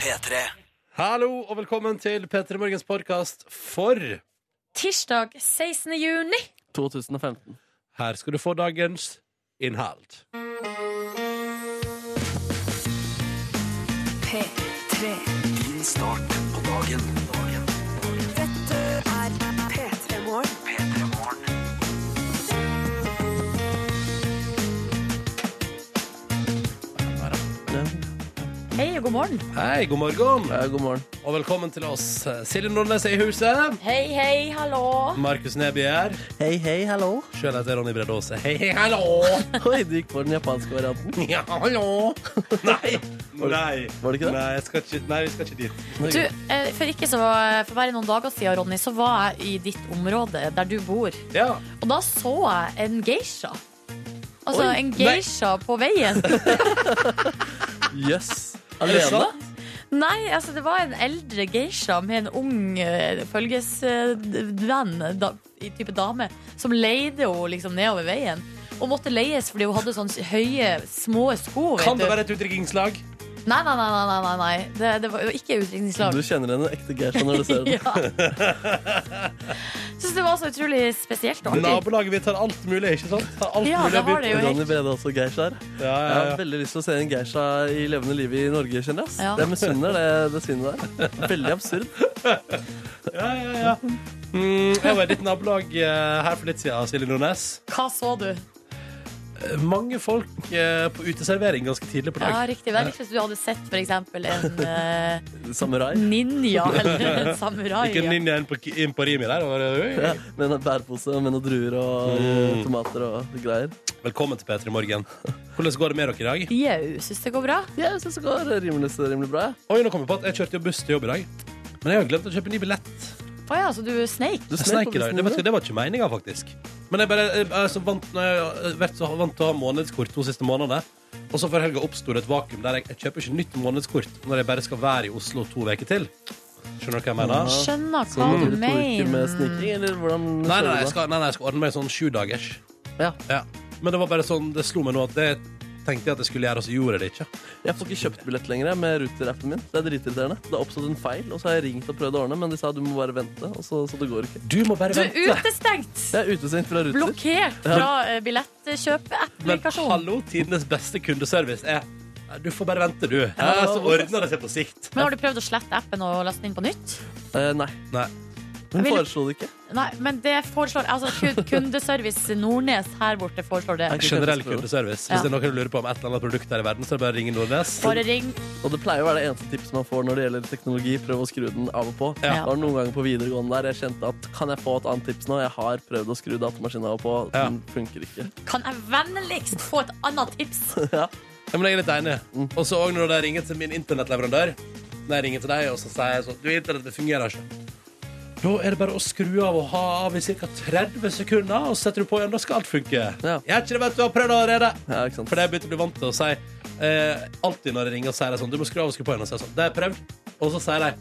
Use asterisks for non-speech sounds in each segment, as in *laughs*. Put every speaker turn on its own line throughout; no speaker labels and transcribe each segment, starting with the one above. P3.
Hallo og velkommen til P3 Morgens podkast for
Tirsdag 16. juni.
2015.
Her skal du få dagens innhold.
P3
Din start på dagen. dagen.
er P3 Morgen.
P3 Morgen.
Hei og god morgen.
Hei, god morgen
Eh, god morgen.
og velkommen til oss. eh, Silje Nordnes er i huset.
Hei, hei, hallo.
Markus Neby er her.
Hei, hei, hallo.
Sjøl heter jeg Ronny Bredde Aase. Hei, hei,
*laughs*
hallo!
Oi, du gikk på den japanske varianten.
Ja, hallo! Nei. Nei.
Var det ikke det?
Nei, jeg skal ikke, nei, vi skal ikke dit.
Du, eh, for ikke så For bare noen dager siden, Ronny, så var jeg i ditt område, der du bor.
Ja.
Og da så jeg en geisha. Altså
Oi,
en geisha på veien. *laughs*
Jøss.
det
Alene?
sant?
Nei, altså det var en eldre geisha med en ung eh, følgesvenn, eh, da, i type dame, som leide henne liksom nedover veien. Og måtte leies fordi hun hadde sånne høye, små sko. Vet
Kan
du.
det være et utdrikkingslag?
Nei, nei, nei. nei, nei, nei, nei. Det, det var jo ikke utdrikningslag.
Du kjenner henne ekte Geisha når du ser henne.
Ja. Syns det var så utrolig spesielt. og artig.
Nabolaget vi tar alt mulig, ikke sant? Tar alt
Ja,
mulig
det har det jo
*laughs* Ronny
helt.
Brede også Geishaer.
Ja,
Jeg
ja,
har
ja.
veldig lyst til å se en Geisha i levende liv i Norge, kjenner jeg. ass.
Ja.
Jeg misunner det, det synet
*laughs*
der. Veldig absurd.
ja, ja, ja. Mm, jeg var i ditt nabolag eh, her for litt siden, Silje Nordnes.
Hva så du?
Eh, Mange folk eh, på uteservering ganske tidlig på
Ja,
dag.
riktig. Det er litt som du hadde sett for eksempel en eh,
Samurai.
*laughs*
ninja eller en samurai.
Ikke ninja inn på, inn på rimet der. og bare,
Ja, med en bærepose med noen druer og
Mm.
eh, tomater og greier.
«Oi». Velkommen til P3 Morgen. Hvordan går det med dere i dag?
Jau, syns det går bra?
Ja, jeg syns det går rimelig, rimelig bra. jeg.
Oi, nå kom jeg på at jeg kjørte jo buss til jobb i dag. Men jeg har glemt å kjøpe ny billett.
Å ja, så du sneik?
Du
Jeg
snek
snek
på
i dag.
bussen
Det, vet
din.
du, det var ikke meninga, faktisk. Men jeg, bare, jeg, er så vant, når jeg har vært så vant til å ha månedskort de siste månedene. Og så før helga oppsto det et vakuum der jeg, jeg kjøper ikke nytt månedskort når jeg bare skal være i Oslo to uker til. Skjønner du hva jeg mener?
Ja.
Skjønner
Så
hva
blir
du
det to uker med
mener.
sniking, eller hvordan
Nei, nei,
kjører du
jeg
da?
skal, nei, nei, jeg skal ordne meg sånn sju dagers.
Ja.
Men det var bare sånn, det slo meg nå at det tenkte jeg at jeg skulle gjøre, og så gjorde jeg det ikke.
Jeg får ikke kjøpt billett lenger jeg, med Ruter-appen min. Det er dritirriterende. Det har oppstått en feil, og så har jeg ringt og prøvd å ordne, men de sa du må bare vente, og så, så det går ikke.
Du må bare
Du er utestengt!
Jeg er utestengt fra Ruter.
Blokkert fra eh,
Men
billettkjøpeapplikasjon.
hallo, tidenes beste kundeservice er «Nei, Du får bare vente, du. Ja, så ordner det seg på sikt.
Men har du prøvd å slette appen og laste den inn på nytt?
Eh, nei.
Nei.
Hun
Vil-
foreslo det ikke.
Nei, men det foreslår altså, kun- Kundeservice Nordnes her borte foreslår det.
Jeg kan
Generell
ikke teste
kundeservice.
Ja.
Hvis det er noen som lurer på om et eller annet produkt her i verden, så er det bare å ringe Nordnes.
Bare ring.
det. Og det pleier å være det eneste tipset man får når det gjelder teknologi. Prøv å skru den av og på.
Ja.
Det var noen ganger på videregående der jeg kjente at kan jeg få et annet tips nå? Jeg har prøvd å skru datamaskinen av og på,
Ja.
den funker ikke.
Kan jeg vennligst få et annet
*laughs*
tips?
Ja, men jeg er litt enig. Og så òg når de ringer til min internettleverandør. Når jeg ringer til deg, og så sier jeg sånn Du, internettet fungerer ikke. Da er det bare å skru av og ha av i ca. 30 sekunder, og så setter du på igjen. Da skal alt funke.
Ja.
Jeg er ikke det, vet du. Jeg har prøvd allerede.
Ja, ikke sant?
For det har jeg begynt å bli vant til å si eh, alltid når jeg ringer, så sier de sånn Du må skru av og skru på igjen. Og så er jeg sånn Det har jeg prøvd. Og så sier de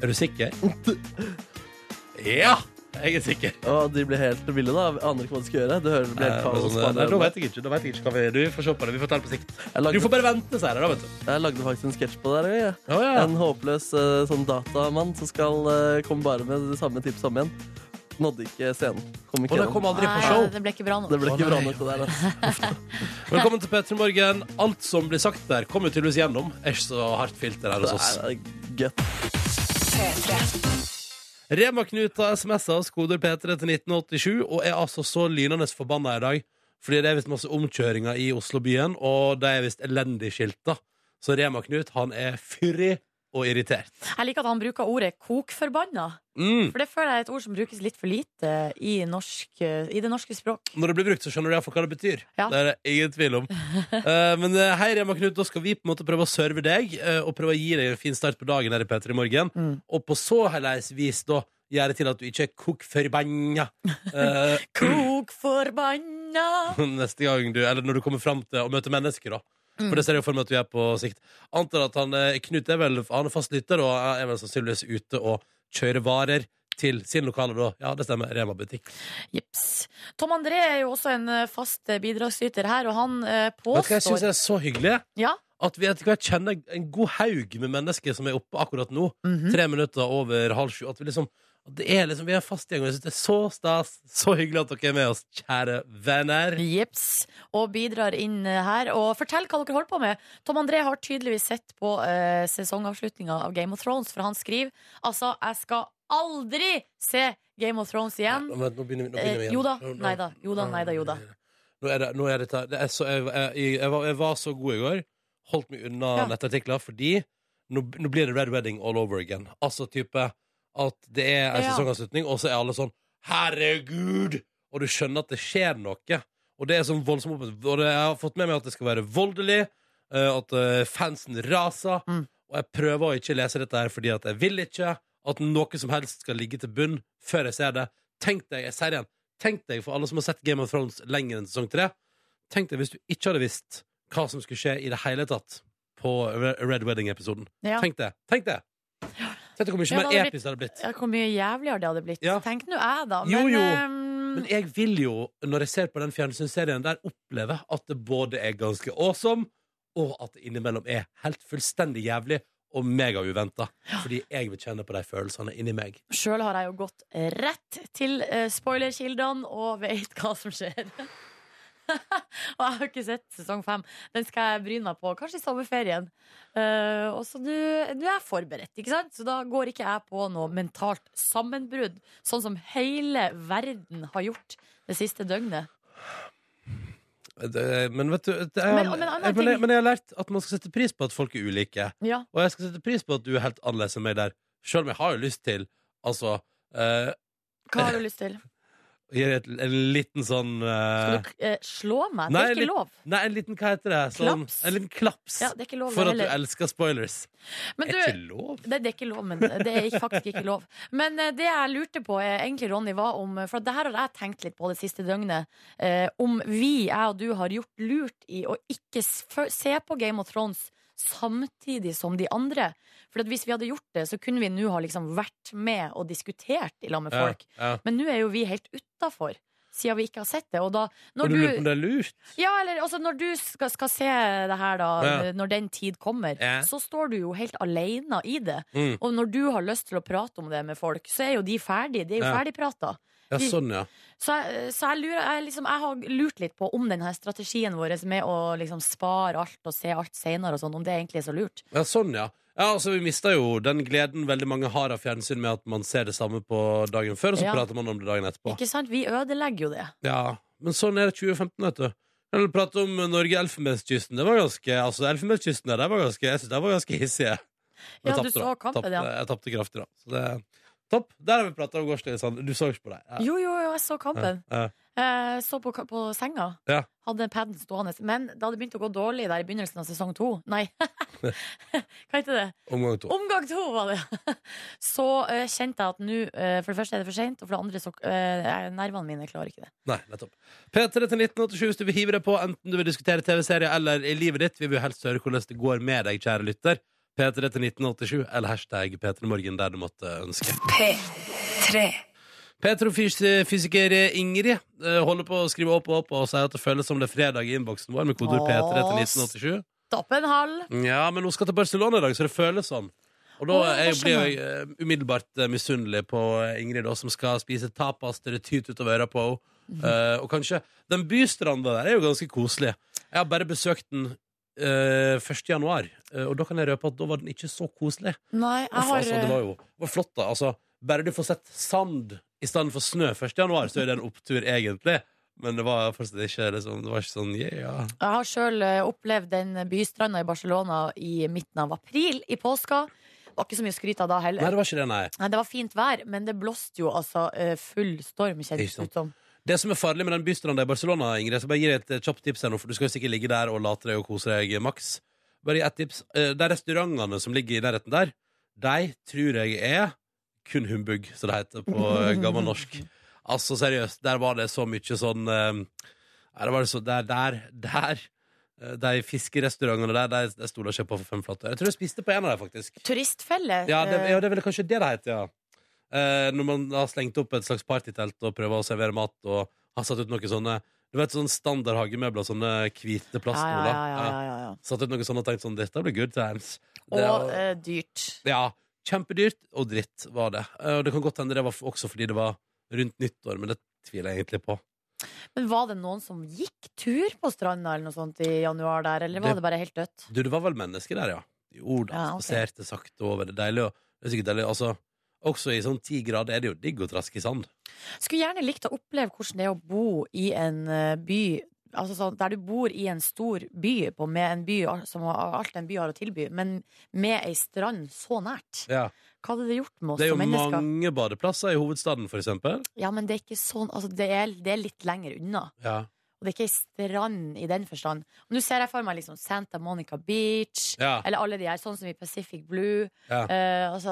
Er du sikker?
*laughs*
ja! Jeg er sikker.
Og de blir helt ville, da. Aner ikke hva de skal gjøre. Du hører det blir
Eh,
helt
bare
kaos.
sånn,
på
eh,
alle
Nei, da
hjørner.
vet jeg ikke. Da vet jeg ikke hva vi Du får se på det. Vi får ta det på sikt.
Jeg lagde-
Du får bare vente, sier jeg da, vet du.
Jeg lagde faktisk en sketsj på det her. Jeg.
Å, ja.
En håpløs eh, sånn datamann som skal eh, komme bare med det samme tipset om igjen. Nådde ikke scenen. Kom ikke
Og det
gjennom.
kom aldri på
Nei,
show.
det ble ikke bra nok.
Det ble
Å,
ikke bra
nei.
nok, det der. Altså.
Velkommen til P3 Morgen. Alt som blir sagt der, kommer jo tydeligvis gjennom. Er ikke så hardt filter her hos oss.
Det er eh, gøtt.
Rema-Knut har smsa oss koder P3 til 1987 og er altså så lynende forbanna i dag. Fordi det er visst masse omkjøringer i Oslo-byen, og de er visst elendig skilta. Så Rema-Knut han er fyrig og irritert.
Jeg liker at han bruker ordet kokforbanna.
Mm.
For det føler jeg er et ord som brukes litt for lite i, norsk, i det norske
*clears throat*
språk.
Når det blir brukt, så skjønner du iallfall hva det betyr.
Ja.
Det er det ingen tvil
*laughs*
om. Eh, men eh, hei, Rema-Knut, da skal vi på en måte prøve å serve deg, eh, og prøve å gi deg en fin start på dagen her i P3 Morgen.
Mm.
Og på så heleis vis da gjøre til at du ikke er kokforbanna
*laughs*
eh, *laughs*
Kokforbanna!
neste gang du Eller når du kommer fram til å møte mennesker, da.
Mm.
For det ser jeg jo for meg at du er på sikt. Antar at han eh, Knut er vel Han er fast lytter og er vel sannsynligvis ute og kjører varer til sin lokale, da. Ja, det stemmer. Rema-butikk.
Jeps. Tom André er jo også en eh, fast eh, bidragsyter her, og han eh,
Vet du hva jeg syns
påstår
er så hyggelig?
ja,
at vi etter hvert kjenner en god haug med mennesker som er oppe akkurat nå.
Mhm.
Tre minutter over halv sju. At vi liksom at det er liksom, vi er en fast gjeng. og jeg synes Det er så stas. Så hyggelig at dere er med oss, kjære venner.
Jips, og bidrar inn eh, her. Og fortell hva dere holder på med. Tom André har tydeligvis sett på eh, sesongavslutninga av Game of Thrones, for han skriver altså jeg skal aldri se Game of Thrones igjen.
Nei, vent, nå begynner vi, nå begynner vi
Eh,
igjen.
jo da,
Nå- nå-
nei da, jo da, nei da, jo da.
Nå er det, nå er dette- det er så, jeg, jeg, jeg, var, jeg var så god i går. Holdt meg unna
Ja.
nettartikler fordi nå, nå blir det Red Wedding all over again. Altså type at det er en
Ja.
sesongavslutning, og så er alle sånn Herregud! Og du skjønner at det skjer noe. Og det er sånn voldsomt opp- Og det, jeg har fått med meg at det skal være voldelig, eh, at eh, fansen raser.
Mm.
Og jeg prøver å ikke lese dette her fordi at jeg vil ikke at noe som helst skal ligge til bunn før jeg ser det. Tenk deg, jeg sier det igjen, tenk deg for alle som har sett Game of Thrones lenger enn sesong tre, tenk deg hvis du ikke hadde visst hva som skulle skje i det hele tatt på Re- Red Wedding-episoden.
Ja.
Tenk det. Tenk det. Tenk deg hvor mye
Ja, det
mer
hadde blitt-
episk det hadde blitt.
Ja, Hvor mye jævligere det hadde blitt.
Ja.
Tenk nå jeg, da.
Jo, jo.
ehm,
Men jeg vil jo, når jeg ser på den fjernsynsserien der, oppleve at det både er ganske awesome, og at det innimellom er helt fullstendig jævlig og megauventa. Fordi jeg vil kjenne på de følelsene inni meg.
Sjøl har jeg jo gått rett til eh, spoilerkildene og veit hva som skjer. *laughs* og jeg har ikke sett sesong fem. Den skal jeg bryne meg på, kanskje i sommerferien. Eh, og så du, du er forberedt, ikke sant? Så da går ikke jeg på noe mentalt sammenbrudd, sånn som hele verden har gjort det siste døgnet.
Eh, Det- Men vet du det er,
Men- men annen
jeg, men, jeg,
ting-
men jeg har lært at man skal sette pris på at folk er ulike.
Ja,
Og jeg skal sette pris på at du er helt annerledes enn meg der. Sjøl om jeg har jo lyst til Altså eh,
Hva har du lyst til?
gi et, en liten sånn
Skal
eh,
du eh, slå meg? Det
Nei,
er ikke
litt-
lov.
Nei, en liten hva heter det? Sånn,
Klaps?
en liten klaps.
Ja, det er ikke lov
for
det
at du
heller.
elsker spoilers.
Men
er
du,
ikke lov?
Det, det er ikke lov, men det er ikke- faktisk ikke lov. Men eh, det jeg lurte på, eh, egentlig, Ronny, var om eh, For det her har jeg tenkt litt på det siste døgnet. Eh, om vi, jeg og du, har gjort lurt i å ikke s- fø- se på Game of Thrones samtidig som de andre. For at hvis vi hadde gjort det, så kunne vi nå ha liksom vært med og diskutert i lag med
Ja,
folk.
ja.
Men nå er jo vi helt utafor. Siden vi ikke har sett det. Og da, når
Og du
du,
lurer på om det er lurt?
ja, eller altså, når du skal, skal se det her, da,
Ja.
når den tid kommer,
Ja.
så står du jo helt alene i det.
Mm.
Og når du har lyst til å prate om det med folk, så er jo de ferdige. De er jo
Ja.
ferdigprata.
Ja, sånn, ja.
Så, jeg, så jeg, lurer, jeg, liksom, jeg har lurt litt på om denne strategien vår med å liksom spare alt og se alt seinere og sånn, om det egentlig er så lurt.
Ja, sånn, ja. ja altså, vi mister jo den gleden veldig mange har av fjernsyn med at man ser det samme på dagen før, og så
Ja.
prater man om det dagen etterpå.
Ikke sant? Vi ødelegger jo det.
Ja, men sånn er det 2015, vet du. Eller prate om Norge Elfenbenskysten. Det var ganske, altså Elfenbenskysten der, det var ganske, jeg synes det var ganske hissige. Men jeg
Ja, du
tapte
så
da.
kampen,
Tapte-
ja.
Jeg tapte kraftig, da. Så det topp. Der har vi prata om gårsdagen. Sand. Du så ikke på det. Ja.
Jo, jo, jo, jeg så kampen.
Ja.
Eh, så på, ka- på senga.
Ja.
Hadde paden stående. Men det hadde begynt å gå dårlig der i begynnelsen av sesong to. Nei, *laughs* hva heter det?
Omgang to.
Omgang to, var det! *laughs* Så eh, kjente jeg at nå eh, For det første er det for seint, og for det andre så eh, Nervene mine klarer ikke det.
Nei, nettopp. P3 til 1987 hvis du vil hive deg på, enten du vil diskutere TV-serier eller i livet ditt. Vi vil helst høre hvordan det går med deg, kjære lytter. P3 til 1987 eller hashtag P3morgen der du måtte ønske.
Tre.
Petrofysiker Ingrid eh, holder på å skrive opp og opp og sier at det føles som det er fredag i innboksen vår med kodeord P3 til 1987.
Stopp en halv!
Ja, men hun skal til Barcelona i dag, så det føles sånn. Og da
Å,
er
jeg
jeg, blir jeg
skjønner.
eh, umiddelbart eh, misunnelig på eh, Ingrid, da, som skal spise tapas til det tyter utover øra på henne.
Mhm.
Eh, og kanskje Den bystranda der er jo ganske koselig. Jeg har bare besøkt den eh, 1. januar, eh, og da kan jeg røpe at da var den ikke så koselig.
Nei, jeg
Uff,
har eh,
altså, det var jo det var flott, da. Altså, bare du får sett sand i stedet for snø 1. januar, så er det en opptur, egentlig. Men det var fortsatt ikke, liksom, det var ikke sånn yeah.
Jeg har sjøl opplevd den bystranda i Barcelona i midten av april, i påska. Det var ikke så mye å skryte av da
Nei,
heller.
det var ikke det, nei.
Nei, det var fint vær, men det blåste jo altså eh, full storm,
Ikke
kjennes det
sant.
ut som.
Det som er farlig med den bystranda i Barcelona, Ingrid, så bare gir jeg et eh, kjapt tips her nå, for du skal jo sikkert ligge der og late deg og kose deg eh, maks. Bare gi ett tips. Eh, De restaurantene som ligger i nærheten der, de tror jeg er kun humbug, som det heter på eh, gammel norsk. Altså, seriøst, der var det så mye sånn eh, Nei, det var det så Der, der, der. eh, De fiskerestaurantene der, der, der stoler jeg ikke på for fem flate. Jeg tror jeg spiste på en av dem, faktisk.
Turistfelle.
Ja, det,
eh,
ja, det er vel kanskje det det heter, ja. Eh, når man har slengt opp et slags partytelt og prøver å servere mat og har satt ut noen sånne Du vet sånn standard hagemøbler, sånne hvite
Ja, ja,
plastmåler.
ja, ja, ja, ja.
Satt ut noe sånn og tenkt sånn, dette blir good times. Det,
Og eh, dyrt.
ja, kjempedyrt og dritt var det. Eh, Og det kan godt hende det var f- også fordi det var rundt nyttår, men det tviler jeg egentlig på.
Men var det noen som gikk tur på stranda eller noe sånt i januar der, eller
Det-
var det bare helt dødt?
Du, det var vel mennesker der, ja. Jo da,
Ja, ok.
spaserte sakte over. Det er deilig. og- Det er sikkert deilig. Altså, også i sånn ti grader er det jo digg å traske i sand.
Skulle gjerne likt å oppleve hvordan det er å bo i en eh, by Altså sånn, Der du bor i en stor by, på, med en by som har alt en by har å tilby, men med ei strand så nært.
Ja.
Hva hadde det gjort med oss
Det er jo
som mennesker?
mange badeplasser i hovedstaden, for eksempel.
Ja, men det er ikke sånn altså, det, er, det er litt lenger unna.
Ja.
Og det er ikke ei strand i den forstand. Og Nå ser jeg for meg liksom Santa Monica Beach,
Ja.
eller alle de her, sånn som i Pacific Blue.
Ja.
Eh, altså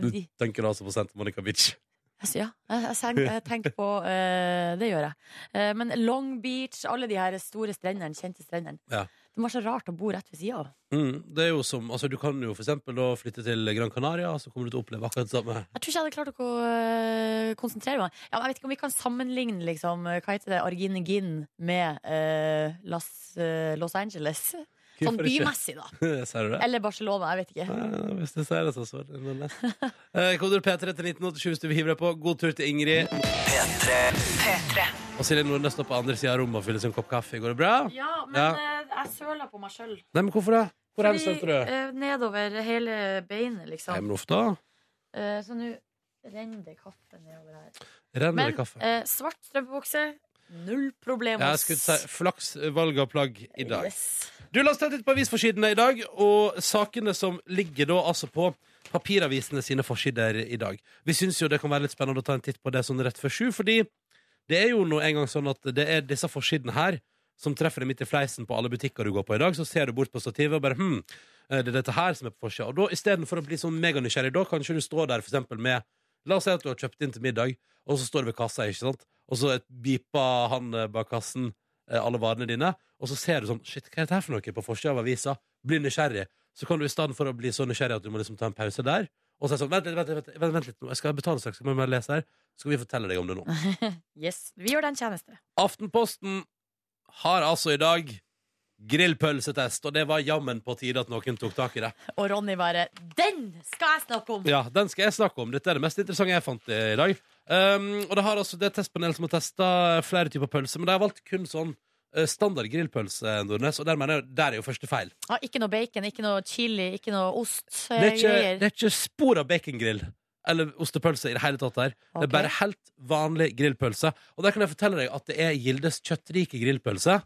eh,
Du
de,
tenker altså på Santa Monica Beach.
altså, Ja, jeg, jeg, sen- jeg tenker
*laughs*
på eh, Det gjør jeg. Eh, men Long Beach, alle de her store strendene, kjente strendene.
Ja.
Det var så rart å bo rett ved sida av.
Mm, det er jo som, altså Du kan jo for eksempel da flytte til Gran Canaria, så kommer du til å oppleve akkurat det samme. *laughs*
Jeg tror ikke jeg hadde klart å ko- eh, konsentrere meg. Ja, men jeg vet ikke om vi kan sammenligne liksom, eh, hva heter det, Arginegin med eh, Las, eh, Los Angeles. Sånn
Hvorfor ikke?
bymessig, da.
Ser du det?
Eller Barcelona, jeg vet ikke.
Eh, Hvis du sier det, så svar. *laughs* Eh, Kodeord P3 til 1987 hvis du vil hive deg på. God tur til Ingrid. Og Silje Nordnes står på andre sida av rommet og fyller sin kopp kaffe. Går det bra?
Ja, men eh,
Ja.
jeg søla på meg sjøl.
Nei, men hvorfor det? Hvor hen sølte du?
eh, nedover hele beinet,
Nei,
liksom. Eh,
men uff da.
så nå renner det kaffe nedover her.
Renner
Men
det kaffe?
eh, svart strømpebukse, null problem.
Jeg skulle si flaks eh, valg av plagg i dag.
Yes.
Du, La oss ta litt på avisforsidene i dag, og sakene som ligger da altså på papiravisene sine forsider i dag. Vi syns jo det kan være litt spennende å ta en titt på det sånn rett før sju, fordi det er jo nå en gang sånn at det er disse forsidene her som treffer deg midt i fleisen på alle butikker du går på i dag. Så ser du bort på stativet og bare hm, er det dette her som er på forsida? Og da istedenfor å bli sånn meganysgjerrig, da kanskje du står der for eksempel med La oss si at du har kjøpt inn til middag, og så står du ved kassa, ikke sant, og så beeper han eh, bak kassen eh, alle varene dine, og så ser du sånn Shit, hva er dette her for noe på forsida av avisa? Bli nysgjerrig. Så kan du i stedet for å bli så nysgjerrig at du må liksom ta en pause der, og så er det sånn Vent litt, vent litt, vent, vent litt nå. jeg skal betale straks, skal vi bare lese her? Så skal vi fortelle deg om det nå.
yes. Vi gjør den tjeneste.
Aftenposten har altså i dag grillpølsetest, og det var jammen på tide at noen tok tak i det.
Og Ronny bare 'Den skal jeg snakke om!'
Ja, den skal jeg snakke om. Dette er det mest interessante jeg fant i dag. Um, og det har altså det testpanelet som har testa flere typer pølser, men de har valgt kun sånn eh, standard grillpølse, Nordnes, og der mener jeg der er jo første feil.
Ja, Ah, ikke noe bacon, ikke noe chili, ikke noe ost. eh,
Det er ikke,
greier.
det er ikke spor av bacongrill eller ostepølse i det hele tatt der. Det
Ok.
er bare helt vanlig grillpølse. Og der kan jeg fortelle deg at det er Gildes kjøttrike grillpølse.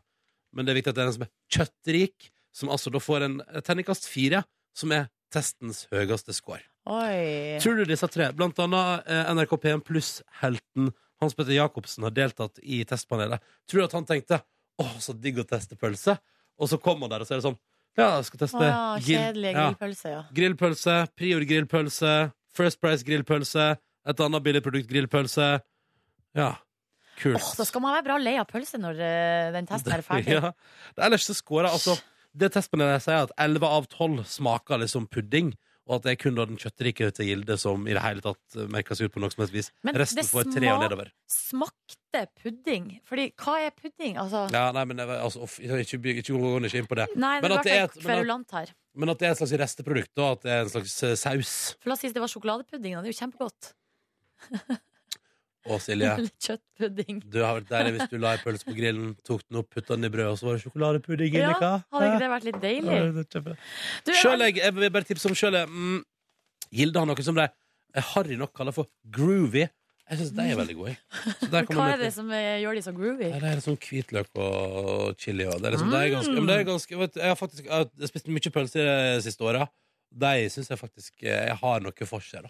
Men det er viktig at det er den som er kjøttrik, som altså da får en terningkast fire, som er testens høyeste score.
Oi.
Tror du disse tre, blant annet eh, NRK P1 pluss-helten Hans Petter Jacobsen har deltatt i testpanelet, tror du at han tenkte åh, så digg å teste pølse? Og så kom han der og så er det sånn ja, jeg skal
Å
teste
ja,
grill-
kjedelig
Ja.
grillpølse, Ah, ja.
Grillpølse, Prior grillpølse, First Price grillpølse, et annet billig produkt grillpølse. Ja, kult.
Åh, da skal man være bra lei av pølse når eh, den testen er ferdig.
*laughs* ja. Ellers så scorer altså Det testpanelet sier at 11 av 12 smaker liksom pudding. Og at det er kun da den kjøttrike til Gilde som i det hele tatt eh, merker seg ut på noe som helst vis.
Men
Resten
det
får tre og
smak-
nedover.
Smakte pudding. Fordi hva er pudding? Altså,
Ja, nei, men det var- altså, off, ikke, ikke, ikke, gå ikke inn på det.
nei, det
Men
er i
at det er et-
hvert fall
men at-
kverulant her.
Men at det er et slags resteprodukt, og at det er en slags eh, saus.
For la oss si det var sjokoladepudding, da. Det er jo kjempegodt.
Å,
*laughs*
Silje.
Eller kjøttpudding.
Du har vært deilig hvis du la en pølse på grillen, tok den opp, putta den i brød, og så var det sjokoladepudding inni.
Ja,
hva?
hadde
Hæ?
ikke det vært litt deilig? Du,
Sjøl jeg, jeg vil bare tipse om sjøl jeg, mm, Gilde har noe som de eh, harry nok kaller for groovy. Jeg syns de er veldig gode. jeg. Så der kommer
hva
jeg
er det
til-
som eh, gjør de så groovy?
Nei, Det er sånn hvitløk og chili og det er liksom, det er
Mm.
ganske, ja, men det er ganske vet, du, Jeg har faktisk jeg har spist mye pølser de siste åra. De syns jeg faktisk eh, jeg har noe for seg. da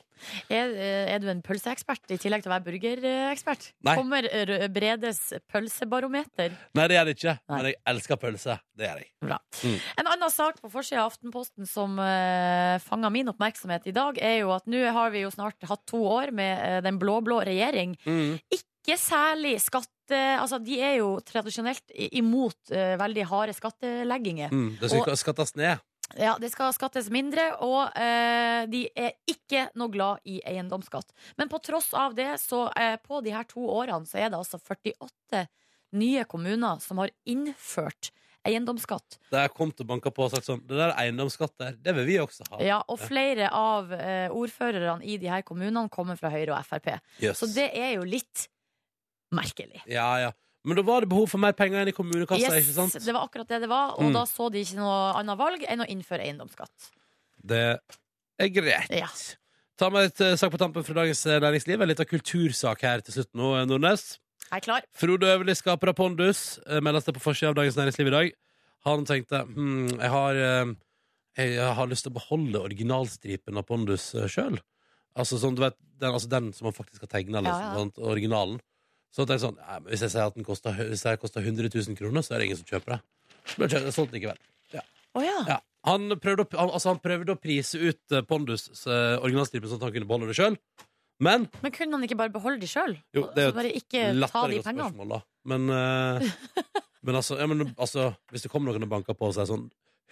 Er, eh, er du en pølseekspert i tillegg til å være burgerekspert?
Nei.
Kommer eh, Bredes pølsebarometer?
Nei, det gjør det ikke,
Nei.
men jeg elsker pølse. Det gjør jeg.
Bra.
Mm.
En annen sak på forsida av Aftenposten som uh, fanga min oppmerksomhet i dag, er jo at nå har vi jo snart hatt to år med eh, den blå-blå regjering. Ikke særlig skatte... Altså, de er jo tradisjonelt i- imot eh, veldig harde skattelegginger.
Mm, det skal skattes ned.
Ja, det skal skattes mindre, og eh, de er ikke noe glad i eiendomsskatt. Men på tross av det, så eh, på de her to årene, så er det altså 48 nye kommuner som har innført eiendomsskatt.
Der kom til banka på og sagt sånn Det der er eiendomsskatt der, det vil vi også ha.
Ja, og flere av eh, ordførerne i de her kommunene kommer fra Høyre og Frp.
Yes.
Så det er jo litt merkelig.
ja, ja. Men da var det behov for mer penger inn i kommunekassa,
Yes,
ikke sant?
det var akkurat det det var, og
Mm.
da så de ikke noe annet valg enn å innføre eiendomsskatt.
Det er greit.
Ja.
Ta med et eh, sak på tampen fra dagens eh, næringsliv. En liten kultursak her til slutt nå, eh, Nordnes.
Jeg er klar.
Frode Øverli, skaper av Pondus, eh, meldes det på forsida av Dagens Næringsliv i dag. Han tenkte hm, jeg, har, eh, jeg har lyst til å beholde originalstripen av Pondus sjøl. Altså, sånn, du vet, den, altså den som han faktisk har tegna, liksom,
Ja, ja.
sant, originalen. Så tenkte jeg sånn, nei, men Hvis jeg sier at den koster, hvis jeg koster 100 000 kroner, så er det ingen som kjøper det. Så ble det solgt likevel.
Å ja.
Ja. Han, prøvde å, han, altså, han prøvde å prise ut eh, Pondus eh, originalstripen sånn at han kunne beholde det sjøl, men
Men kunne han ikke bare beholde de sjøl?
Jo, det er jo
Altså bare ikke ta
Latterlig
de
godt
pengene?
spørsmål, da. Men, eh, men, altså, ja, men altså Hvis det kommer noen og banker på og sier sånn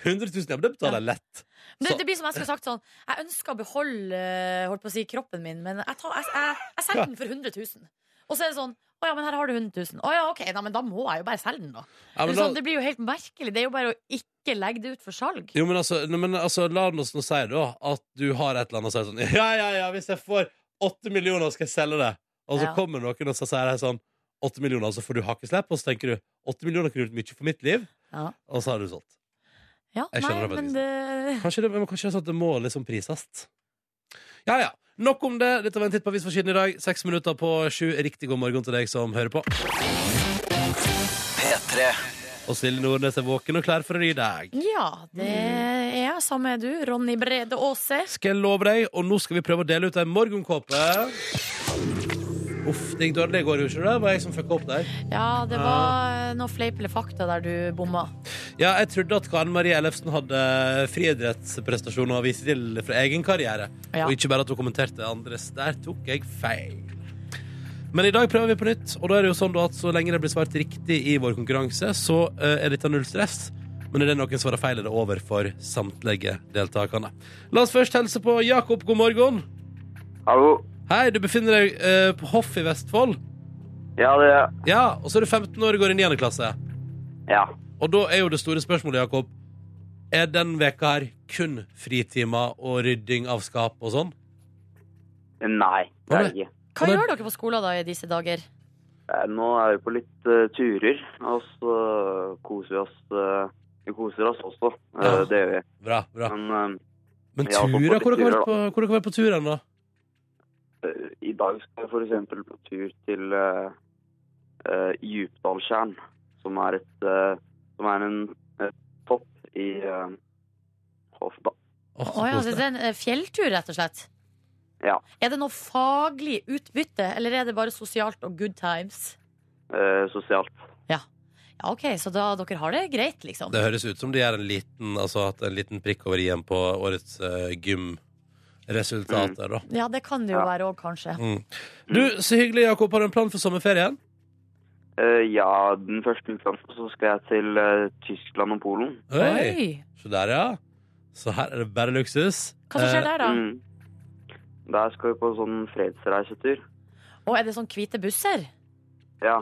100 000, ja, men det betaler jeg lett.
Det,
Så-
det blir som jeg skulle sagt sånn Jeg ønsker å beholde eh, holdt på å si, kroppen min, men jeg, tar, jeg, jeg, jeg selger den for 100 000. Og så er det sånn Å ja, men her har du 100 000. Å ja, OK, nei, men da må jeg jo bare selge den, da.
Ja,
det,
men
er sånn,
la,
det blir jo helt merkelig. Det er jo bare å ikke legge det ut for salg.
jo, men altså, nei, men altså La oss nå si da at du har et eller annet og sier sånn Ja, ja, ja, hvis jeg får åtte millioner, skal jeg selge det. Og så
Ja.
kommer noen og så sier jeg sånn Åtte millioner, så får du hakkeslepp, og så tenker du åtte millioner kunne gjort mye for mitt liv,
Ja.
og så har du solgt.
Ja,
Jeg
nei,
skjønner det
men
faktisk.
det
Kanskje det, men kanskje det er sånn at det må liksom prises. Ja, ja. Nok om det. Dette var en titt på avisforsiden i dag. Seks minutter på sju. Riktig god morgen til deg som hører på.
P3
Og Silje Nordnes er våken og klar for en ny dag.
Ja, det er
Mm.
jeg. Samme er du, Ronny Brede Aase.
Skal jeg love deg, og nå skal vi prøve å dele ut ei morgenkåpe. Uff, det gikk dårlig i går, gjorde ikke det? Det var jeg som fucka opp der.
Ja, det var noe fleip eller fakta der du bomma.
Ja, jeg trodde at Karen Marie Ellefsen hadde friidrettsprestasjoner å vise til fra egen karriere.
Ja.
Og ikke bare at hun kommenterte andres. Der tok jeg feil. Men i dag prøver vi på nytt, og da er det jo sånn da at så lenge det blir svart riktig i vår konkurranse, så eh, er dette null stress. Men er det noen svarer feil, er det over for samtlige deltakerne. La oss først hilse på Jakob. God morgen.
Hallo.
Hei, du befinner deg eh, på Hoff i Vestfold.
Ja, det er
Ja, og så er du 15 år og går i 9. klasse.
Ja.
Og da er jo det store spørsmålet, Jakob Er den veka her kun fritimer og rydding av skap og sånn?
Nei, det er det ikke.
Hva
Og det-
gjør dere på skolen da i disse dager?
Eh, Nå er vi på litt eh, turer, og så koser vi oss. eh, vi koser oss også, Eh,
Ja.
det gjør vi.
Bra, bra
Men
Men
Ja,
turer, hvor
for
har dere vært
turer,
på, hvor har dere vært på turen da?
eh, i dag skal jeg f.eks. på tur til uh, Djupdalstjern, som er et eh, Som er en eh, topp i uh, Hoff, da.
Åh, så
Å ja,
koselig.
så det er en eh, fjelltur, rett og slett?
Ja.
Er det noe faglig utbytte, eller er det bare sosialt og good times?
eh, sosialt.
Ja, OK, så da dere har det greit, liksom.
Det høres ut som de er en liten Altså hatt en liten prikk over igjen på årets eh, gymresultat
Mm.
der da
Ja, det kan det jo
Ja.
være òg, kanskje.
mm. Du, så hyggelig Jakob, har du en plan for sommerferien?
Eh, ja, den første uka så skal jeg til eh, Tyskland og Polen.
Oi, så der ja Så her er det bare luksus
Hva som skjer der, da?
Mm. Der skal vi på sånn fredsreisetur.
Å, er det sånn hvite busser?
Ja.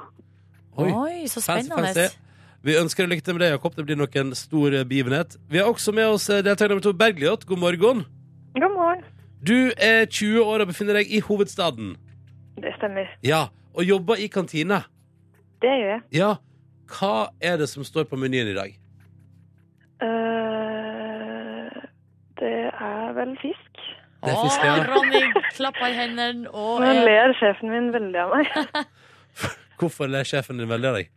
Eh, Oi,
Oi, så
fancy,
spennende.
fancy. Vi ønsker deg lykke til med det, Jakob. Det blir nok en stor eh, begivenhet. Vi har også med oss eh, deltaker nummer to, Bergljot. God morgen.
God morgen.
Du er 20 år og befinner deg i hovedstaden.
Det stemmer.
Ja, og jobber i kantine.
Det gjør jeg.
Ja, hva er det som står på menyen i dag?
Eh, det er vel fisk.
Det er
Å,
fisk, ja.
Ronny klapper i hendene og
Nå
er
ler sjefen min veldig av meg, *laughs*
Hvorfor ler sjefen din veldig av deg?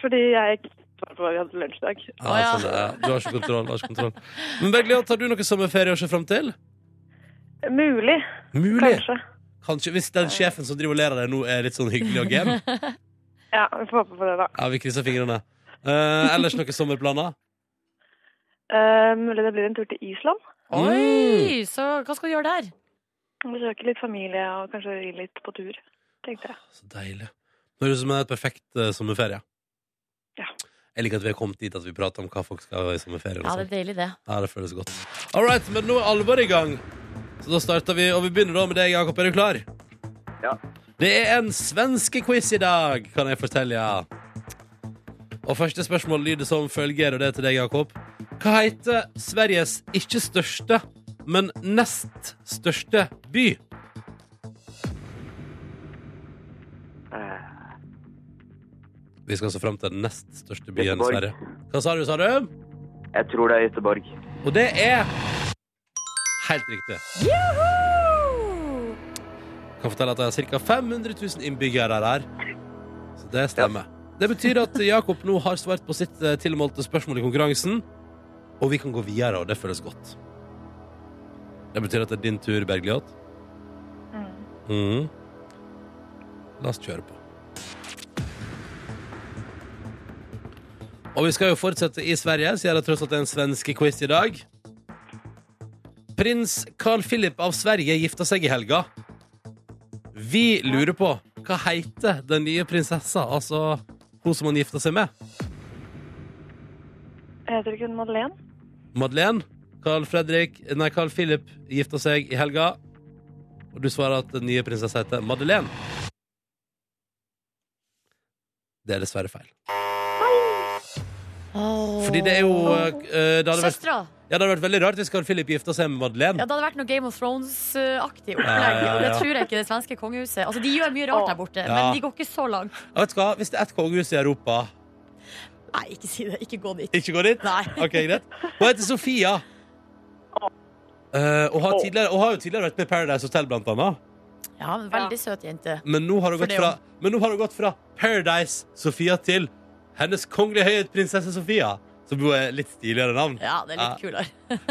fordi jeg ikke svarte på hva vi hadde til lunsjdag.
Ah,
Å, ja.
sånn, ja. Du har ikke kontroll. du Har ikke
*laughs*
kontroll. Men Bergljot, har du noe sommerferie å se fram til?
Mulig,
Mulig.
kanskje.
Kanskje, hvis den sjefen som driver og ler av deg nå, er litt sånn hyggelig og
*laughs*
gem.
Ja, vi får håpe på det, da.
Ja, vi krysser fingrene. Eh, ellers noen sommerplaner?
Eh, mulig det blir en tur til Island.
eh,
Mm.
Oi, så hva skal du gjøre der?
Besøke litt familie og kanskje ri litt på tur, tenkte jeg.
Så deilig. Det høres ut som en helt perfekt eh, sommerferie.
Ja.
Jeg liker at vi er kommet dit at vi prater om hva folk skal ha i sommerferien. og
Ja,
sånn.
det
sånt.
er deilig, det.
Ja, det føles godt. All right, men nå er alvoret i gang. Så da starter vi, og vi begynner da med deg, Jakob. Er du klar?
Ja.
Det er en svenske quiz i dag, kan jeg fortelle. Ja. Og første spørsmål lyder som følger, og det er til deg, Jakob. Hva heter Sveriges ikke største, men nest største by?
Eh,
Vi skal altså fram til den nest største byen i
Göteborg.
Sverige. Hva sa du, sa du?
Jeg tror det er Göteborg.
Og det er helt riktig. Kan fortelle at det er ca. 500 000 innbyggere der. Så det stemmer. Det betyr at Jakob nå har svart på sitt eh, tilmålte spørsmål i konkurransen. Og vi kan gå videre, og det føles godt. Det betyr at det er din tur, Bergljot. Mhm. La oss kjøre på. Og vi skal jo fortsette i Sverige, siden det tross alt er en svenske quiz i dag. Prins Carl Philip av Sverige gifta seg i helga. Vi lurer på hva heter den nye prinsessa, altså hun som han gifta seg med?
Heter ikke hun Madeleine?
Madeleine? Carl Fredrik Nei, Carl Philip gifta seg i helga. Og du svarer at den nye prinsessa heter Madeleine. Det er dessverre feil. Fordi det er jo eh, det hadde vært,
Søstera!
ja, det hadde vært veldig rart hvis Carl Philip gifta seg med Madeleine.
Ja, det hadde vært noe Game of Thrones-aktig
Ja, ja,
opplegg.
ja.
og Det tror jeg ikke det svenske kongehuset. Altså, De gjør mye rart der borte,
Ja.
men de går ikke så langt.
Ja, Vet du hva, Hvis det er ett kongehus i Europa
Nei, ikke si det. Ikke gå dit.
Ikke gå dit?
Nei.
Ok, greit Hun heter Sofia Eh, og, har tidligere, og har jo tidligere vært med i Paradise Hotel blant annet
Ja, men Veldig søt jente.
Men nå har hun
For
gått
det
fra, men nå har hun gått fra Paradise Sofia til Hennes kongelige høyhet prinsesse Sofia Som jo er litt stiligere navn
Ja, det er litt kulere.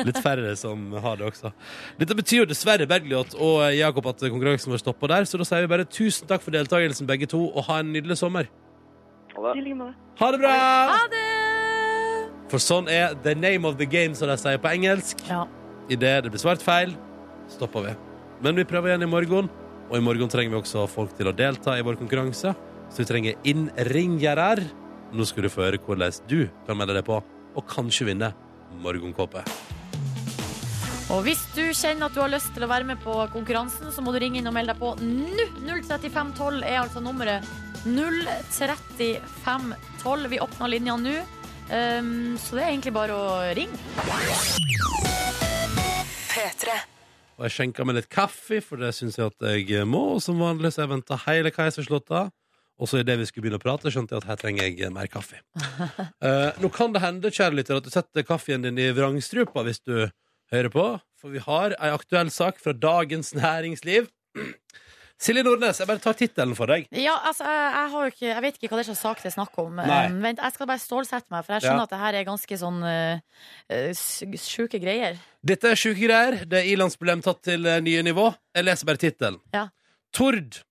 Litt færre som har det også. Dette betyr jo dessverre Bergljot og Jakob at konkurransen vår stopper der, så da sier vi bare tusen takk for deltakelsen, begge to, og ha en nydelig sommer.
Ha
I
det.
like måte.
Ha det bra!
Ha det!
For sånn er the name of the game, som de sier på engelsk.
Ja.
Idet det blir svart feil, stopper vi. Men vi prøver igjen i morgen, og i morgen trenger vi også folk til å delta i vår konkurranse. Så vi trenger innringere. Nå skal du få høre hvordan du kan melde deg på, og kanskje vinne morgenkåpe.
Og hvis du kjenner at du har lyst til å være med på konkurransen, så må du ringe inn og melde deg på nå. 03512 er altså nummeret. 03512. Vi åpner linja nå. Um, så det er egentlig bare å ringe.
P3.
Og jeg skjenka meg litt kaffe, for det syns jeg at jeg eh, må. Og som vanlig så har jeg venta hele Keiserslåtta. Og så idet vi skulle begynne å prate, skjønte jeg at her trenger jeg mer kaffe. Eh, nå kan det hende kjære lytter, at du setter kaffen din i vrangstrupa hvis du hører på. For vi har ei aktuell sak fra Dagens Næringsliv. *clears throat* Silje Nordnes, jeg bare tar tittelen for deg.
Ja, altså, jeg, jeg har jo ikke, jeg vet ikke hva det er slags sak det er snakk om.
Nei.
Um, vent, jeg skal bare stålsette meg, for
Ja.
jeg skjønner at det her er ganske sånn uh, uh, s- sjuke greier.
Dette er sjuke greier. Det er ilandsproblem tatt til eh, nye nivå. Jeg leser bare tittelen.
Ja.
Tord,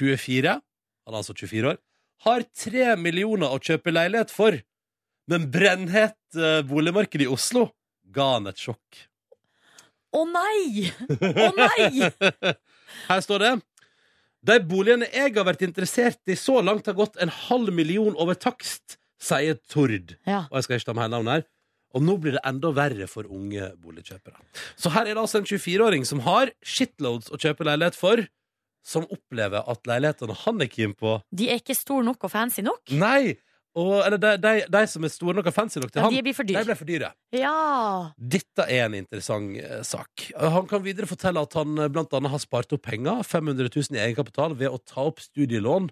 24, han er altså 24 år, har tre millioner å kjøpe leilighet for. Men brennhett eh, boligmarkedet i Oslo ga han et sjokk. *laughs*
Å nei! Å nei!
Her står det De boligene jeg har vært interessert i så langt, har gått en halv million over takst, sier Tord.
Ja.
Og jeg skal ikke ta med hele navnet her. Og nå blir det enda verre for unge boligkjøpere. Så her er det altså en 24-åring som har shitloads å kjøpe leilighet for, som opplever at leilighetene han er keen på
De er ikke store nok og fancy nok.
Nei! Og, eller de, de, de som er store nok og fancy nok Mm, til
Ja,
han,
de blir for dyre.
de ble for dyre.
Ja.
Dette er en interessant eh, sak. Eh, Han kan videre fortelle at han eh, blant annet har spart opp penger, 500 000 i egenkapital, ved å ta opp studielån,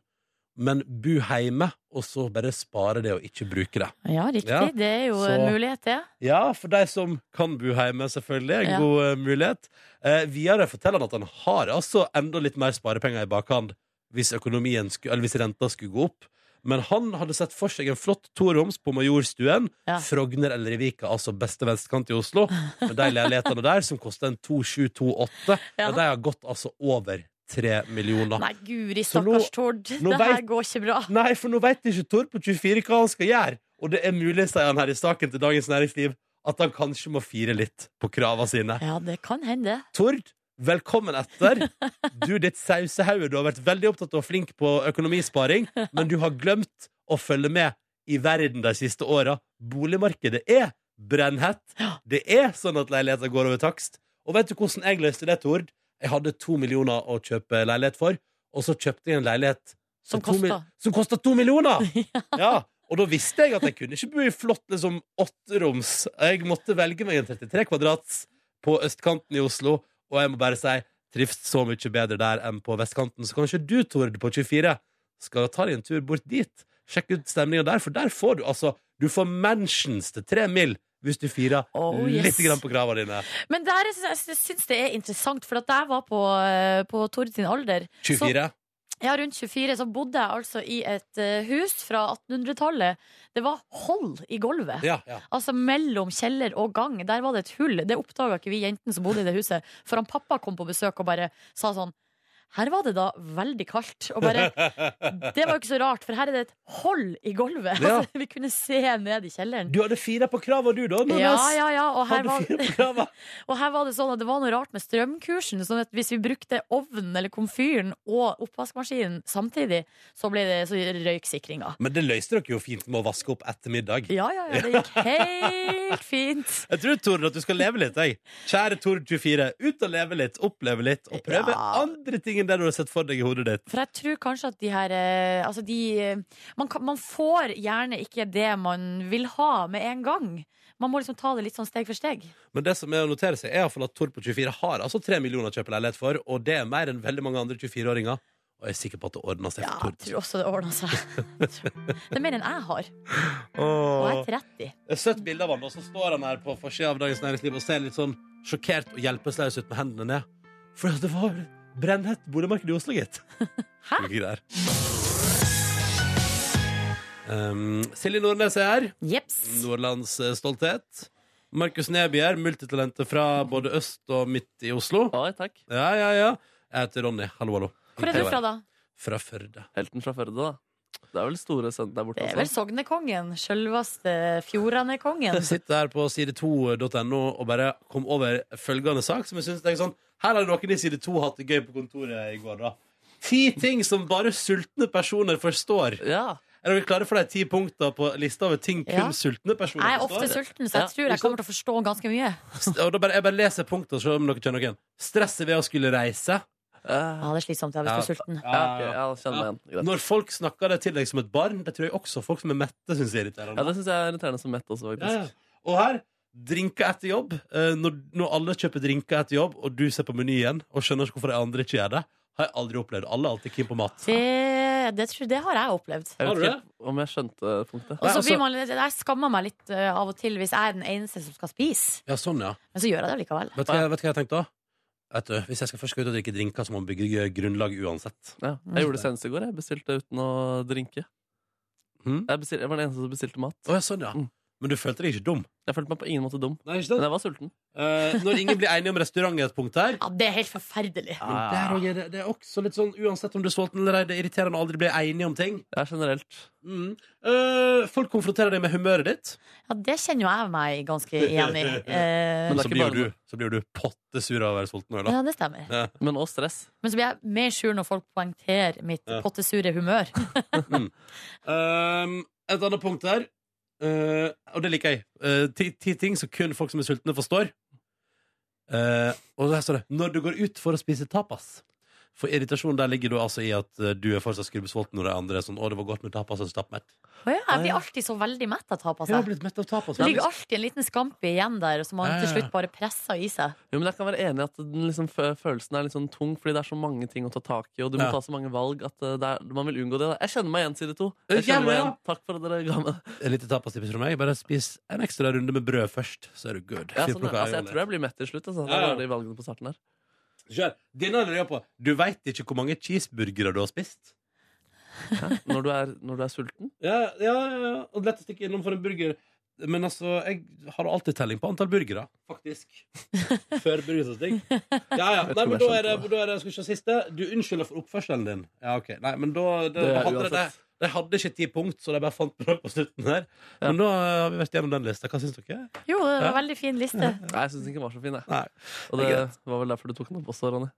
men bo hjemme, og så bare spare det og ikke bruke det.
Ja, riktig.
Ja,
Det er jo
så-
en mulighet, det.
Ja, for de som kan bo hjemme, selvfølgelig. En
Ja.
god eh, mulighet. Eh, videre forteller han at han har altså enda litt mer sparepenger i bakhånd hvis, økonomien sku, eller hvis renta skulle gå opp. Men han hadde sett for seg en flott toroms på Majorstuen,
Ja.
Frogner eller i Vika, altså beste venstrekant i Oslo, med de leilighetene der som koster en 2728,
*laughs* Ja.
og de har gått altså over tre millioner.
Nei, guri
Så nå-
stakkars Tord.
nå
Det her
vet-
går ikke bra.
Nei, for nå vet ikke Tor på 24 hva han skal gjøre. Og det er mulig, sier han her i saken til Dagens Næringsliv, at han kanskje må fire litt på krava sine.
Ja, det kan hende.
Tord, velkommen etter. Du, ditt sausehauge, du har vært veldig opptatt av og flink på økonomisparing, men du har glemt å følge med i verden de siste åra. Boligmarkedet er brennhett. Det er sånn at leiligheter går over takst. Og vet du hvordan jeg løste det, Tord? Jeg hadde to millioner å kjøpe leilighet for, og så kjøpte jeg en leilighet
Som
for to mil-
kostet.
Som kosta to
*laughs*
millioner! ja. Og da visste jeg at jeg kunne ikke bo i flott liksom, åtteroms. Jeg måtte velge meg en 33 kvadrats på østkanten i Oslo, og jeg må bare si trives så mye bedre der enn på vestkanten. Så kanskje du, Tord, på 24, skal ta deg en tur bort dit. Sjekk ut stemninga der, for der får du altså Du får mansions til tre mil hvis du firer
Oh, yes.
litt grann på krava dine.
Men der, jeg syns- jeg syns det er interessant, for at da jeg var på, eh, på Tord sin alder
24.
Ja, rundt 24 så bodde jeg altså i et eh, hus fra 1800-tallet. Det var hold i gulvet.
Ja, ja.
Altså mellom kjeller og gang. Der var det et hull. Det oppdaga ikke vi jentene som bodde i det huset, før han pappa kom på besøk og bare sa sånn her var det da veldig kaldt. Og bare, det var jo ikke så rart, for her er det et hold i gulvet.
Ja.
*laughs* Altså, vi kunne se ned i kjelleren.
Du hadde fire på krava, du, da?
Ja, ja, ja. Og her,
Hadde
var,
fire på krava.
og her var det sånn at det var noe rart med strømkursen. Sånn at hvis vi brukte ovnen eller komfyren og oppvaskmaskinen samtidig, så ble det så røyk sikringa.
Men det løste dere jo fint med å vaske opp etter middag.
Ja, ja,
*laughs*
ja. Det gikk helt fint.
Jeg tror, Tord, at du skal leve litt. Jeg. Kjære Tord24, ut og leve litt, oppleve litt, og prøve
Ja.
andre ting enn det du har sett for deg i hodet ditt.
For jeg tror kanskje at de her eh, Altså, de eh, man, kan, man får gjerne ikke det man vil ha med en gang. Man må liksom ta det litt sånn steg for steg.
Men det som er å notere seg, er i hvert fall at Tord på 24 har altså tre millioner å kjøpe leilighet for, og det er mer enn veldig mange andre 24-åringer. Og jeg er sikker på at det ordner seg
Ja,
for
jeg
Tord.
tror også det ordna
*laughs*
seg. Det er mer enn jeg har. Og jeg
Åh.
er 30.
Et søtt bilde av han, og så står han her på forsida av Dagens Næringsliv og ser litt sånn sjokkert og hjelpeløs ut med hendene ned. For det var brennhett boligmarked i Oslo, gitt.
Hæ?
*laughs* Ikke greier. Um, Silje Nordnes er her.
Jeps.
Nordlands eh, stolthet. Markus Neby er multitalentet fra både øst og midt i Oslo.
Nei, takk.
Ja, ja, ja. Jeg heter Ronny. Hallo, hallo.
Hvor er du fra, da?
Fra Førde.
Helten fra Førde, da. Det er vel store sønnen der borte
Det er vel
også.
Sognekongen. Sjølveste *laughs* Fjordanekongen.
Jeg sitter her på side2.no og bare kom over følgende sak som jeg synes det er sånn Her har noen i side 2 hatt det gøy på kontoret i går, da. Ti ting som bare sultne personer forstår.
Ja.
Er dere klare for de ti punktene på lista over ting kun
Ja.
sultne personer
Jeg er ofte
forstår?
sulten, så
Ja,
jeg tror jeg kommer til å forstå ganske mye.
Og da bare, jeg bare leser punktene og ser om dere kjenner noen. Stresset ved å skulle reise.
Eh,
Ja, det er slitsomt ja, hvis du er sulten.
ja, ok, ja, kjenner meg igjen. Greit.
Når folk snakker det til deg som et barn, det tror jeg også folk som er mette, syns er
Ja,
irriterende.
det syns jeg er irriterende som mett også,
Ja, ja.
faktisk.
Og her drinker etter jobb. Eh, Når, når alle kjøper drinker etter jobb, og du ser på menyen og skjønner ikke hvorfor de andre ikke gjør det, har jeg aldri opplevd. Alle er alltid keen på mat.
Det, det, tror, det har jeg opplevd.
Jeg
Har du
vet ikke om jeg skjønte punktet.
Og
Nei,
så blir
altså-
man, litt- jeg skammer meg litt eh, av og til hvis jeg er den eneste som skal spise.
Ja, sånn, ja.
Men så gjør jeg det likevel.
Vet du hva, jeg- vet du hva jeg tenkte da? Vet du, hvis jeg skal først gå ut og drikke drinker, så må man bygge grunnlag uansett.
Ja, jeg gjorde det senest i går. Jeg bestilte uten å drinke.
Hm?
Jeg, bestil, jeg var den eneste som bestilte mat.
Å, ja, sånn, ja.
Mm.
Men du følte deg ikke dum?
Jeg følte meg på ingen måte dum,
Nei, ikke
men jeg var sulten.
Eh, når ingen blir enige om restaurant er et punkt her
Ja, det er helt forferdelig.
Men der også er det, det er også litt sånn, uansett om du er sulten eller ei, det er irriterende å aldri bli enige om ting.
Jeg er generelt
Mm. Eh, folk konfronterer deg med humøret ditt.
Ja, Det kjenner jo jeg meg ganske igjen i. Eh,
Men det
Så
er ikke
blir,
bare
jo du, så blir jo du pottesur av å være sulten òg, da.
ja, det stemmer.
Men også stress.
Men så blir jeg mer sur når folk poengterer mitt
Ja.
pottesure humør.
Um, et annet punkt der, eh, og det liker jeg, eh, ti, ti ting som kun folk som er sultne, forstår. Eh, og der står det 'når du går ut for å spise tapas'. For irritasjon der ligger du altså i at eh, du er fortsatt skrubbsulten når de andre er sånn 'Å, det var godt med tapas', og stappmett.
Å ja, jeg blir alltid så veldig mett av
Altså.
tapas.
Jeg har
jeg.
blitt mett av tapas.
Det ligger alltid en liten skampi igjen der som man
Ja, ja,
til
ja.
slutt bare presser i seg.
Jo, men jeg kan være enig i at den liksom, fø- følelsen er litt sånn tung, fordi det er så mange ting å ta tak i, og du må
Ja.
ta så mange valg at eh, det er, man vil unngå det. Da. Jeg kjenner meg igjen, side to.
Ja,
Jeg kjenner meg
ja.
igjen. Takk for at dere ga meg det.
Et lite tapastips fra meg. Bare spis en ekstra runde med brød først, så er du good.
Ja,
Fy,
sånn,
plukka
ja. altså,
aioli.
jeg tror jeg blir mett til slutt. Altså.
Ja,
Der
ja.
var de valgene på starten her.
Kjør. Denne lurer jeg på. Du veit ikke hvor mange cheeseburgere du har spist?
Når du er, når du er sulten.
Ja, ja, ja. Og lett å stikke innom for en burger. Men altså, jeg har alltid telling på antall burgere, faktisk.
*laughs*
Før burgersting. Ja, ja.
Jeg tror
Nei, men
jeg
da er det,
skjønte det.
da er det Skal vi se siste. Du unnskylder for oppførselen din. Ja, OK. Nei, men da det,
Det er
hadde det,
uansett.
de hadde ikke ti punkt, så de bare fant på noe på slutten der.
Ja.
Men da har vi vært gjennom den lista. Hva syns dere?
Jo, det var
Ja.
en veldig fin liste. *laughs*
Nei, jeg syns ikke den var så fin, jeg.
Nei.
Og
det
det
er
var vel derfor du tok den opp også, Ronny.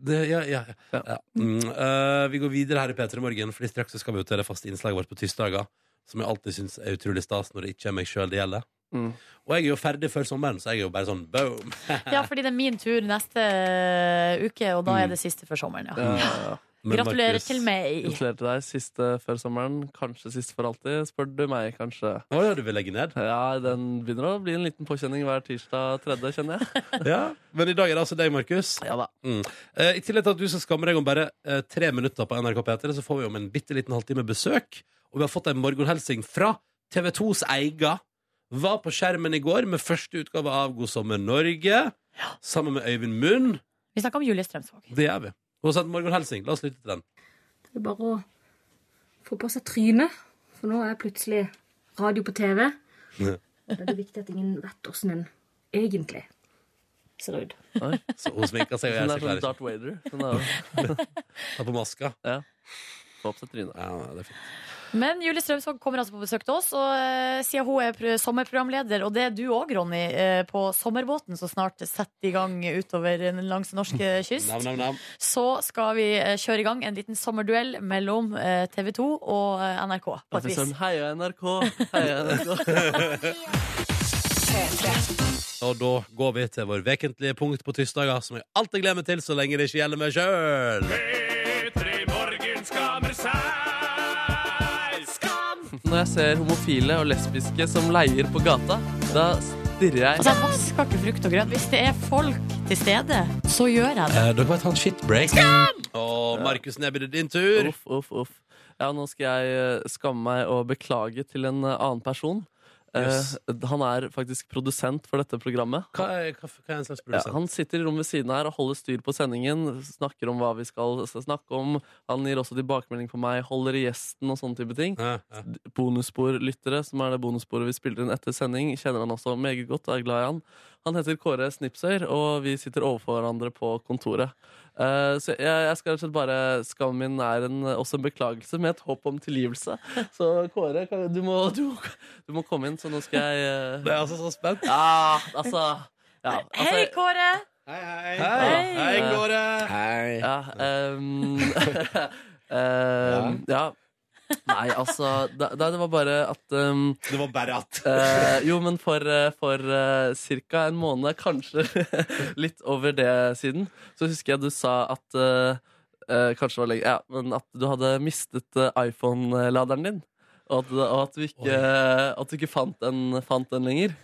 Det, ja, ja, ja.
Ja.
Ja. Mm, eh, vi går videre her i P3 Morgen, Fordi straks så skal vi jo til det faste innslaget vårt på tirsdager. Som jeg alltid syns er utrolig stas når det ikke er meg sjøl det gjelder.
Mm.
Og jeg er jo ferdig før sommeren, så jeg er jo bare sånn boom.
eh, Ja, fordi det er min tur neste uke, og da er det siste før sommeren, ja.
Ja, ja, ja.
Mm. Men
Gratulerer
Markus-
til meg.
Gratulerer til deg. Siste før sommeren. Kanskje sist for alltid, spør du meg, kanskje.
Å ja, du vil legge ned?
Ja, den begynner å bli en liten påkjenning hver tirsdag tredje, kjenner jeg.
Ja. Men i dag er det altså deg, Markus.
Ja da.
Eh, I tillegg til at du skal skamme deg om bare eh, tre minutter på NRK P3, så får vi om en bitte liten halvtime besøk. Og vi har fått en morgenhelsing fra TV2s eier. Var på skjermen i går med første utgave av God sommer Norge. Sammen med Øyvind Munn.
Vi snakka om Julie Strømsvåg.
Det gjør vi. Hun har sendt morgenhelsing. La oss lytte til den.
Det er bare å få på seg trynet, for nå er plutselig radio på TV.
Ja.
Da er det viktig at ingen vet åssen en egentlig ser ut.
Så hun sminker seg og
*laughs* Den er
gjør seg
sånn
klar.
Darth Vader. Den er
Tar på maska.
få opp seg trynet.
Ja, det er fint.
Men Julie Strømsvåg kommer altså på besøk til oss, og eh, siden hun er pr- sommerprogramleder, og det er du òg, Ronny, eh, på Sommerbåten som snart setter i gang utover den langs
*laughs*
norske kyst,
Nam, nam, nam.
så skal vi eh, kjøre i gang en liten sommerduell mellom eh, TV 2 og eh, NRK, på
At
et
vi
vis.
sånn, Heia NRK! Heia NRK!
Og da går vi til vår vekentlige punkt på tirsdager, som jeg alltid glemmer til så lenge det ikke gjelder meg sjøl.
Når jeg ser homofile og lesbiske som leier på gata, da stirrer jeg
Altså, jeg vasker ikke frukt og grønt. Hvis det er folk til stede, så gjør jeg det.
Eh, dere må ta en shitbreak. Og Markus Neby, det er din tur.
Uff, uff, uff. Ja, nå skal jeg eh, skamme meg og beklage til en eh, annen person. Eh,
Yes.
han er faktisk produsent for dette programmet.
Hva er, hva, hva er en slags
Ja,
produsent?
han sitter i rommet ved siden her og holder styr på sendingen. Snakker om hva vi skal snakke om. Han gir også tilbakemelding på meg, holder i gjesten og sånne type ting.
Ja, ja.
Bonussporlyttere, som er det bonussporet vi spiller inn etter sending, kjenner han også meget godt og er glad i han. Han heter Kåre Snipsøyr, og vi sitter overfor hverandre på kontoret. Eh, så jeg, jeg skal rett og slett bare Skammen min er en, også en beklagelse med et håp om tilgivelse. Så Kåre, kan, du, må, du, må- du må komme inn, så nå skal jeg
Jeg
eh,
er altså så spent.
ah, Altså ja, altså,
Hei, Kåre!
Hei,
Hei.
Kåre.
Ja, ehm, *laughs* ehm, ja. Nei, altså det, det var bare at ehm,
Det var bare at.
eh, Jo, men for, eh, for eh, cirka en måned, kanskje *laughs* litt over det siden, så husker jeg du sa at eh, eh, Kanskje det var lenge Ja, men at du hadde mistet eh, iPhone-laderen din. Og at, og at du ikke, eh, at du ikke fant, den, fant den lenger.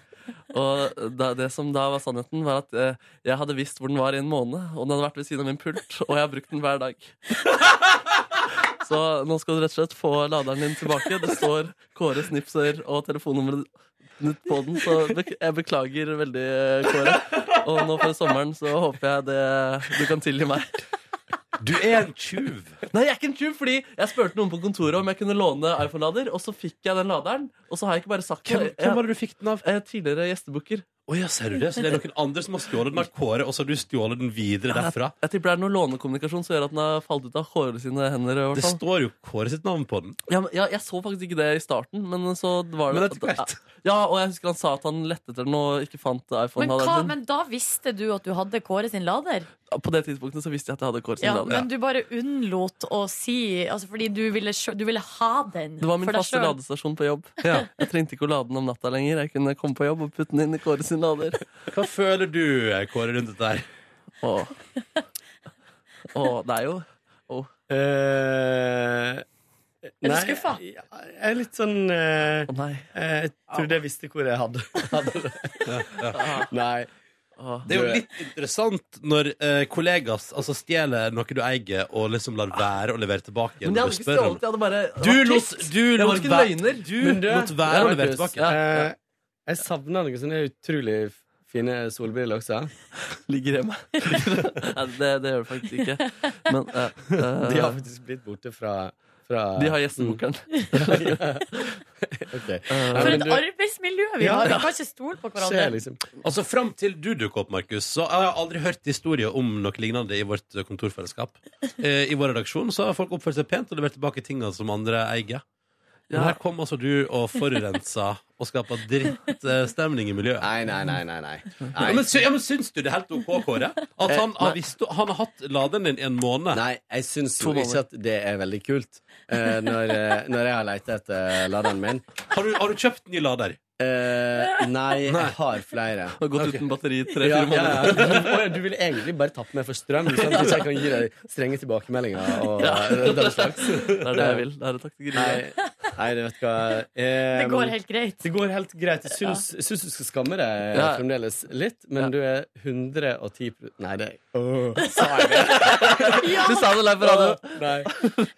Og da, det som da var sannheten, var at eh, jeg hadde visst hvor den var i en måned. Og den hadde vært ved siden av min pult, og jeg har brukt den hver dag. Så nå skal du rett og slett få laderen din tilbake. Det står Kåre Snipser og telefonnummeret ditt på den, så bek- jeg beklager veldig, eh, Kåre. Og nå før sommeren så håper jeg det, du kan tilgi meg.
Du er en tjuv.
Nei, jeg er ikke en tjuv, fordi jeg spurte noen på kontoret om jeg kunne låne iPhone-lader, og så fikk jeg den laderen, og så har jeg ikke bare sagt
Hvem, hvem var det du fikk den av?
Jeg- jeg er Tidligere gjestebooker.
Å ja, ser du det? Så det er noen andre som har stjålet den av Kåre, og så har du stjålet den videre derfra?
Jeg tipper det er noe lånekommunikasjon som gjør at den har falt ut av Kåre sine hender. i hvert
Det
fall.
står jo Kåre sitt navn på den.
Ja, men, ja, jeg så faktisk ikke det i starten, men så var det
Men etter hvert.
Ja, og jeg husker han sa at han lette etter den og ikke fant
Men,
iPhonen.
hva, men da visste du at du hadde Kåre sin lader?
På det tidspunktet så visste jeg at jeg hadde Kåre sin
Ja,
lader.
men du bare unnlot å si altså Fordi du ville, sjø- du ville ha den
Det var min
for deg
faste
sjøl.
ladestasjon på jobb. *laughs* Jeg trengte ikke å lade den om natta lenger. Jeg kunne komme på jobb og putte den inn i Kåre sin lader.
Hva føler du, Kåre, rundt dette her?
Åh. Åh, det er jo åh.
Eh,
Er du
nei,
skuffa?
Jeg, jeg er litt sånn eh,
Å nei.
eh, Jeg trodde jeg visste hvor jeg hadde, hadde det. Nei.
Åh.
Det er jo litt interessant når eh, kollegas altså, stjeler noe du eier, og liksom lar være å levere tilbake. igjen
Men jeg
når
hadde
du
ikke
spør om
stjålet. Jeg hadde bare
Du
vært
lot,
tyst.
du
Jeg var
lot
ikke en
væ-
løgner.
Du
Men du-
lot
Ja,
være å levere
Markus.
tilbake.
Ja, ja.
Eh, jeg savner noen sånne utrolig fine solbriller også.
Ligger hjemme. *laughs* Nei, det, det gjør det faktisk ikke. Men *laughs* eh, eh,
De har faktisk blitt borte fra, fra
de har gjestebokeren.
Ok.
Eh,
Ja,
For
men
et
du-
arbeidsmiljø vi
Ja,
har! Vi
ja.
kan ikke stole på
Skjer,
hverandre.
liksom.
Altså Fram til du dukket opp, Markus, så har jeg aldri hørt historier om noe lignende i vårt eh, kontorfellesskap. Eh, I vår redaksjon så har folk oppført seg pent og levert tilbake tingene som andre eier. Men
Ja.
her kom altså du og forurensa og skapa drittstemning i miljøet.
Nei, nei, nei, nei. nei.
Ja,
nei.
men, sy ja, men Syns du det er helt OK, Kåre? At
Eh,
han har, visst, han har hatt laderen din i en måned?
Nei, jeg syns
To
jo
måneder.
ikke at det er veldig kult eh, når, eh, når jeg har leita etter laderen min.
Har, du, har du kjøpt ny lader?
Eh, nei, jeg har flere.
Har gått uten batteri i
Ja,
tre-fire
ja,
måneder.
ja. Oi, Du ville egentlig bare tatt meg for strøm, sant? hvis jeg kan gi deg strenge tilbakemeldinger. Og den slags
Det er det jeg vil. Det er det
Nei,
taktikkeriet.
nei, du vet hva eh,
Det går helt greit.
det går helt greit. Jeg syns, jeg syns du skal skamme deg eh,
Ja.
fremdeles litt, men
Ja.
du er 110 pro- Nei, det *laughs*
*laughs*
Ja,
Du sa det live på radio.
Nei.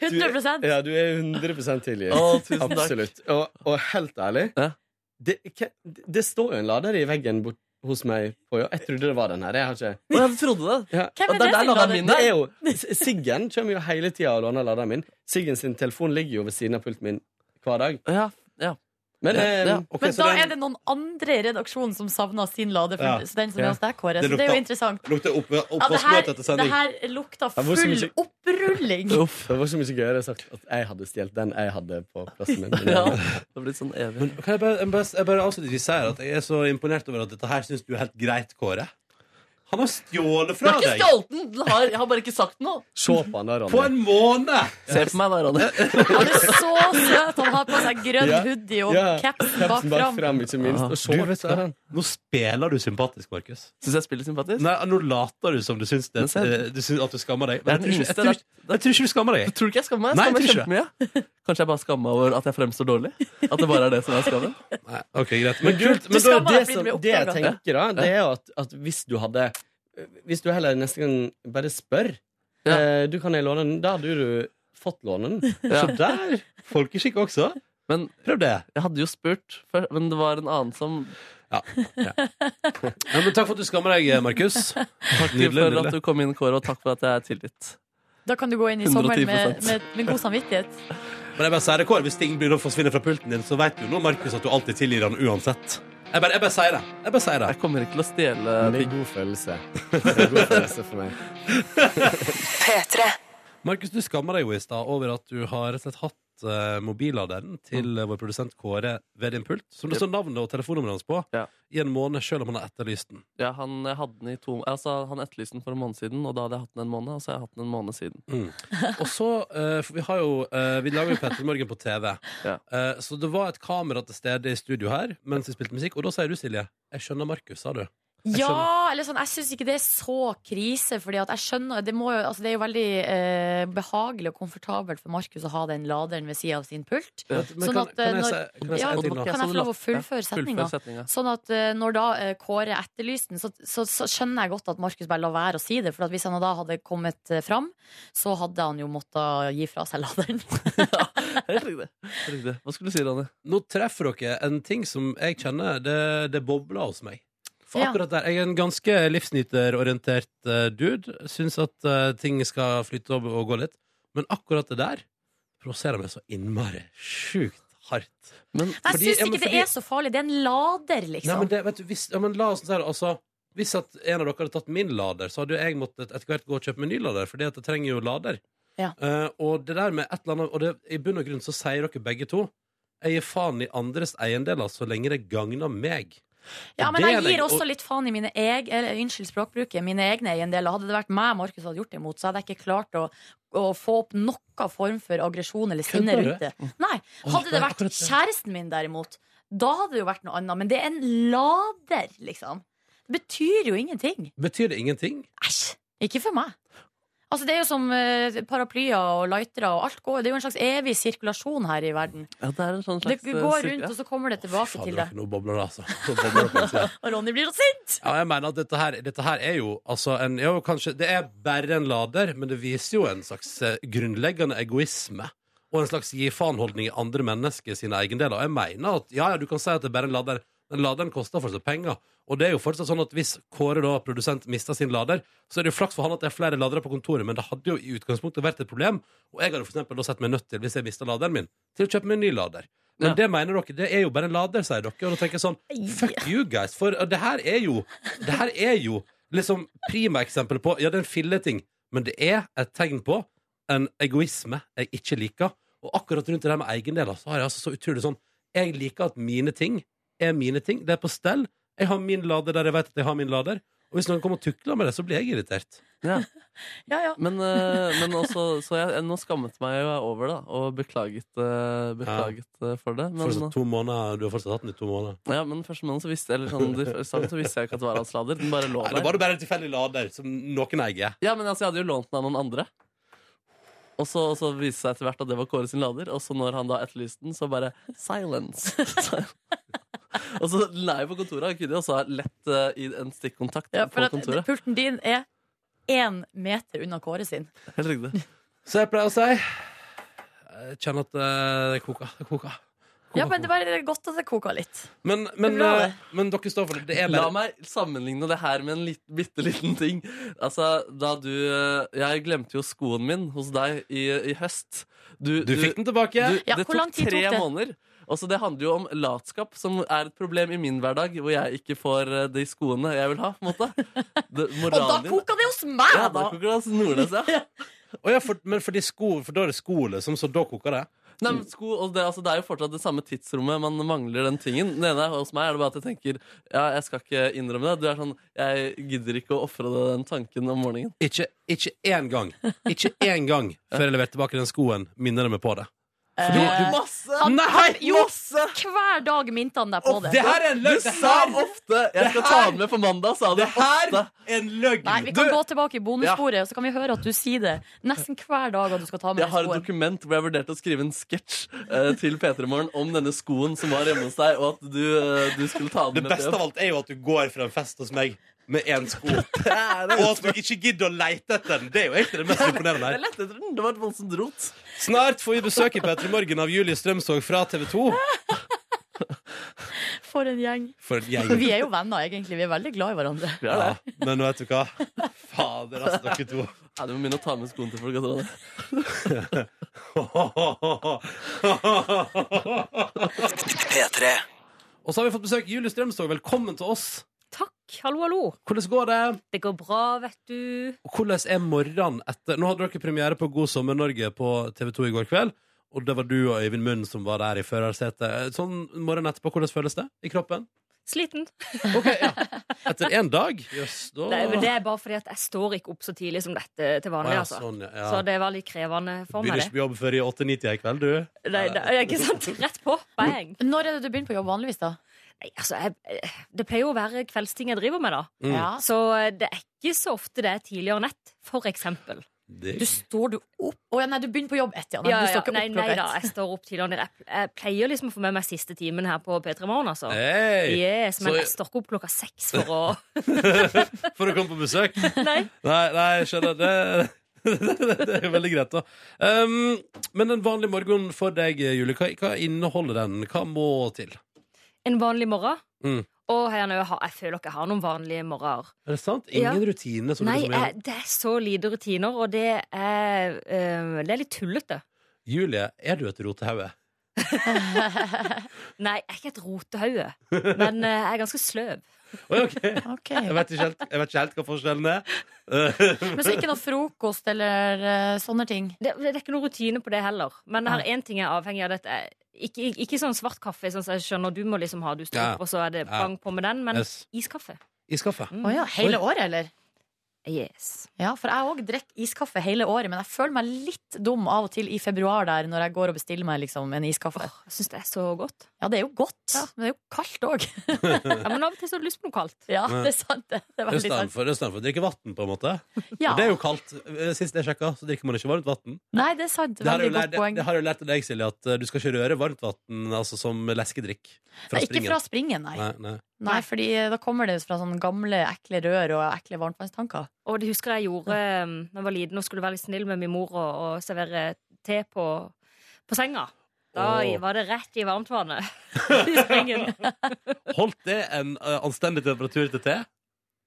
100
Ja, du er 100 tilgitt.
Å, tusen takk.
Absolutt. Og, og helt ærlig,
Ja.
det, hva- det står jo en lader i veggen bort hos meg på jobb. Jeg trodde det var den her. Jeg har ikke
Å, jeg trodde det.
ja.
Hvem
Og
er
det
det
der
som
la
ga
jeg
den?
minne.
Det er jo, S- Siggen kommer jo hele tida og låner laderen min. Siggen sin telefon ligger jo ved siden av pulten min hver dag.
Ja, ja.
Men
Ja,
eh,
ja.
Ok,
Men
så
da
den-
er det noen andre i redaksjonen som savner sin lader.
Ja.
For så den som er
Ja.
hos deg, Kåre.
Det
Så det er
lukta-
jo interessant.
Lukter opp,
Ja, det, her,
oppvaskmøte etter
det
sending.
her lukta
var så
full
mye-
opprulling.
Uff.
det var så mye gøyere sagt at jeg hadde stjålet den jeg hadde på
*laughs*
plassen min. eh,
Ja. Det har blitt sånn evig.
Kan jeg bare, jeg bare, jeg bare avslutningsvis si at jeg er så imponert over at dette her syns du er helt greit, Kåre. Han har stjålet
Jeg
fra
har ikke
deg
stjålet den! Den har- Jeg har bare ikke sagt noe.
Se på han der,
på
Ronny.
en måned!
Se på meg da, Ronny.
Han er så søt. Han har på seg grønn
Ja.
hoodie og
Ja.
capsen bak
Kapsen bak
fram.
fram, ikke minst. Og
Du vet
shorts.
hva? Nå spiller du sympatisk, Markus.
Syns jeg spiller sympatisk?
Nei, Nå later du som du syns, det,
Men se-
eh, du syns at du skammer deg.
Jeg er
Men jeg,
den
tror ikke, jeg,
yngste.
tror,
Det
ikke- jeg tror ikke du skammer
er-
deg.
Tror du ikke jeg skammer meg?
Nei,
Skammer
jeg
jeg kjempemye? *laughs* Kanskje jeg bare skammer meg over at jeg fremstår dårlig? At det bare er det som er skammen?
Nei, ok, greit Men kult
Du
Men da,
skammer
det,
deg fordi
som,
du blir
det jeg
oppdaga.
tenker, da, det er jo at, at hvis du hadde Hvis du heller neste gang bare spør
Ja.
eh, Du kan jeg låne den. Da hadde du fått låne den.
Ja.
Så der!
Folkeskikk også.
Men
Prøv det.
jeg hadde jo spurt, før, men det var en annen som
Ja, men takk for at du skammer deg, Markus.
Takk
Nydelig,
for at du kom inn, Kåre, og takk for at jeg er tilgitt.
Da kan du gå inn i sommeren med,
110%.
med, med god samvittighet.
Men jeg bare sier det, Kåre, hvis ting begynner å forsvinne fra pulten din, så vet du nå, Markus, at du alltid tilgir han uansett. Jeg bare, jeg bare sier det. Jeg bare sier det.
Jeg kommer ikke til å stjele
Men det er
ting.
en god *laughs* følelse. Det er en god følelse for meg.
P3.
Markus, du skammer deg jo i stad over at du har rett og slett hatt eh, mobilladeren til eh, vår produsent Kåre ved din pult, som det står navnet og telefonnummeret hans på,
Ja.
i en måned, selv om han har etterlyst den.
Ja, han, jeg hadde den i to, altså, han etterlyste den for en måned siden, og da hadde jeg hatt den en måned, og så har jeg hatt den en måned siden.
Og så, eh, for vi har jo eh, Vi lager jo Petter Morgen på TV.
Ja.
Eh, så det var et kamera til stede i studio her mens vi spilte musikk, og da sier du, Silje, jeg skjønner Markus, sa du.
Ja, eller sånn, jeg syns ikke det er så krise, Fordi at jeg skjønner Det, må jo, altså, det er jo veldig eh, behagelig og komfortabelt for Markus å ha den laderen ved sida av sin pult.
Men
Sånn
kan,
at, eh,
kan jeg
når-
si kan jeg si
Ja,
en ting
kan
nå?
jeg få lov å fullføre setninga?
Fullfør setninga. *laughs*
Sånn at eh, når da eh, Kåre etterlyste den, så, så, så skjønner jeg godt at Markus bare la være å si det. For at hvis han da hadde kommet eh, fram, så hadde han jo måttet gi fra seg laderen. *laughs*
Helt riktig. Helt riktig. Hva skulle du si, Ronny?
Nå treffer dere en ting som jeg kjenner Det, det bobler hos meg. For
Ja.
akkurat der, Jeg er en ganske livsnyterorientert eh, dude. Syns at eh, ting skal flytte over og gå litt. Men akkurat det der provoserer meg så innmari sjukt hardt.
Men
Jeg
Fordi-
syns
ja,
ikke
men
det
fordi-
er så farlig. Det er en lader,
Nei,
liksom.
men det, vet du, hvis, ja, men la oss si det, altså Hvis at en av dere hadde tatt min lader, så hadde jo jeg måttet etter hvert gå og kjøpe meg ny lader, fordi at jeg trenger jo lader.
Ja.
Eh, og det der med et eller annet Og det, i bunn og grunn så sier dere begge to jeg gir faen i andres eiendeler så lenge det gagner meg.
Ja,
Og
men
det
jeg
er
gir
lenge-
også
og-
litt faen i mine eg, eller, Unnskyld språkbruket, mine egne eiendeler. Hadde det vært meg Markus hadde gjort det imot, så hadde jeg ikke klart å, å få opp noen form for aggresjon eller sinne
Kødder du?
rundt det. Nei, Hadde det vært kjæresten min, derimot, da hadde det jo vært noe annet. Men det er en lader, liksom. Det betyr jo ingenting.
Betyr det ingenting?
Æsj! Ikke for meg. Altså, det er jo som eh, paraplyer og lightere og alt går. Det er jo en slags evig sirkulasjon her i verden.
ja, det er en sånn
Det
slags
går rundt, og så kommer det tilbake til deg.
eh, Fader, nå bobler det, altså. Nå bobler det på innsida.
Og Ronny blir så sint!
Ja, jeg mener at dette her, dette her er jo altså en ja, kanskje, Det er bare en lader, men det viser jo en slags eh, grunnleggende egoisme. Og en slags gi faen-holdning i andre mennesker sine eiendeler. Og jeg mener at ja, ja, du kan si at det er bare en lader, men laderen koster fortsatt penger. Og det er jo fortsatt sånn at hvis Kåre, da, produsent, mister sin lader, så er det jo flaks for han at det er flere ladere på kontoret, men det hadde jo i utgangspunktet vært et problem. Og jeg hadde for eksempel da sett meg nødt til, hvis jeg mista laderen min, til å kjøpe meg en ny lader. Men
Ja.
det mener dere, det er jo bare en lader, sier dere. Og da tenker jeg sånn, fuck you guys. For det her er jo Det her er jo liksom prima eksempel på Ja, det er en filleting, men det er et tegn på en egoisme jeg ikke liker. Og akkurat rundt det der med eiendeler så har jeg altså så utrolig sånn Jeg liker at mine ting er mine ting. Det er på stell. Jeg har min lader der jeg vet at jeg har min lader. Og hvis noen kommer og tukler med det, så blir jeg irritert.
Ja.
Ja, ja.
Men, eh, men også, så jeg, nå skammet meg jo jeg over det, da, og beklaget, eh, beklaget eh, for det. Men,
Fortsatt sånn to måneder, Du har fortsatt hatt den i to måneder.
ja, men første måneden så visste, eller sånn, de første dagene så visste jeg ikke at det var hans lader. Den bare lå
Nei, da
der.
var det bare en tilfeldig lader som noen eier.
Ja, men altså, jeg hadde jo lånt den av noen andre. Og så, og så viste det seg etter hvert at det var Kåre sin lader, og så når han da etterlyste den, så bare
*laughs*
silence. og så la jeg på kontoret, han kunne jo også ha lett eh, i en stikkontakt
Ja, for
på
at
kontoret.
pulten din er én meter unna Kåre sin.
Helt riktig.
Så jeg pleier å si Jeg kjenner at eh, det koker. Det koker.
Ja, men det er bare godt at det koker litt.
Men, men,
Det er bra, det.
eh, men dere står for det. Det er
La
bare
meg sammenligne det her med en lit, bitte liten ting. Altså, da du eh, Jeg glemte jo skoen min hos deg i, i høst.
Du fikk den tilbake.
du-
Ja,
det
hvor lang tid
tre
tok det?
måneder. Altså, det handler jo om latskap, som er et problem i min hverdag, hvor jeg ikke får eh, de skoene jeg vil ha. på en
*laughs*
måte. Det,
Og da
moralen din-
koker det hos meg,
ja,
da!
da koker det altså Nordnes,
*laughs*
ja.
Å ja, for, men fordi sko, for da er det sko, liksom, så da koker det?
Nei, men sko, og det, altså, det er jo fortsatt det samme tidsrommet man mangler den tingen. Det ene er hos meg er det bare at jeg tenker ja, jeg skal ikke innrømme det. Du er sånn, Jeg gidder ikke å ofre deg den tanken om morgenen.
Ikke, ikke én gang Ikke én gang før jeg leverte tilbake den skoen, minner det meg på det.
Du,
Eh,
masse!
han-
Nei!
Jo,
Masse!
hver dag minte han deg på det.
Det her er en løgn!
Du
Det
sa
her,
ofte 'jeg skal ta den med på mandag', sa du
det her
ofte.
er en løgn!
Nei, Vi kan gå tilbake i bonussporet, og så kan vi høre at du sier det nesten hver dag. at du skal ta med
Jeg
deg
har et
skoen.
dokument hvor jeg vurderte å skrive en sketsj eh, til P3 Morgen om denne skoen som var hjemme hos deg, og at du, eh, du skulle ta
Det
den med
beste av alt er jo at du går fra en fest hos meg med én *laughs* sko. Og at du ikke gidder å leite etter den. Det er jo egentlig det mest imponerende
Jeg
her.
lette etter den. Det var et voldsomt rot.
*laughs* Snart får vi besøk i P3 Morgen av Julie Strømsåg fra TV 2.
For en gjeng.
For en gjeng.
Vi er jo venner, egentlig. Vi er veldig glad i hverandre.
Ja, men vet du hva? Fader, altså, dere to.
Ja, du må begynne å ta med skoen til folk. altså.
P3
Og så har vi fått besøk av Julie Strømsåg. Velkommen til oss.
Takk. Hallo, hallo.
Hvordan går det?
Det går bra, vet du.
Og hvordan er morgenen etter Nå hadde dere premiere på God sommer Norge på TV 2 i går kveld. Og det var du og Øyvind Munn som var der i førersetet. Sånn morgenen etterpå, hvordan føles det i kroppen?
Sliten.
Ok, ja Etter én dag? Jøss, da
Nei, men det er bare fordi at jeg står ikke opp så tidlig som dette
Å,
til vanlig,
ja,
altså.
sånn, ja,
Så
ja.
det var litt krevende
Du
for meg,
begynner ikke
det.
på jobb før i 8-9-tida i kveld, du?
Nei, det er ikke sant? Rett på. Bang.
Når er det du begynner på jobb vanligvis, da?
Nei, altså, jeg, det pleier jo å være kveldsting jeg driver med, da.
Mm.
Ja.
Så eh, det er ikke så ofte det er tidligere nett, for eksempel.
Det,
Du står du opp Å ja, nei, du begynner på jobb ett, ja. Nei,
Ja,
du
ja,
står ikke
nei,
opp
nei
klokka
da,
ett.
jeg står opp tidligere. enn det. Jeg, jeg pleier liksom å få med meg siste timen her på P3 Morgen, altså.
Hei!
Yes, men
Så-
jeg står ikke opp klokka seks for å
*laughs* For å komme på besøk?
*laughs* Nei.
Nei, nei jeg skjønner det. *laughs* det er veldig greit, da. Um, men en vanlig morgen for deg, Julie, hva, hva inneholder den? Hva må til?
En vanlig morgen.
Mm.
Og her nå, jeg har- jeg føler ikke jeg har noen vanlige morgener.
Er det sant? Ingen rutine? Som du
Nei,
liksom gjør?
jeg, det er så lite rutiner, og det er, eh, det er litt tullete.
Julie, er du et rotehauge?
Nei, jeg er ikke et rotehauge, men eh, jeg er ganske sløv.
Oi, ok. Jeg
Ok.
vet, ikke helt, jeg vet ikke helt hva forskjellen er.
Men så ikke noe frokost eller eh, sånne ting?
Det, det er ikke noen rutine på det heller. Men her én ting jeg er avhengig av. Dette. er- Ikke, ikke, ikke sånn svart kaffe, sånn som jeg skjønner du må liksom ha. Du står
Ja.
opp, og så er det
Ja.
pang på med den. Men
Yes.
iskaffe.
Iskaffe.
Å ja, hele året, eller?
Yes.
Ja, for jeg òg drikker iskaffe hele året, men jeg føler meg litt dum av og til i februar der når jeg går og bestiller meg liksom, en iskaffe.
Jeg syns det er så godt.
Ja, det er jo godt, men det er jo kaldt òg.
Ja, men av og til så har du lyst på noe kaldt.
*laughs* Ja, det er sant. Det, det er veldig sant.
Istedenfor å drikke vann, på en måte.
Ja.
Og det er jo kaldt. Eh, Sist jeg sjekka, så drikker man ikke varmt vann.
Nei, det er sant.
Det har jeg
Veldig
jo lært-
godt poeng.
det har jeg jo lært av deg, Silje, at eh, du skal ikke røre varmt vann altså, som leskedrikk fra
Nei, ikke
springen.
fra springen, nei. nei.
Nei, nei.
fordi eh, da kommer det fra sånne gamle, ekle rør og ekle varmtvannstanker.
Og det husker jeg gjorde um, da jeg var liten og skulle være litt snill med min mor og, og servere te på, på senga. Da
Åh.
var det rett
*laughs*
i varmtvannet. I springen.
Holdt det en eh, anstendig temperatur til te?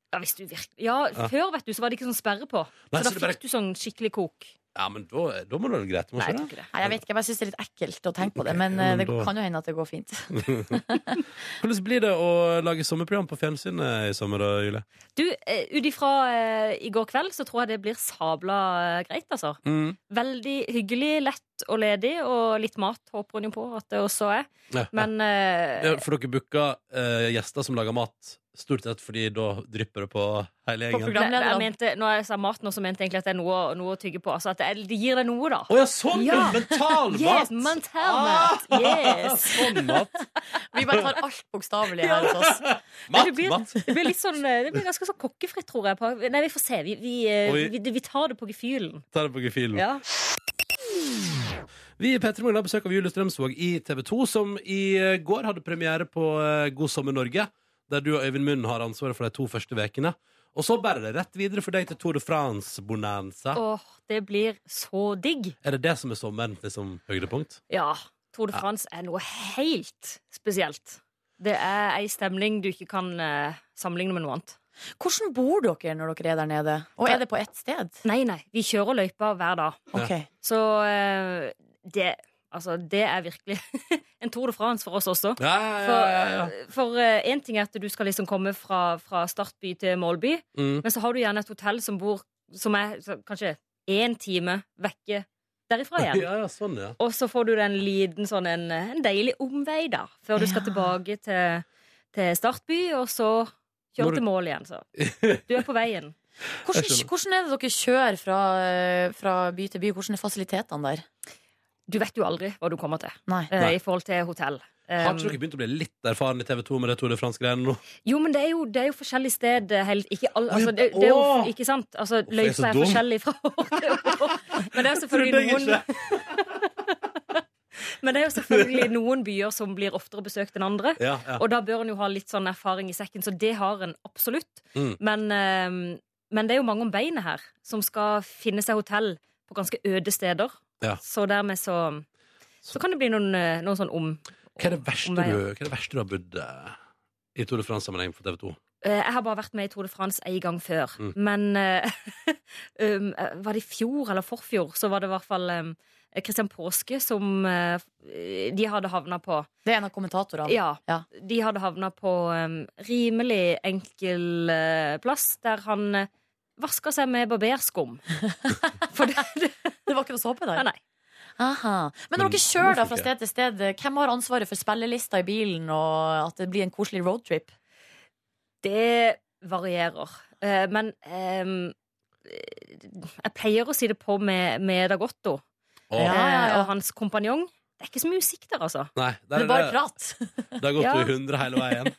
Ja, hvis du virk... ja,
Ja.
før vet du, så var det ikke sånn sperre på.
Nei, så
så da
det
fikk
bare-
du sånn skikkelig kok.
Ja, men da, da må det være greit. Må
Nei, jeg
ikke
tror
det?
ikke det.
Nei, jeg vet ikke, jeg bare syns det er litt ekkelt å tenke på det,
Ok,
men
ja,
eh,
men
det
da-
kan jo hende at det går fint. *laughs*
Hvordan blir det å lage sommerprogram på fjernsynet i sommer, da, Julie?
Du, eh, ut ifra eh, i går kveld, så tror jeg det blir sabla eh, greit, altså.
Mm.
Veldig hyggelig, lett og ledig, og litt mat håper hun jo på at det også er.
Ja.
Men eh,
Ja, for dere booker eh, gjester som lager mat Stort sett fordi da drypper det på hele
På
gjengen.
programlederen. Nei, jeg mente, når jeg sa mat nå, så mente jeg egentlig at det er noe, noe å tygge på. Altså at det, er- det gir deg noe, da.
Å ja, sånn! ja,
Ja.
Mentalmat!
Yes, mentalmat. Yes.
Sånn mat.
Vi bare tar alt bokstavelig her hos oss.
Nei,
Mat,
det, blir,
mat.
*laughs* det blir litt sånn eh, Det blir ganske sånn kokkefritt, tror jeg. På. Nei, vi får se. Vi, vi, eh,
Oi.
vi, Mm. vi tar det på gefühlen.
Ta det på gefühlen.
Ja.
Vi i P3 Morgen har besøk av Julie Strømsvåg i TV 2, som i eh, går hadde premiere på eh, God sommer Norge, der du og Øyvind Munn har ansvaret for de to første vekene. Og så bærer det rett videre for deg til Tour de France-bonanza.
Åh, det blir så digg.
Er det det som er sommerens liksom, høydepunkt?
Ja. Tour de France er noe helt spesielt. Det er ei stemning du ikke kan eh, sammenligne med noe annet.
Hvordan bor dere når dere er der nede? Og er det på ett sted?
Nei, nei. Vi kjører løypa hver dag.
Ok.
Så eh, det Altså, det er virkelig *laughs* en Tour de France for oss også.
Ja, ja, ja, ja, ja.
For, for eh, en ting er at du skal liksom komme fra, fra startby til målby,
Mm.
men så har du gjerne et hotell som bor Som er så, kanskje én time vekke derifra igjen.
ja, ja, sånn, ja.
Og så får du den liten sånn en, en deilig omvei da, før du skal
Ja.
tilbake til, til startby, og så
Når
kjører
du-
du til mål igjen.
*laughs*
Så. Du er på veien.
skjønner.
Hvordan, hvordan er det dere kjører fra, eh, fra by til by? Hvordan er fasilitetene der?
Du vet jo aldri hva du kommer til
Nei.
eh,
Nei.
i forhold til hotell.
Har
Um,
ikke dere begynt å bli litt erfaren i TV 2 med det Tour de France-greiene nå?
Jo, men det er jo, det er jo forskjellig sted eh, hel- ikke, all,
Å,
altså,
jeg-
det, det er
Åh!
jo, ikke sant? Altså,
jeg er så
løypa er
dum.
forskjellig fra år til år.
*laughs*
Men det er jo
Trodde jeg
selvfølgelig
ikke.
noen Men det er jo selvfølgelig noen byer som blir oftere besøkt enn andre.
Ja, ja.
Og da bør en jo ha litt sånn erfaring i sekken, så det har en absolutt.
Mm.
Men, eh, men det er jo mange om beinet her som skal finne seg hotell på ganske øde steder.
Ja.
Så dermed så Så kan det bli noen, eh, noen sånn om.
Hva er det verste
Omveier.
du, hva er det verste du har bodd eh, i Tour de France-sammenheng for TV 2?
Eh, Jeg har bare vært med i Tour de France en gang før.
Mm.
Men eh, um, eh, *laughs* var det i fjor eller forfjor, så var det i hvert fall um, Christian Påske som eh, de hadde havna på.
Det er en av kommentatorene.
Ja.
Ja.
De hadde havna på um, rimelig enkel eh, plass, der han uh, vaska seg med barberskum. For det, det
Det var ikke noe såpe
Nei,
der?
nei.
Aha.
Men
Men når dere kjører da
hvorfor
fra
ikke?
sted til sted, eh, hvem har ansvaret for spillelista i bilen, og at det blir en koselig roadtrip?
Det varierer. Eh, men ehm, jeg pleier å si det på med, med Dagotto
Å,
Ja.
eh, og hans kompanjong. Det er ikke så mye musikk der, altså.
Nei,
Det
der
er
er
bare
det,
prat.
det har gått
Ja.
jo 100 hele veien.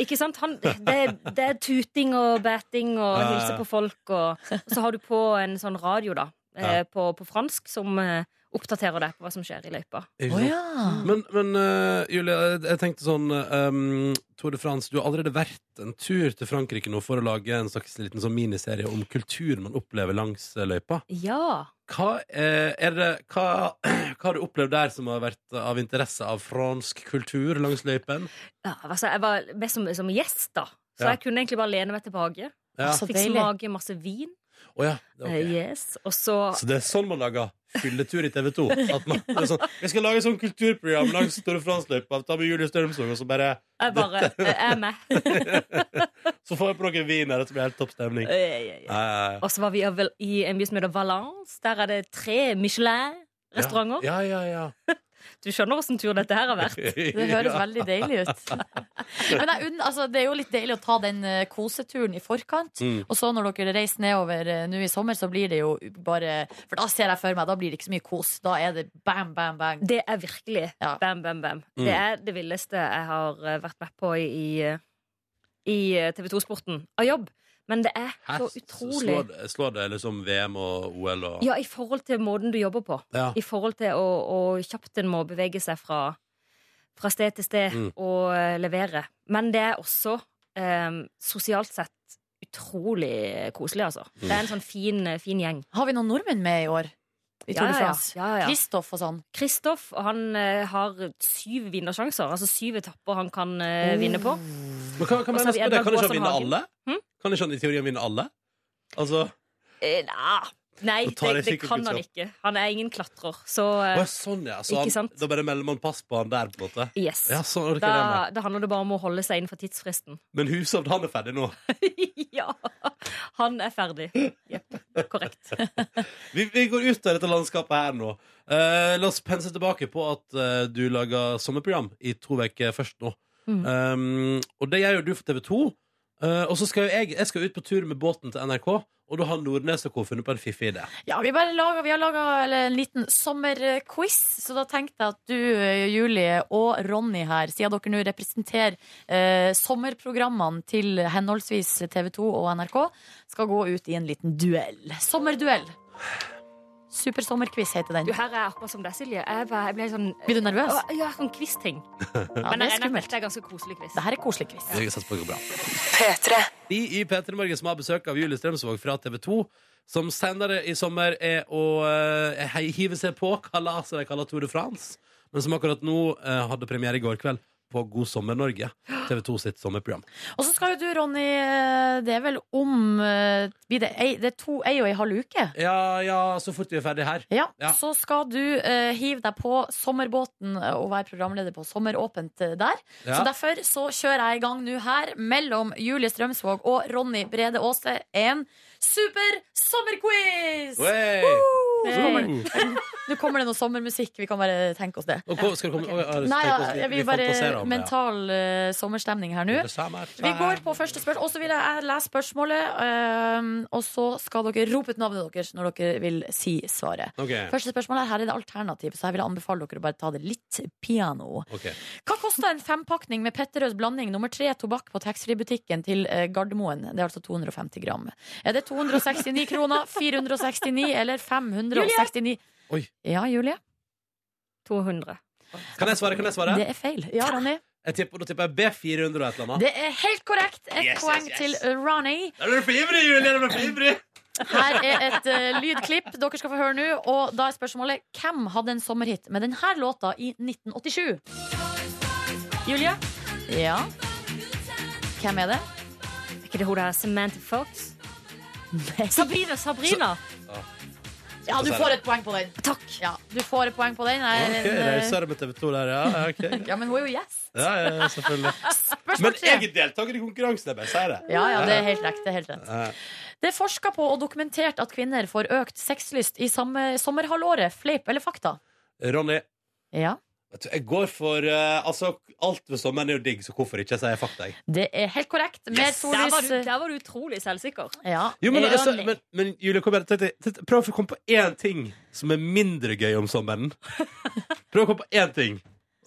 Ikke sant? Han, det, det er tuting og batting og
Ja, ja, ja.
hilse på folk. Og, og så har du på en sånn radio da, eh,
Ja.
på, på fransk som eh, oppdaterer deg på hva som skjer i løypa.
*laughs* Ikke
Å
sant?
ja.
Men, men eh, Julie, jeg- jeg tenkte sånn um, Tour de France, du har allerede vært en tur til Frankrike nå for å lage en slags liten sånn miniserie om kulturen man opplever langs eh, løypa.
Ja.
Hva, eh, er det, hva, *clears throat* hva har du opplevd der som har vært av interesse av fransk kultur langs løypen?
ja altså, jeg var mest som, som gjest, da. Så
Ja.
jeg kunne egentlig bare lene meg tilbake.
Ja.
Så
Fikk
deilig.
smake masse vin.
Å ja, det er ok.
Ah, eh, Yes. Og så
Så det er sånn man lager fylletur i TV 2? At man, det er sånn, jeg skal lage et sånt kulturprogram langs Tour de France-løypa. Ta med Julie Strømsog, og så bare
jeg bare
*laughs*
Jeg er med.
Så får jeg på noe vin her, og så blir det helt topp stemning.
Ja, ja, ja.
Ja, ja, ja.
Og så var vi i Val- i en by som heter Valence. Der er det tre Michelin-restauranter.
Ja, ja, ja.
Du skjønner åssen tur dette her har vært.
Det høres veldig deilig ut. Men jeg, unn- altså, det er jo litt deilig å ta den eh, koseturen i forkant.
Mm.
Og så når dere reiser nedover eh, nå i sommer, så blir det jo bare For da ser jeg for meg, da blir det ikke så mye kos. Da er det bam, bam, bang.
Det er virkelig
Ja.
bam, bam, bam.
Mm.
Det er det villeste jeg har eh, vært med på i, eh, i eh, TV 2-sporten av jobb. Men det er
Hæ?
så
S-
utrolig.
Slår det, slår det liksom VM og OL og
Ja, i forhold til måten du jobber på.
Ja.
I forhold til å, å kjapt en må bevege seg fra, fra sted til sted
Mm.
og eh, levere. Men det er også eh, sosialt sett utrolig koselig, altså.
Mm.
Det er en sånn fin, fin gjeng.
Har vi noen nordmenn med i år? I Tour de
Ja, ja, ja.
France?
Ja, ja.
Kristoff og sånn.
Kristoff han eh, har syv vinnersjanser, altså syv etapper han kan eh, vinne
Oh.
på.
Men hva, hva
Og så
mener jeg på
er det
det? Kan ikke han
Gåsen
vinne
Hagen.
alle?
Hm?
Kan ikke han i teorien vinne alle? Altså
Eh, na, Nei,
Da tar
det,
jeg
det
sikkert
kan han
budskap.
ikke. Han er ingen klatrer. Så
Å,
eh,
ja, sånn, ja. Så
Ikke
han,
sant?
da bare melder man pass på han der, på en måte.
yes.
Ja, sånn, ok, det er med.
Da, da handler det bare om å holde seg innenfor tidsfristen. *laughs*
Men Hushovd, han er ferdig nå.
ja! Han er ferdig. Jepp. Korrekt.
Vi, vi går ut av dette landskapet her nå. Eh, la oss pense tilbake på at eh, du
Mm.
Eh, lager sommerprogram i to uker først nå. Um, og det gjør jo du for TV 2. Eh, og så skal jo jeg, jeg skal ut på tur med båten til NRK, og da har Nordnes og co. funnet på en fiffig idé.
Ja, vi, bare lager, vi har laga en liten sommerquiz, så da tenkte jeg at du, eh, Julie og Ronny her, siden dere nå representerer eh, sommerprogrammene til henholdsvis TV 2 og NRK, skal gå ut i en liten duell. Sommerduell. Supersommerquiz heter den.
Du, her er jeg akkurat som deg, Silje. Jeg, bare, jeg ble sånn
Blir du nervøs?
Å, Ja, sånn quiz-ting.
Ja,
Men
det
jeg
er
regner med
skummelt.
at dette er ganske koselig quiz.
Det her er koselig quiz.
Jeg satser på at det går bra. De i P3 Morgen som har besøk av Julie Strømsvåg fra TV 2, som senere i sommer er å eh, hei- hive seg på kalaset de kaller Tour de France, men som akkurat nå eh, hadde premiere i går kveld på God sommer Norge, TV 2 sitt sommerprogram.
Og så skal jo du, Ronny, eh, det er vel om eh, blir Det, ei, det er to, ei og ei halv uke.
Ja, ja, så fort vi er ferdig her.
Ja,
Ja.
Så skal du eh, hive deg på sommerbåten eh, og være programleder på Sommeråpent eh, der. Så
Ja.
Derfor så kjører jeg i gang nå her mellom Julie Strømsvåg og Ronny Brede Aase en super sommerquiz!
Hey!
Eh,
Hey. Nå kommer det noe sommermusikk. Vi kan bare tenke oss det.
Og hvor- skal det komme, å, ja,
Nei,
tenk oss,
ja, jeg vil bare mental eh, sommerstemning her nå.
Det samme er
Vi går på første spørsmål, og så vil jeg lese spørsmålet. eh, og så skal dere rope ut navnet deres når dere vil si svaret.
Ok,
Første spørsmål er, Her er det alternativ, så jeg vil anbefale dere å bare ta det litt piano.
ok.
Hva kosta en fempakning med Petterøes blanding nummer tre tobakk på taxfree-butikken til eh, Gardermoen? Det er altså 250 gram. Er det 269 kroner, 469 eller 569?
Oi.
Ja, Julie.
200.
Kan jeg svare? Kan jeg svare?
Det er feil. Ja, Ronny.
Jeg tipper, da tipper jeg B400 og et eller annet.
Det er helt korrekt. Ett poeng til Ronny.
Er du for ivrig, Julie? Er du for ivrig?
Her er et eh, lydklipp dere skal få høre nå. Og da er spørsmålet hvem hadde en sommerhit med denne låta i 1987? Julie? Ja. Hvem er det?
Er ikke det hun der Samantha Fox?
Nei.
*laughs* Sabrina! Sabrina!
Ja, du får et poeng på den.
Takk.
Ja, du får et poeng på den. Jeg er
Ok,
en, eh,
rausere med TV 2 der, ja. ja, ok.
ja, men hun er jo yes.
Ja, ja, selvfølgelig. Men jeg
Spørsmål tre.
er deltaker i konkurransen, jeg bare sier det.
Ja, ja, det er helt rett. Det er helt rett.
Ja.
Det er forska på og dokumentert at kvinner får økt sexlyst i samme sommerhalvåret. Fleip eller fakta?
Ronny,
Ja,
vet du, jeg går for eh, Altså, alt ved sommeren er jo digg, så hvorfor ikke? Jeg sier fakta, jeg.
det er helt korrekt. Mer
Der var,
sollys.
du, der var du utrolig selvsikker.
Ja.
Jo, men, altså,
Ronny.
men, men Julie, kom igjen. Tete, tete, Prøv å komme på én ting som er mindre gøy om
*laughs*
sommeren. Prøv å komme på én ting.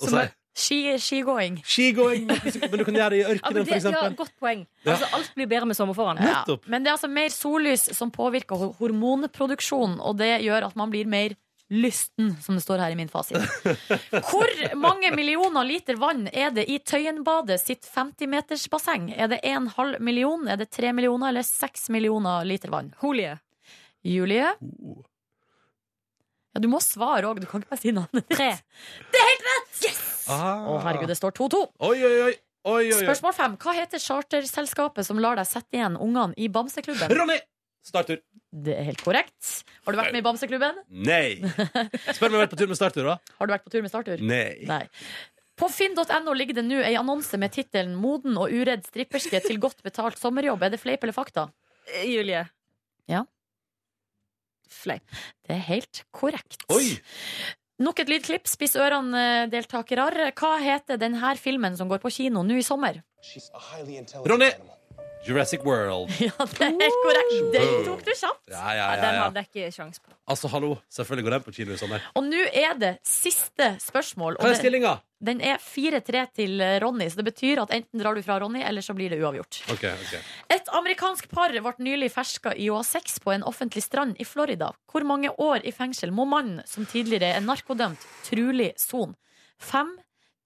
Og
Som
si
er- Ski, skigåing.
skigåing, men du kan gjøre det i
Ja, men
ørkenen,
det,
for
ja,
eksempel.
godt poeng.
Ja.
Altså, alt blir bedre med sommer foran.
Ja.
Nettopp.
Men det er altså mer sollys som påvirker ho- hormonproduksjonen, og det gjør at man blir mer lysten, som det står her i min fasit.
*laughs*
Hvor mange millioner liter vann er det i Tøyenbadet sitt 50-metersbasseng? Er det 1,5 million, er det 3 millioner eller 6 millioner liter vann?
Holie.
Julie?
Oh.
Ja, du må svare òg, du kan ikke bare si navnet.
Tre.
Ah.
Å, herregud, det står 2-2.
Oi, oi, oi. oi, oi, oi.
Spørsmål fem. Hva heter charterselskapet som lar deg sette igjen ungene i Bamseklubben?
Ronny! Starttur.
Det er helt korrekt. Har du vært med i Bamseklubben? *laughs*
Nei. Spør meg om jeg har vært på tur med starttur, da.
Har du vært på tur med startur?
Nei.
Nei. På finn.no ligger det nå ei annonse med tittelen 'Moden og uredd stripperske til godt betalt sommerjobb'. Er det fleip eller fakta?
Eh, Julie.
Ja.
Fleip.
Det er helt korrekt.
Oi!
Nok et lydklipp. Spiss ørene, eh, deltakere. Hva heter denne filmen som går på kino nå i sommer? *laughs*
Ronny! Jurassic World.
Ja, det er helt korrekt. Den tok du kjapt.
Ja, ja,
Ja,
ja,
den
ja.
hadde jeg ikke sjans på.
Altså, hallo. Selvfølgelig går den på kino i sommer.
Og nå er det siste spørsmål.
Hva
Og
er
det,
stillinga?
den er 4-3 til eh, Ronny, så det betyr at enten drar du fra Ronny, eller så blir det uavgjort.
Ok, ok.
Et amerikansk par ble nylig ferska i OA6 på en offentlig strand i Florida. Hvor mange år i fengsel må mannen, som tidligere er narkodømt, trulig sone? Fem,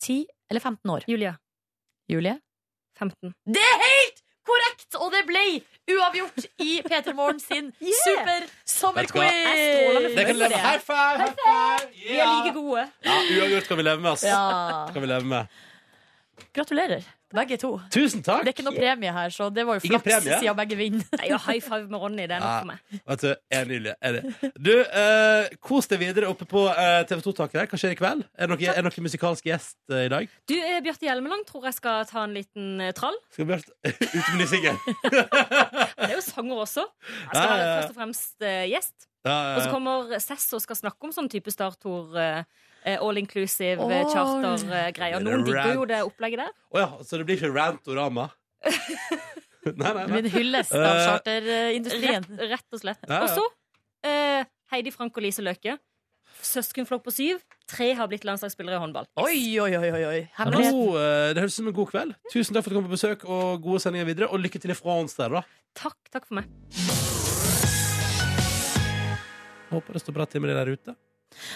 ti eller 15 år?
Julie.
Julie?
15.
Det er helt korrekt! Og det ble uavgjort i Peter Morgen sin
*laughs*
super
Jeg er
Det
strålende
sommerquiz!
kan leve. High five! High five!
Vi er
Yeah!
like gode.
Ja, uavgjort kan vi leve med, ass.
Ja.
Kan vi leve med.
Gratulerer, begge to.
Tusen
Det
takk!
er ikke noe premie her, så det var jo
Ingen
flaks
premie?
siden begge vinner.
Nei, ja, high five med Ronny. Det er nok for meg.
Vet du, er nydelig. Er det. Du, eh, kos deg videre oppe på eh, TV 2-taket der. Hva skjer i kveld? Er det noen, er det noen musikalsk gjest eh, i dag?
Du, eh, Bjarte Hjelmeland tror jeg skal ta en liten eh, trall.
Skal vi hørt Ute med nysingen.
Men det er jo sanger også. Jeg
Ja, ja,
skal
ja.
være først og fremst eh, gjest.
Ja,
Og så
ja, ja.
kommer Sess og skal snakke om sånn type starttor. eh, eh, All inclusive
Åh.
eh, charter-greier.
Det er
Noen digger
rad.
jo det opplegget der.
Å ja, så det blir ikke Rantorama? Nei, nei, nei.
Min hyllest av
Eh,
charterindustrien.
Rett, rett og slett.
Ja, ja.
Og så eh, Heidi Frank og Lise Løke. Søskenflokk på syv. Tre har blitt landslagsspillere i håndball.
Oi, oi, oi, oi, oi. Hemmelighet.
God, eh, det høres ut som en god kveld. Tusen takk for at du kom på besøk, og gode sendinger videre. Og lykke til i Frans der, da.
Takk, takk for meg.
Håper det står bra til med det der ute.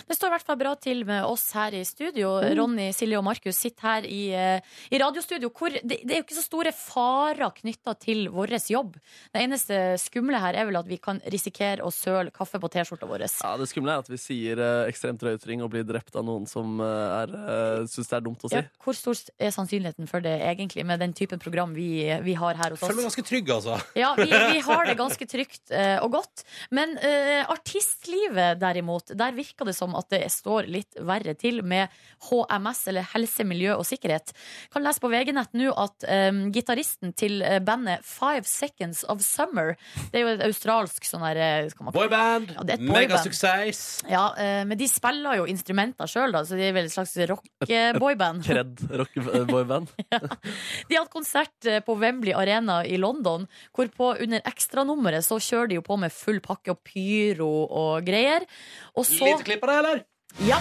Det står i hvert fall bra til med oss her i studio.
Mm.
Ronny, Silje og Markus sitter her i, eh, i radiostudio. Hvor det, det er jo ikke så store farer knytta til vår jobb. Det eneste skumle her er vel at vi kan risikere å søle kaffe på T-skjorta vår.
Ja, Det skumle er at vi sier eh, ekstremt drøye ting og blir drept av noen som eh, er, eh, syns det er dumt å si.
Ja, hvor stor er sannsynligheten for det egentlig, med den typen program vi, vi har her hos
Føler meg
oss?
ganske trygg, altså.
Ja, vi, vi har det ganske trygt eh, og godt. Men eh, artistlivet, derimot, der virker det som at det står litt verre til med HMS, eller helse, miljø og sikkerhet. Kan lese på VG-nett nå at eh, gitaristen til eh, bandet Five Seconds of Summer Det er jo et australsk sånn her eh, skal man kalle-
Boyband.
Ja, det er et boyband.
Megasuksess.
Ja, eh, men de spiller jo instrumenter sjøl, da, så de er vel et slags eh, rock-boyband.
Kred eh, rockeboyband.
De hadde konsert eh, på Wembley Arena i London, hvorpå under ekstranummeret så kjører de jo på med full pakke og pyro og greier. Og så
Lite klipp av det, eller?
Ja!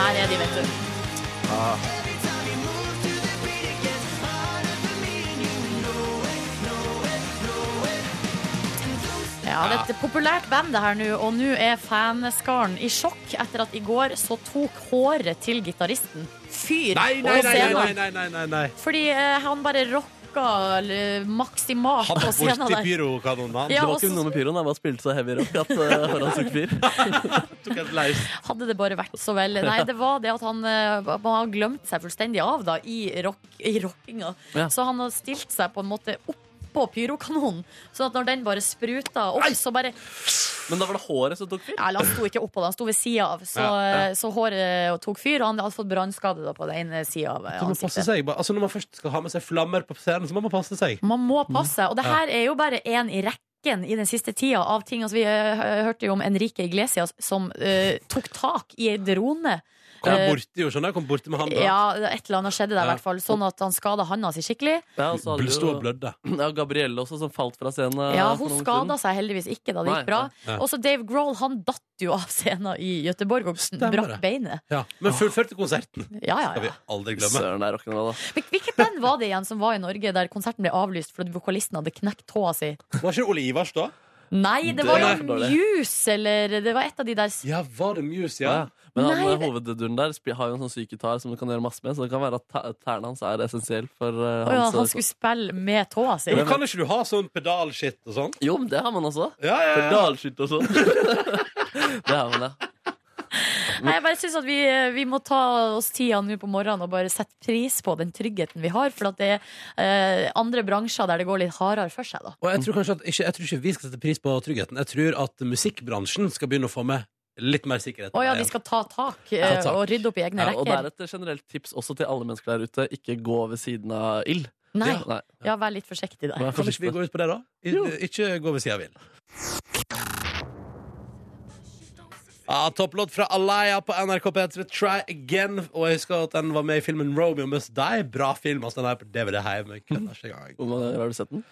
Her er de, vet du. Ja, det er et populært band det her nå, og nå er fanskaren i sjokk etter at i går så tok håret til gitaristen fyr
Nei, nei,
på
nei,
scenen.
nei, nei, nei, nei, nei.
Fordi eh, han bare rocka eller, maksimalt
Han
på
er
scenen
borti
der.
pyrokanonen. Han
*laughs* Ja,
det var
og
ikke
så-
noe med pyroen, han bare spilte så heavy rock at eh, håret tok fyr.
*laughs*
tok et leis.
Hadde det bare vært så vel. Nei, det var det at han eh, man har glemt seg fullstendig av da, i, rock, i rockinga.
Ja.
Så han har stilt seg på en måte oppå pyrokanonen, sånn at når den bare spruta opp, så bare
Men da var det håret som tok fyr.
Nei, eller han sto ikke oppå det, han sto ved sida av. Så, eh, så håret tok fyr, og han hadde fått brannskade da på den ene sida av eh,
Så man må passe
ansiktet.
seg. bare- Altså, når man først skal ha med seg flammer på scenen, så må man passe seg.
Man må passe. Og det her er jo bare én i rekken i den siste tida av ting. Altså, vi eh, hørte jo om Enrique Iglesias som eh, tok tak i ei drone.
Kom
Eh,
borti, jo, skjønner jeg. Kom borti med han da.
Ja, et eller annet skjedde der, i
Ja.
hvert fall. Sånn at han skada handa si skikkelig.
Ja, og så hadde
Bl- Stå og
vi jo-
blødde.
ja, Gabrielle også, som falt fra scenen. eh,
Ja,
for
hun
noen
skada
siden.
seg heldigvis ikke da det
Nei,
gikk bra.
ja.
Også Dave Grohl, han datt jo av scenen i Gøteborg og
Stemmer
brakk
det.
beinet.
Ja. Men fullførte konserten.
Ja, ja,
Skal vi
ja.
aldri glemme.
Søren, det er rock'n'roll, da.
Hvil- Hvilket band var det igjen som var i Norge der konserten ble avlyst fordi vokalisten hadde knekt tåa si?
Var ikke det Ole Ivars, da?
Nei, det
Det
var
er for
jo
dårlig.
Muse, eller det var et av de der s-
Ja, var det Muse,
Ja.
ja?
Men han,
Nei,
eh,
det-
hovedduren der spi- har jo en sånn syk gitar som du kan gjøre masse med, så det kan være at ta- tærne hans er essensiell for eh,
Å ja,
hans
han skulle spille med tåa si.
Men kan ikke du ha sånn pedalshit og sånn?
Jo, men det har man også.
Ja, ja,
For
ja.
dalskytt og
*laughs*
sånn. det har man, ja.
Nei, jeg bare synes at vi, eh, vi må ta oss tida nå på morgenen og bare sette pris på den tryggheten vi har. For at det er eh, andre bransjer der det går litt hardere for seg, da.
Og jeg tror kanskje at ikke, jeg tror ikke vi skal sette pris på tryggheten. Jeg tror at musikkbransjen skal begynne å få med litt mer sikkerhet.
Å ja, de skal ta tak eh,
Ta tak.
og rydde opp i egne
Ja, og det er
rekker.
et generelt tips også til alle mennesker der ute. Ikke gå ved siden av ild.
Nei.
Ja, Nei.
Ja, vær litt forsiktig der.
Vær
Kan ikke vi
forsiktig.
gå ut på det, da? I, ikke gå ved sida av ilden. Ja, Topplåt fra Alaya på NRK P3, Try Again. Og jeg husker at den var med i filmen Romeo Must Die. Bra film. altså Den er på DVD hjemme. Jeg kødder ikke engang.
Hvor mange ganger har du sett den?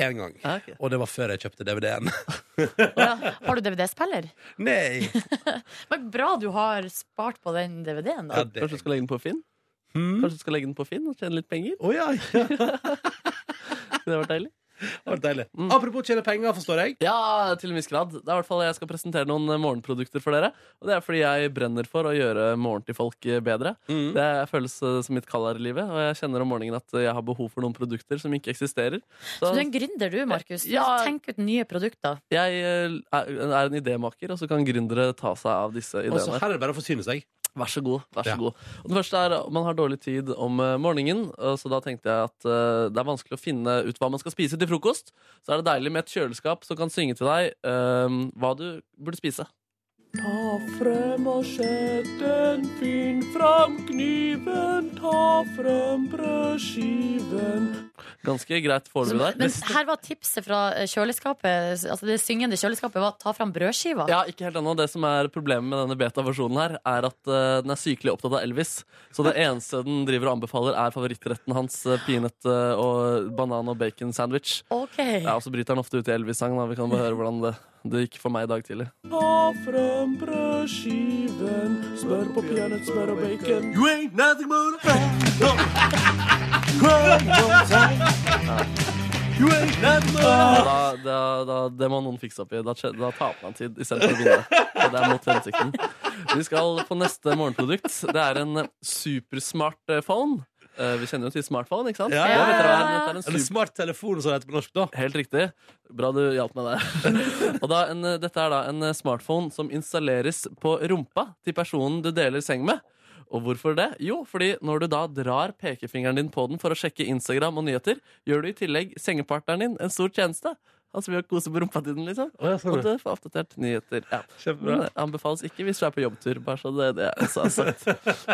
En gang.
Ja, ok.
Og det var før jeg kjøpte DVD-en.
Å ja. Har du DVD-spiller?
*laughs* Nei!
Men bra du har spart på den DVD-en,
Ja,
da.
det-
Kanskje du skal legge den på Finn?
Hmm?
Kanskje du skal legge den på Finn og tjene litt penger?
Å ja, ja.
Det var deilig.
Det var deilig.
Mm.
Apropos tjene penger, forstår jeg.
Ja, til en viss grad. Det er i hvert fall Jeg skal presentere noen eh, morgenprodukter for dere. Og det er fordi jeg brenner for å gjøre morgenen til folk eh, bedre. Det føles eh, som mitt kall her i livet, og jeg kjenner om morgenen at eh, jeg har behov for noen produkter som ikke eksisterer.
Så du er en gründer, du, Markus. Du
Ja.
Tenk ut nye produkter.
jeg eh, er er en idémaker, og så kan gründere ta seg av disse
Og så
ideene.
her er det bare å forsyne seg.
Vær så god. vær så
Ja.
god. Og det første er Man har dårlig tid om eh, morgenen, eh, så da tenkte jeg at eh, det er vanskelig å finne ut hva man skal spise til frokost. Så er det deilig med et kjøleskap som kan synge til deg eh, hva du burde spise. Ta frem og sett den, finn fram kniven, ta frem brødskiven Ganske greit foreløpig der.
Men her var tipset fra eh, kjøleskapet Altså det syngende kjøleskapet var ta fram brødskiva.
Ja, ikke helt ennå. Det som er problemet med denne beta-versjonen her, er at eh, den er sykelig opptatt av Elvis. Så det eneste den driver og anbefaler, er favorittretten hans, eh, peanut eh, og banan og bacon sandwich.
Ok.
Ja, og så bryter han ofte ut i Elvis-sang, da. Vi kan bare høre hvordan det, det gikk for meg i dag tidlig.
Ta frem brødskiven, smør på peanøttsmør og bacon. You ain't nothing but a fan of You ain't nothing but a
Da, da, da, det må noen fikse opp i. Da, skje- da taper man tid istedenfor å vinne. Og det er mot hensikten. Vi skal på neste morgenprodukt. Det er en eh, supersmart eh, phone. Eh, Vi kjenner jo til smartphone, ikke sant?
Ja, ja,
Det vet dere hva er.
ja, ja.
Dette er en
Eller smarttelefon, som det heter på norsk. da
Helt riktig. Bra du hjalp meg der. Og da, en, eh, dette er da en eh, smartphone som installeres på rumpa til personen du deler seng med. Og hvorfor det? Jo, fordi når du da drar pekefingeren din på den for å sjekke Instagram og nyheter, gjør du i tillegg sengepartneren din en stor tjeneste. Han som gjør kose på rumpa til den, liksom.
Å, ja, sånn,
og du får oppdatert nyheter. Ja.
Kjempebra.
Men det anbefales ikke hvis du er på jobbtur, bare så det, det er også sagt.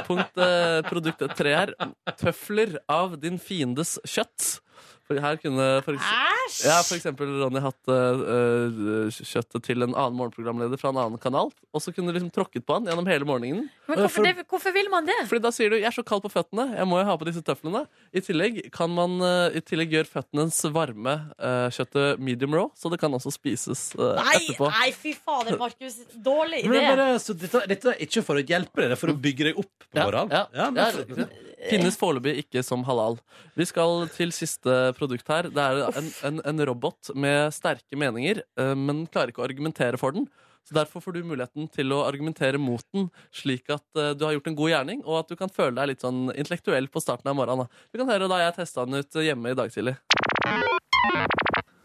Punkt eh, produkt tre her. Tøfler av din fiendes kjøtt. For her kunne for
Æsj!
ja, for eksempel Ronny hatt eh, eh, kjøttet til en annen morgenprogramleder fra en annen kanal, og så kunne du liksom tråkket på han gjennom hele morgenen.
Men hvorfor, det, hvorfor vil man det?
Fordi da sier du 'jeg er så kald på føttene, jeg må jo ha på disse tøflene'. I tillegg kan man eh, I tillegg gjør føttenes varme eh, kjøttet medium raw, så det kan også spises eh, etterpå.
fy fader, Markus. Dårlig
Men det er bare, så dette, dette er ikke for å hjelpe deg, det er for å bygge deg opp på
Mm. Ja,
morgenen.
ja,
men
ja,
for-
riktig. Finnes foreløpig ikke som halal. Vi skal til siste produkt her. Det er en, en, en robot med sterke meninger, eh, men klarer ikke å argumentere for den. Så Derfor får du muligheten til å argumentere mot den, slik at eh, du har gjort en god gjerning, og at du kan føle deg litt sånn intellektuell på starten av morgenen. da. Vi kan høre da jeg testa den ut eh, hjemme i dag tidlig.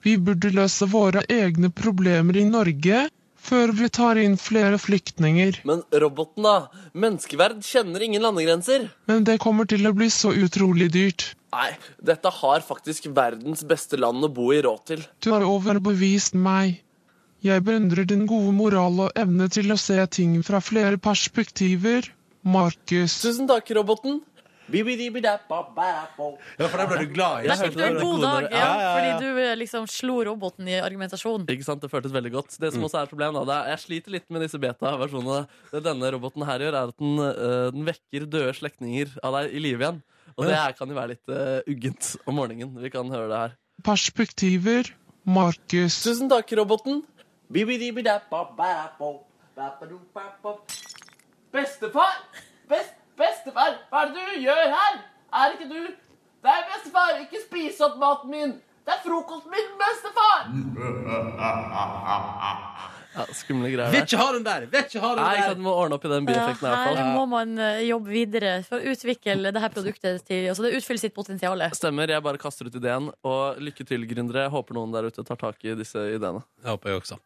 Vi burde løse våre egne problemer i Norge før vi tar inn flere flyktninger.
Men roboten, da? Menneskeverd kjenner ingen landegrenser.
Men det kommer til å bli så utrolig dyrt.
Nei, dette har faktisk verdens beste land å bo i råd til.
Du har overbevist meg. Jeg beundrer din gode moral og evne til å se ting fra flere perspektiver, Markus.
Tusen takk, roboten.
Ja, for der ble du glad i.
Der fikk du en god dag, ja,
ja, ja.
fordi du eh, liksom slo roboten i argumentasjonen.
Ikke sant, Det føltes veldig godt. Det som også er et problem da, det er, Jeg sliter litt med disse beta-versjonene. Det denne roboten her gjør, er at den, øh, den vekker døde slektninger av deg i live igjen. Og det her kan jo være litt øh, uggent om morgenen. Vi kan høre det her.
Perspektiver, Markus.
Tusen takk, roboten.
Bestefar! Best, bestefar, hva er det du gjør her? Er ikke du Det er bestefar, ikke spis opp maten min! Det er frokosten min, bestefar!
Ja, Skumle greier.
Vil
der.
ikke ha den der! Vil ikke ha den
Nei, ikke sant,
der!
Du må ordne opp i den
Ja,
bieffekten. i hvert
her
fall.
må man eh, jobbe videre for å utvikle det her produktet til altså det utfyller sitt potensial.
Stemmer. Jeg bare kaster ut ideen. Og lykke til, gründere. Jeg håper noen der ute tar tak i disse ideene.
Jeg håper jeg også.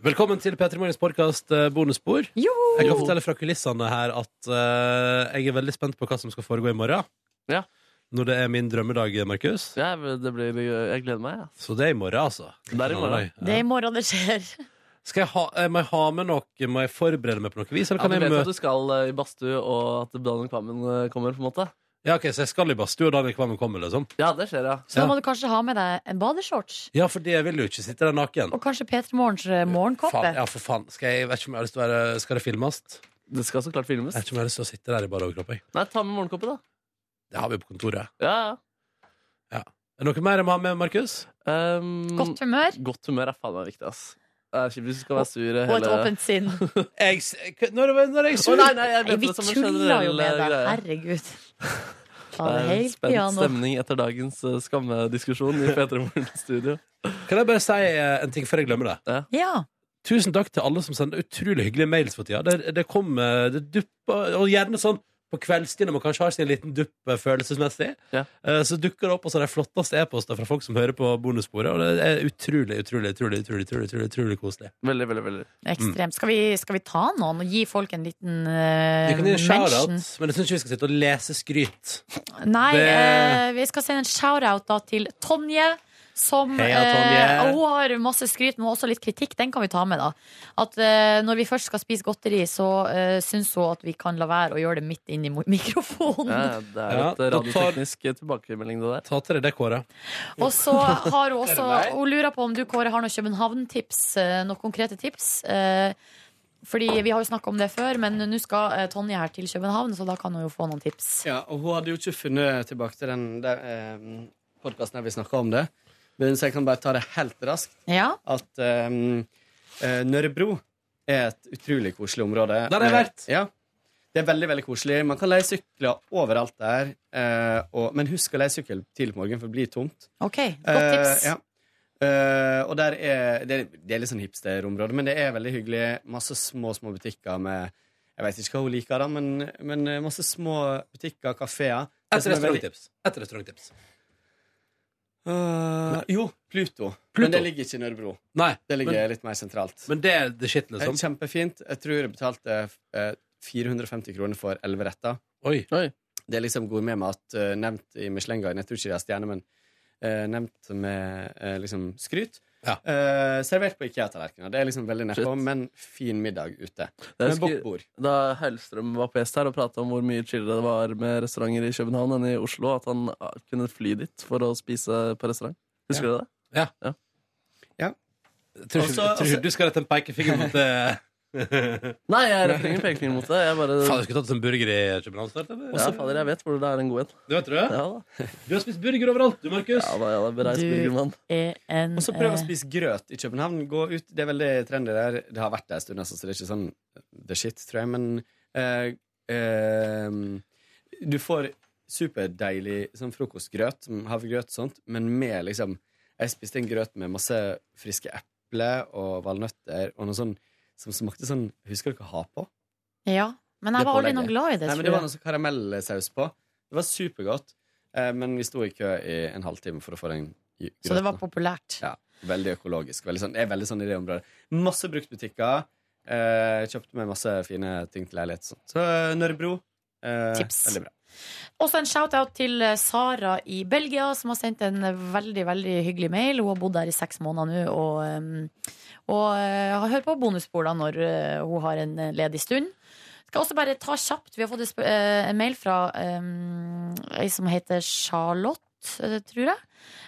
Velkommen til P3 Morgens podkast bonusspor.
Joho!
Jeg kan fortelle fra kulissene her at eh, jeg er veldig spent på hva som skal foregå i morgen.
Ja.
Når det er min drømmedag, Markus.
Ja, det blir, jeg gleder meg. Ja.
Så det er i morgen, altså.
Det er i morgen.
Ja.
Det er i morgen det skjer.
Skal jeg ha, eh, må jeg ha med noe? Må jeg forberede meg på noe vis? Eller
Ja, du
kan jeg
vet
møte
at du skal øh, i badstue, og at Daniel Kvammen øh, kommer? på en måte
Ja, ok, Så jeg skal i badstue, og Daniel Kvammen kommer, liksom?
Ja, det skjer, ja.
Så da
Ja.
må du kanskje ha med deg en badeshorts.
Ja, for det vil du ikke. Sitte der naken.
Og kanskje P3 Morgens eh, morgenkoppe.
Faen, ja, for faen. Skal jeg, jeg vet ikke om jeg har lyst til å være Skal det filmes? Jeg
Det skal så klart filmes.
vet ikke om jeg har lyst til å sitte der i bare overkropp. jeg.
Nei, ta med morgenkoppen, da.
Det har vi på kontoret.
Ja, ja.
Er det noe mer jeg må ha med, Markus?
Um,
Godt humør
godt humør er faen meg viktig, ass. Det er kjipt hvis du skal være sur
og et
hele
åpent
*laughs*
sinn.
Jeg, s- når, når jeg
Å,
sur?
nei, nei, jeg
Nei,
mente
vi
det som en
tuller jo
generell, eh,
med deg.
greie.
Herregud. Ta
Det er
det
en
helt
spent
piano.
stemning etter dagens uh, skammediskusjon i P3 Morgens
*laughs*
studio.
Kan jeg bare si eh, en ting før jeg glemmer det?
Ja.
Tusen takk til alle som sender utrolig hyggelige mails for tida. Det, det kommer det dupper, Og gjerne sånn på kveldstid når man kanskje har sin liten dupp eh, følelsesmessig.
Ja.
Eh, Så dukker det opp også de flotteste e-poster fra folk som hører på bonussporet, og det er utrolig, utrolig, utrolig, utrolig, utrolig, utrolig, utrolig koselig.
Veldig, veldig, veldig.
Ekstremt. Skal vi, skal vi ta noen og gi folk en liten uh,
Vi kan gi en shout-out, men jeg syns ikke vi skal sitte og lese skryt.
Nei,
Det-
eh, vi skal sende en shout-out da til Tonje, Som
Heia, Tonje.
eh, Hun har masse skryt, men også litt kritikk. Den kan vi ta med, da. At eh, når vi først skal spise godteri, så eh, syns hun at vi kan la være å gjøre det midt inn i mo- *laughs* mikrofonen.
Ja, det er jo
Ja,
et
da tar-
radioteknisk tilbakemelding, det der.
Ta til deg det, Kåre.
Og så har hun også
Er det meg?
Hun lurer på om du, Kåre, har noen København-tips. eh, Noen konkrete tips. eh, Fordi Vi har jo snakka om det før, men nå skal eh, Tonje her til København, så da kan hun jo få noen tips.
Ja, og hun hadde jo ikke funnet tilbake til den der, eh, podkasten der vi snakka om det. Men så jeg kan bare ta det helt raskt.
Ja.
At eh, eh, Nørrebro er et utrolig koselig område.
Der har jeg
Med-
vært.
Ja. Det er veldig veldig koselig. Man kan leie sykler overalt der. Eh, og, men husk å leie sykkel tidlig på morgenen, for det blir tomt.
OK, godt tips.
Eh, ja. Eh, og der er, det, er- det er litt sånn hipsterområde, men det er veldig hyggelig. Masse små, små butikker med Jeg vet ikke hva hun liker, da, men, men eh, masse små butikker, kafeer.
Et restauranttips. Et restauranttips.
jo, Pluto. Men det ligger ikke i Nørrebro.
Nei,
det ligger
men-
litt mer sentralt.
Men det er the shit,
Eh,
liksom.
Kjempefint. Jeg tror jeg betalte eh, 450 kroner for elleve retter.
Oi.
Det er liksom gourmetmat uh, nevnt i Michelin-guiden. Jeg tror ikke det er stjerne, men eh, nevnt med eh, liksom skryt. Eh, servert på Ikea-tallerkener. Det er liksom veldig nedpå, men fin middag ute.
Jeg
Med
husker
bokkbord.
Da Hellstrøm var på gjest her og prata om hvor mye chillere det var med restauranter i København enn i Oslo, at han ah, kunne fly dit for å spise på restaurant. Husker
Ja.
du det?
Ja.
ja.
Jeg tror ikke-
Også-
jeg tror ikke du skal rette en pekefinger mot eh, det.
Nei, jeg retter ingen pekefinger mot det. Jeg bare
*laughs* Faen, du skulle tatt oss en burger i København snart, eller?
Ja, fader, jeg vet hvor det er en god en.
Du vet du?
Ja, da.
Du har spist burger overalt, du, Markus.
Ja, da, ja, da, bereist
Du-
burgermann.
Er en,
Og så prøv å
eh,
spise grøt i København. Gå ut. Det er veldig trendy der. Det har vært det en stund, altså, så det er ikke sånn the shit, tror jeg. Men eh, eh, du får superdeilig sånn frokostgrøt, som havregrøt og sånt, men med liksom Jeg spiste en grøt med masse friske epler og valnøtter og noe sånn som smakte sånn Husker dere ha på?
Ja, men jeg var aldri noe glad i det,
Nei,
tror
men det var noe
jeg.
sånn karamellsaus på. Det var supergodt, eh, men vi sto i kø i en halvtime for å få den grøten.
Så det var populært.
Ja, veldig økologisk. Veldig sånn, det er veldig sånn i det området. Masse bruktbutikker. Eh, kjøpte meg masse fine ting til leilighet. og Sånt. Så eh, Nørrebro. Eh,
Tips.
Veldig bra.
Også en shout-out til eh, Sara i Belgia, som har sendt en veldig veldig hyggelig mail. Hun har bodd der i seks måneder nå og, eh, og eh, har hørt på bonusspor da når eh, hun har en eh, ledig stund. Skal også bare ta kjapt Vi har fått et sp- eh, en mail fra eh, ei som heter Charlotte, eh, tror jeg.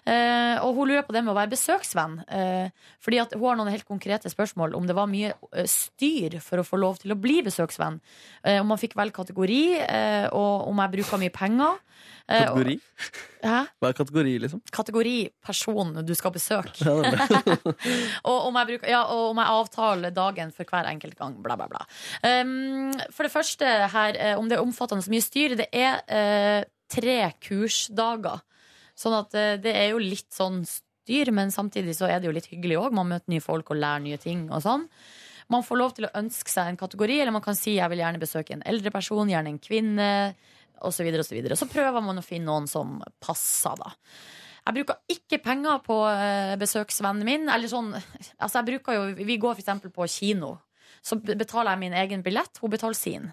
Eh, og hun lurer på det med å være besøksvenn. Eh, fordi at hun har noen helt konkrete spørsmål om det var mye eh, styr for å få lov til å bli besøksvenn. Eh, om man fikk velge kategori, eh, og om jeg bruker mye penger. Eh, og-
Kategori?
Hæ?
Hva er kategori, liksom?
Kategori person du skal besøke.
Ja, det er det.
*laughs* og, om jeg bruker, ja, og om jeg avtaler dagen for hver enkelt gang. Bla, bla, bla. Um, for det første her, eh, om det er omfattende så mye styr, det er eh, tre kursdager. Sånn at eh, det er jo litt sånn styr, men samtidig så er det jo litt hyggelig òg. Man møter nye folk og lærer nye ting og sånn. Man får lov til å ønske seg en kategori, eller man kan si 'jeg vil gjerne besøke en eldre person', gjerne en kvinne, osv. Så, videre, og så, videre. så prøver man å finne noen som passer, da. Jeg bruker ikke penger på eh, besøksvennen min. Eller sånn, altså jeg bruker jo, vi går for eksempel på kino. Så b- betaler jeg min egen billett, hun betaler sin.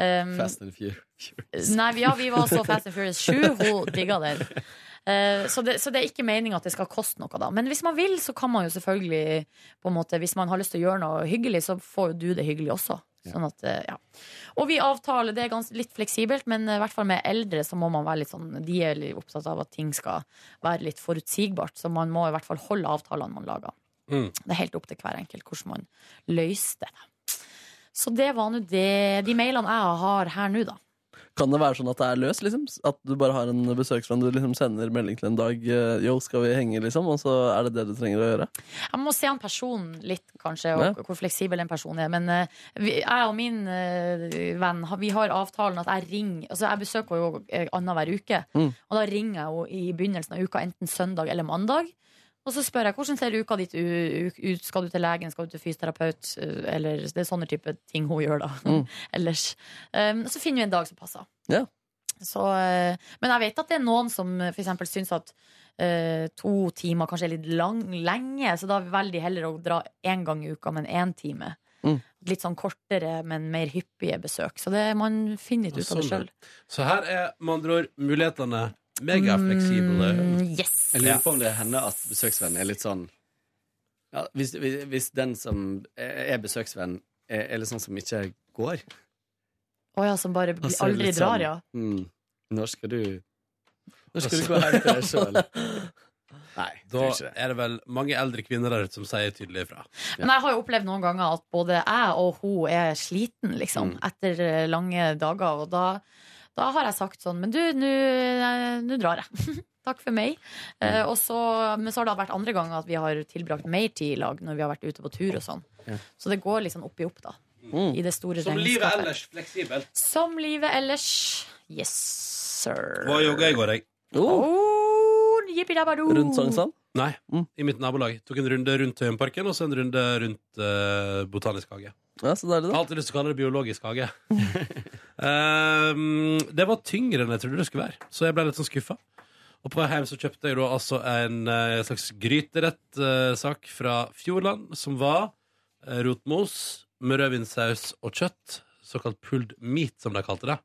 Um,
Fast and Fur- Furious.
Nei, vi- ja, vi var så Fast and Furious 7, hun digga den. Eh, så, det, så det er ikke meninga at det skal koste noe, da. Men hvis man vil, så kan man jo selvfølgelig på en måte, Hvis man har lyst til å gjøre noe hyggelig, så får jo du det hyggelig også. Sånn at, eh, ja. Og vi avtaler, det er gans, litt fleksibelt, men eh, i hvert fall med eldre så må man være litt sånn De er litt opptatt av at ting skal være litt forutsigbart, så man må i hvert fall holde avtalene man lager. Det er helt opp til hver enkelt hvordan man løser det. da. Så det var nå det. De mailene jeg har her nå, da.
Kan det være sånn at det er løs, liksom? At du bare har en besøksvenn du liksom sender melding til en dag eh, Yo, skal vi henge, liksom? Og så er det det du trenger å gjøre?
Jeg må se an personen litt, kanskje, og
Ja.
hvor fleksibel en person er. Men eh, vi, jeg og min eh, venn ha- Vi har avtalen at jeg ringer Altså, jeg besøker jo eh, annenhver uke.
Mm.
Og da ringer jeg jo i begynnelsen av uka, enten søndag eller mandag. Og så spør jeg hvordan ser uka ditt u- u- ut. Skal du til legen, skal du til fysioterapeut? Eh, Eller det er sånne type ting hun gjør, da. *laughs* Ellers. Um, og så finner vi en dag som passer.
Mm. Ja.
Så, eh, men jeg vet at det er noen som eh, for eksempel syns at eh, to timer kanskje er litt lang, lenge, så da velger de heller å dra én gang i uka, men én time.
Mm.
Litt sånn kortere, men mer hyppige besøk. Så det, man finner litt ut av det
Sånn,
sjøl.
ja. Så her er med andre ord mulighetene
Megafleksible.
Mm, yes.
Jeg lurer på om det hender at besøksvennen er litt sånn ja, hvis, hvis, hvis den som er besøksvenn, er, er litt sånn som ikke går
Å ja, som bare blir-
Altså,
aldri
litt
drar,
sånn,
ja.
Mm, når skal du Når skal
Altså-
du gå hjem til deg sjøl? *laughs* Nei,
da er det vel mange eldre kvinner der ute som sier tydelig ifra.
Men jeg har jo opplevd noen ganger at både jeg og hun er sliten, liksom, etter eh, lange dager. Og da, da har jeg sagt sånn Men du, nå eh, nå drar jeg. *laughs* Takk for meg. Eh, og så, men så har det vært andre ganger at vi har tilbrakt mer tid i lag når vi har vært ute på tur og sånn.
Ja.
Så det går liksom opp i opp, da. I det store
Som livet
regnskapet.
ellers, fleksibelt.
Som livet ellers. Yes, sir.
Hva jogga i går, jeg?
Oh, yippee-dabba-doo.
sånn,
Nei, i mitt nabolag. Tok en runde rundt Tøyenparken og så en runde rundt eh, Botanisk hage. Jeg har alltid lyst til å kalle det biologisk hage. *laughs* Ehm, det var tyngre enn jeg trodde det skulle være, så jeg ble litt sånn skuffa. Og på vei hjem så kjøpte jeg da altså en eh, slags gryterett-sak fra Fjordland, som var eh, rotmos med rødvinssaus og kjøtt. Såkalt pulled meat, som de kalte det.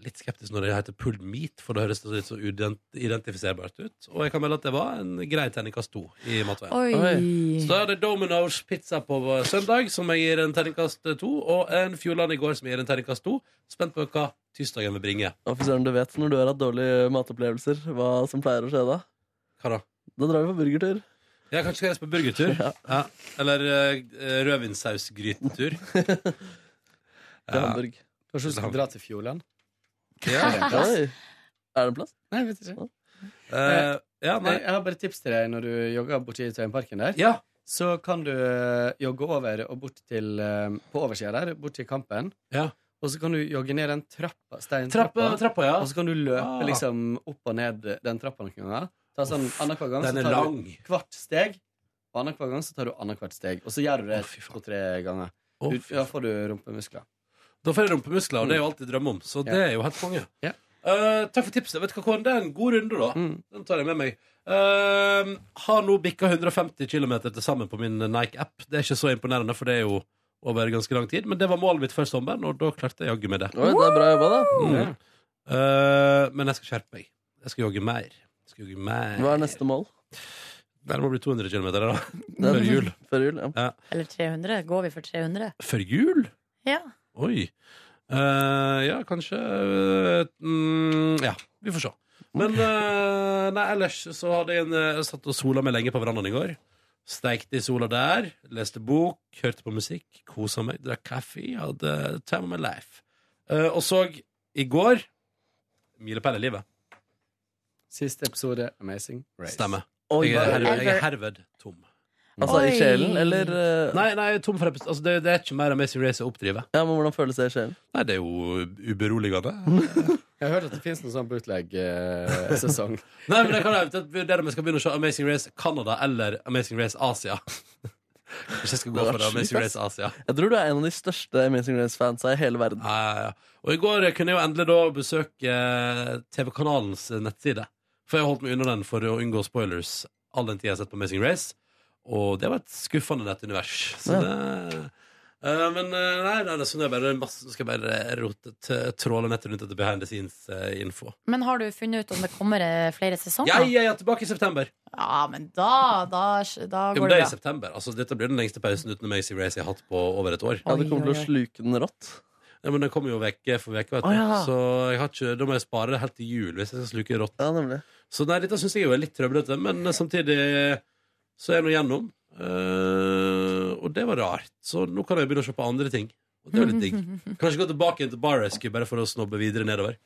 Litt skeptisk når det heter pulled meat, for det høres litt så uidentifiserbart ut. Og jeg kan melde at det var en grei terningkast to i matveien.
Oi.
Så da er det Domino's pizza på søndag, som jeg gir en terningkast eh, to, og en Fjordland i går som jeg gir en terningkast to. Spent på hva tirsdagen vil bringe.
Offiseren, du vet når du har hatt dårlige matopplevelser, hva som pleier å skje da?
Hva da?
Da drar vi på burgertur.
Ja, kanskje skal jeg reise på
*laughs*
burgertur? Ja. Eller eh,
*laughs*
rødvinssausgrytetur.
Til
*laughs*
Hamburg.
Kanskje du skal dra til Fjordland?
Ja.
*laughs* Er det
Er det
en plass?
en plass?
Nei, jeg vet ikke.
Eh, ja, nei.
Jeg har bare et tips til deg når du jogger borti Tøyenparken der. Så kan du eh, jogge over og bort til eh, på oversida der, bort til Kampen. Og så kan du jogge ned den trappa, steintrappa,
Trappa- trappa, ja.
og så kan du løpe
Ah.
liksom opp og ned den trappa noen ganger. Ta sånn annenhver gang,
den
så
er
tar
lang.
du hvert steg. Og annenhver gang så tar du annethvert steg. Og så gjør du det to-tre ganger.
Å,
Du, da får du rumpemuskler.
Da får jeg rumpemuskler, og det er jo alt jeg drømmer om. Så det er jo helt konge. Eh, takk for tipset. Vet du hva, Kåren? Det er en god runde, da.
Mm.
Den tar jeg med meg. Eh, har nå bikka 150 km til sammen på min Nike-app. Det er ikke så imponerende, for det er jo over ganske lang tid. Men det var målet mitt før sommeren, og da klarte jeg jaggu med det.
Oi, det er bra jobba, da.
Mm. Eh, men jeg skal skjerpe meg. Jeg skal jogge mer. Jeg skal jogge mer.
Hva er neste mål?
Det må bli 200 km,
Det
da.
er-
Før jul.
Før jul, ja.
Ja.
Eller 300. Går vi for 300?
Før jul?
Ja.
Oi. Eh, ja, kanskje eh, mm, Ja, vi får se. Men eh, nei, ellers så hadde jeg en eh, satt og sola meg lenge på verandaen i går. Steikte i sola der, leste bok, hørte på musikk, kosa meg, drakk kaffe, hadde time of my life. Eh, og så i går Milepæl i livet.
Siste episode Amazing Race.
Stemmer.
Oi,
jeg, er
hva-
herved, jeg er herved tom.
Altså, i Oi. sjelen, eller, eh,
Nei, nei, tom for episode. Altså, det, det er ikke mer Amazing Race å oppdrive.
Ja, men Hvordan føles det i sjelen?
Nei, det er jo uberoligende.
Jeg har hørt at det fins noen sånn eh, *laughs* bootleg-sesong.
Nei, men det kan jeg eventuelt vurdere om jeg skal begynne å se Amazing Race Canada eller Amazing Race Asia. Hvis jeg skal gå
Det var
for det,
sjukt,
Amazing
ass.
Race Asia.
Jeg tror du er en av de største Amazing Race-fansa i hele verden.
Ja, ja, ja. Og i går kunne jeg jo endelig da besøke eh, TV-kanalens nettside. For jeg holdt meg unna den for å unngå spoilers all den tida jeg har sett på Amazing Race. Og det var et skuffende nettunivers. Så
Ja.
det Eh, men eh, nei, nei, det er sånn det er bare masse, nå skal jeg bare rote, t- tråle nettet rundt etter behind the eh, scenes-info.
Men har du funnet ut om det kommer eh, flere sesonger?
jeg, jeg er tilbake i september.
Ja, men da, da, da
Ja,
går
men det
det
er i
bra.
september. Altså, dette blir den lengste pausen uten Amazing Race jeg har hatt på over et år.
Ja, det kommer til å sluke den rått.
Ja, men den kommer jo vekk for vekk, vet du.
Å, ja.
Så jeg har ikke, da må jeg spare det helt til jul hvis jeg skal sluke rått.
Ja, nemlig.
Så nei, dette syns jeg jo er litt trøblete, men samtidig så er jeg nå gjennom. Eh, og det var rart. Så nå kan jeg begynne å se på andre ting. Og det er jo litt digg.
*laughs*
Kanskje gå tilbake igjen til Bar Rescue bare for å snobbe videre nedover.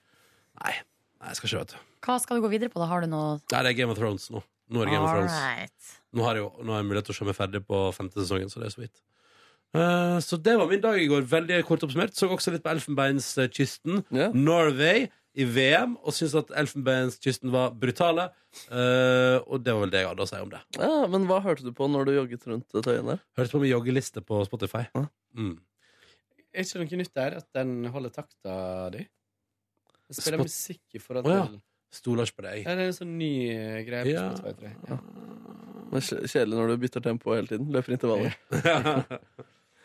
Nei, nei jeg skal ikke, vet du.
Hva skal du gå videre på? da? Har du noe
Nei, det er Game of Thrones nå. Nå er det Game of Thrones.
Alright.
Nå har jeg jo nå har jeg mulighet til å se meg ferdig på femte sesongen, så det er så vidt. Eh, så det var min dag i går. Veldig kort oppsummert. Så også litt på Elfenbeinskysten. Norway i VM, og syns at Elfenbeinskysten var brutale. Eh, og det var vel det jeg hadde å si om det.
Ja, Men hva hørte du på når du jogget rundt Tøyen der?
Hørtes på med joggeliste på Spotify. Mm.
Er ikke noe nytt der at den holder takta di? Jeg spiller
Spot-
musikk i forhold
Å
til
ja. Stoler ikke på deg. *laughs*
Ja, det er en sånn ny eh, greie. på
Ja.
Spotify, tror jeg. Ja.
Det er kj- Kjedelig når du bytter tempo hele tiden. Løper intervaller.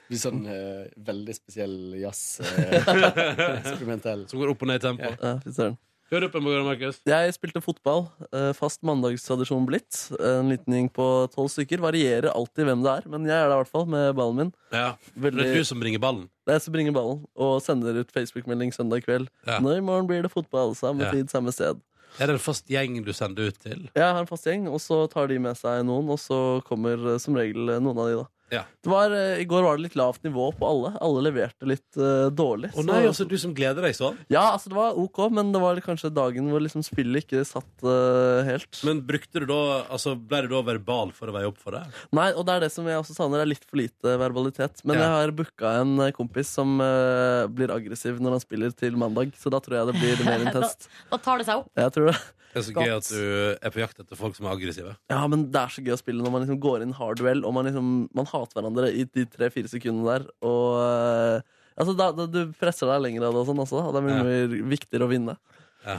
Litt sånn eh, *laughs* veldig spesiell jazz. eh, eksperimentell.
Som går opp og ned i tempo.
Ja, fy søren.
Hør opp en morgen, Markus.
Jeg spilte fotball. eh, Fast mandagstradisjon blitt. En liten gjeng på tolv stykker. Varierer alltid hvem det er, men jeg er der i hvert fall med ballen min.
Ja, Det er du som bringer ballen.
Det er jeg som bringer ballen og sender ut Facebook-melding søndag kveld. Nå i morgen blir det fotball. Samme
Ja.
tid, samme sted.
Er det en fast gjeng du sender ut til?
Jeg har en fast gjeng, og så tar de med seg noen, og så kommer eh, som regel eh, noen av de, da.
Ja.
Det var, eh, I går var det litt lavt nivå på alle. Alle leverte litt eh, dårlig.
Å nei, altså, du som gleder deg sånn?
Ja, altså det var ok, men det var kanskje dagen hvor liksom spillet ikke satt eh, helt.
Men brukte du da, altså, ble du da verbal for å veie opp for det?
Nei, og det er det som jeg også savner. Det er litt for lite verbalitet. Men
Ja.
jeg har booka en eh, kompis som eh, blir aggressiv når han spiller til mandag, så da tror jeg det blir mer intenst.
Da, da tar det seg opp.
Jeg tror det.
Det er så gøy at du er på jakt etter folk som er aggressive.
Ja, men det er så gøy å spille når man liksom går inn hard duell, og man liksom man hater hverandre i de tre-fire sekundene der, og eh, Altså, da, da, du presser deg lenger av det og sånn også, da. og det er mye mer viktigere å vinne.
Ja.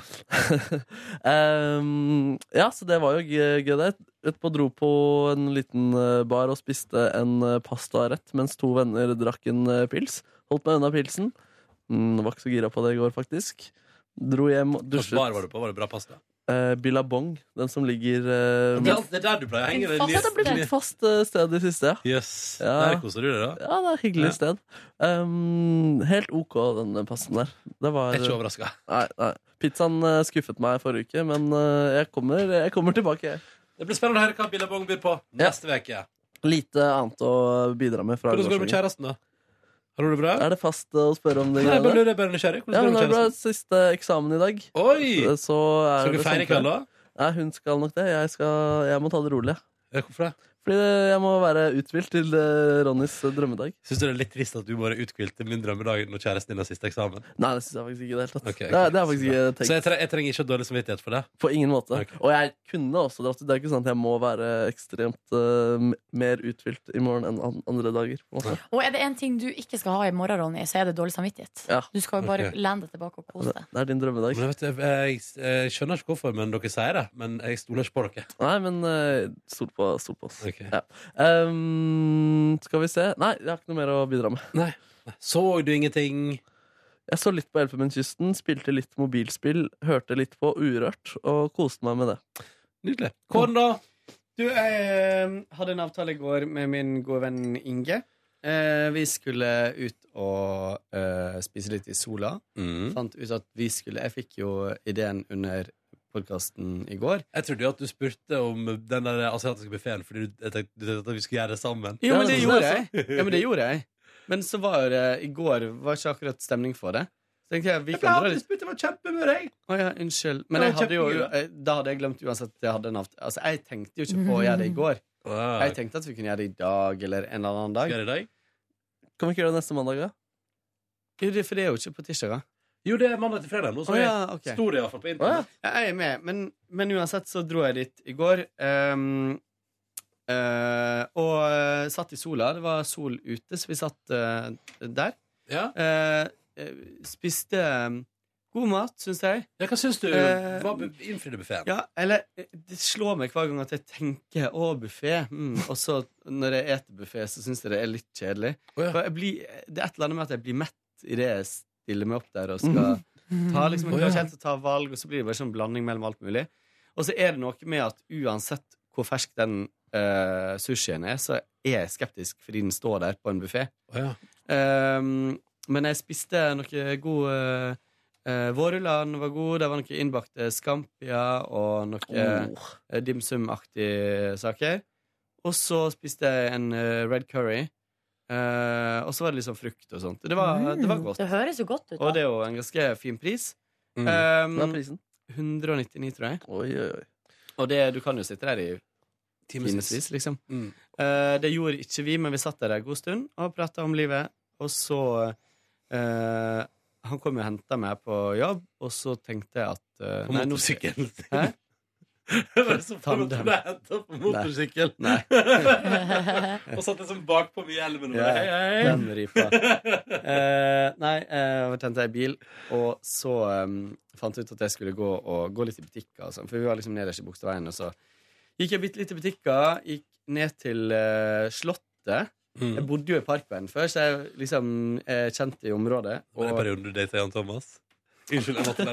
*laughs* Ehm, ja, så det var jo gøy, gøy det. Etterpå dro på en liten eh, bar og spiste en eh, pastarett mens to venner drakk en eh, pils. Holdt meg unna pilsen. Mm, var ikke så gira på det i går, faktisk. Dro hjem, og
Hvilken
dusjet.
bar var du på? Var det bra pasta?
Eh, Billabong, den som ligger eh,
Det er alt- det er der du pleier å henge.
Ja, det er blitt mitt faste eh, sted i siste.
Yes.
Ja.
Der koser du deg, da.
Ja, det er et hyggelig
Ja.
sted. Ehm, helt OK, den passen der. Det var, eh,
Jeg er ikke overrasket.
Nei, nei. Pizzaen eh, skuffet meg forrige uke, men eh, jeg kommer, jeg kommer tilbake.
Det blir spennende å høre hva Billabong byr på neste uke.
Lite annet å bidra med fra
Hvordan går det med
gårsdagen.
kjæresten, da? Har du det bra?
Er det fast eh, å spørre om det?
Nei, jeg bare
greiene?
lurer, jeg er bare nysgjerrig. Hvordan
Ja,
går det
men
med
det er bra
kjæresten?
siste eksamen i dag. Eh,
Oi!
Så, så er
Skal du
det
feire i
samtale.
kveld, da?
Nei, hun skal nok det. Jeg, skal, jeg må ta det rolig.
Ja, Hvorfor det?
Fordi det- jeg må være uthvilt til eh, Ronnys eh, drømmedag.
Syns du det er litt trist at du bare er uthvilt til min drømmedag når kjæresten din har siste eksamen?
Nei, det syns jeg faktisk ikke i det hele tatt.
Ok, ok.
det, er- det har jeg faktisk ikke tenkt.
Så jeg, tre jeg trenger ikke ha dårlig samvittighet for det?
På ingen måte. Og jeg kunne også dratt ut. Det er ikke sånn at jeg må være ekstremt eh, m- mer uthvilt i morgen enn an andre dager. På en måte.
Og er det en ting du ikke skal ha i morgen, Ronny, så er det dårlig samvittighet.
Ja.
Du skal jo bare
Ok. Altså-
lene deg tilbake og kose deg.
Det er din drømmedag.
Men vet du, jeg, jeg skjønner ikke hvorfor, men dere sier det. Men jeg stoler ikke på dere.
Nei, men eh, stol på, stol på oss. Ja. Ehm, skal vi se Nei, jeg har ikke noe mer å bidra med.
Så du ingenting?
Jeg så litt på Elfenbenskysten, spilte litt mobilspill, hørte litt på Urørt og koste meg med det.
Nydelig. Kåren, da?
Du, jeg hadde en avtale i går med min gode venn Inge. Eh, vi skulle ut og eh, spise litt i sola.
Mm.
Fant ut at vi skulle Jeg fikk jo ideen under podkasten i går.
Jeg trodde jo at du spurte om den der asiatiske buffeen fordi du jeg tenkte, du tenkte at vi skulle gjøre det sammen.
Jo, men det gjorde jeg. Ja, men det gjorde jeg. Men så var jo det I går var ikke akkurat stemning for det. Så tenkte jeg vi
ble
kan dra litt
spurt, det var kjempehumør, jeg.
Å ja, unnskyld.
Det
Men jeg
var
hadde jo,
kjempegøy,
eh, da hadde jeg glemt uansett at jeg hadde en avt- Altså, jeg tenkte jo ikke på å gjøre det
Mm.
i går.
Wow.
Jeg tenkte at vi kunne gjøre det i dag eller en eller annen dag.
Gjøre det i dag?
Kan vi ikke gjøre det neste mandag, da?
Jo, det, for det er jo ikke på tirsdag. da.
Jo, det er mandag til fredag nå, så
Å
jeg
ja, ok.
sto det iallfall på internett.
Ja, jeg er med, men, men uansett så dro jeg dit i går. ehm, eh, og eh, satt i sola. Det var sol ute, så vi satt eh, der. Eh, eh, spiste eh, god mat, syns jeg.
Ja, hva syns du?
Eh,
Hva bu- innfridde buffeen?
Ja, eller eh, Det slår meg hver gang at jeg tenker 'å, buffé', mm. og så når jeg eter buffé, så syns jeg det er litt kjedelig. For jeg blir, det er et eller annet med at jeg blir mett i det jeg stiller meg opp der og skal ta liksom,
Å, ja.
Jeg klarer ikke helt å ta valg, og så blir det bare sånn blanding mellom alt mulig. Og så er det noe med at uansett hvor fersk den eh, sushien er, så er jeg skeptisk fordi den står der på en buffé.
ja.
Ehm, men jeg spiste noe god uh, Vårrullene var god, det var noe innbakte skampier og
Oh.
noe
Oh.
eh, dim sum-aktige saker. Og så spiste jeg en eh, red curry. Eh, og så var det litt sånn frukt og sånt. Det var, det var godt.
Det høres jo godt ut.
Og det
Da.
er jo en ganske fin pris.
Mm.
Ehm,
Hva er prisen?
199, tror jeg.
Oi, oi, oi.
Og det, du kan jo sitte der i
Timevis.
timevis, liksom.
Mm.
Eh, det gjorde ikke vi, men vi satt der en god stund og prata om livet. Og så eh, Han kom jo og henta meg på jobb, og så tenkte jeg at eh,
På
nei, nå-
motorsykkelen sin. *laughs*
Hæ?
Bare så for at du ble hentet på motorsykkel.
Nei.
*laughs* og satt liksom bakpå mye i elven og
Ja,
bare hei, hei.
den ripa. Eh, nei, eh, jeg tente jeg bil, og så eh, fant jeg ut at jeg skulle gå, og, gå litt i butikker. Og sånn, for vi var liksom nederst i Bogstadveien, og så gikk jeg bitte litt i butikker. Gikk ned til eh, Slottet.
Mm.
Jeg bodde jo i Parkveien før, så jeg liksom eh, kjente i området.
Var det perioden du data Jan Thomas? Unnskyld, jeg måtte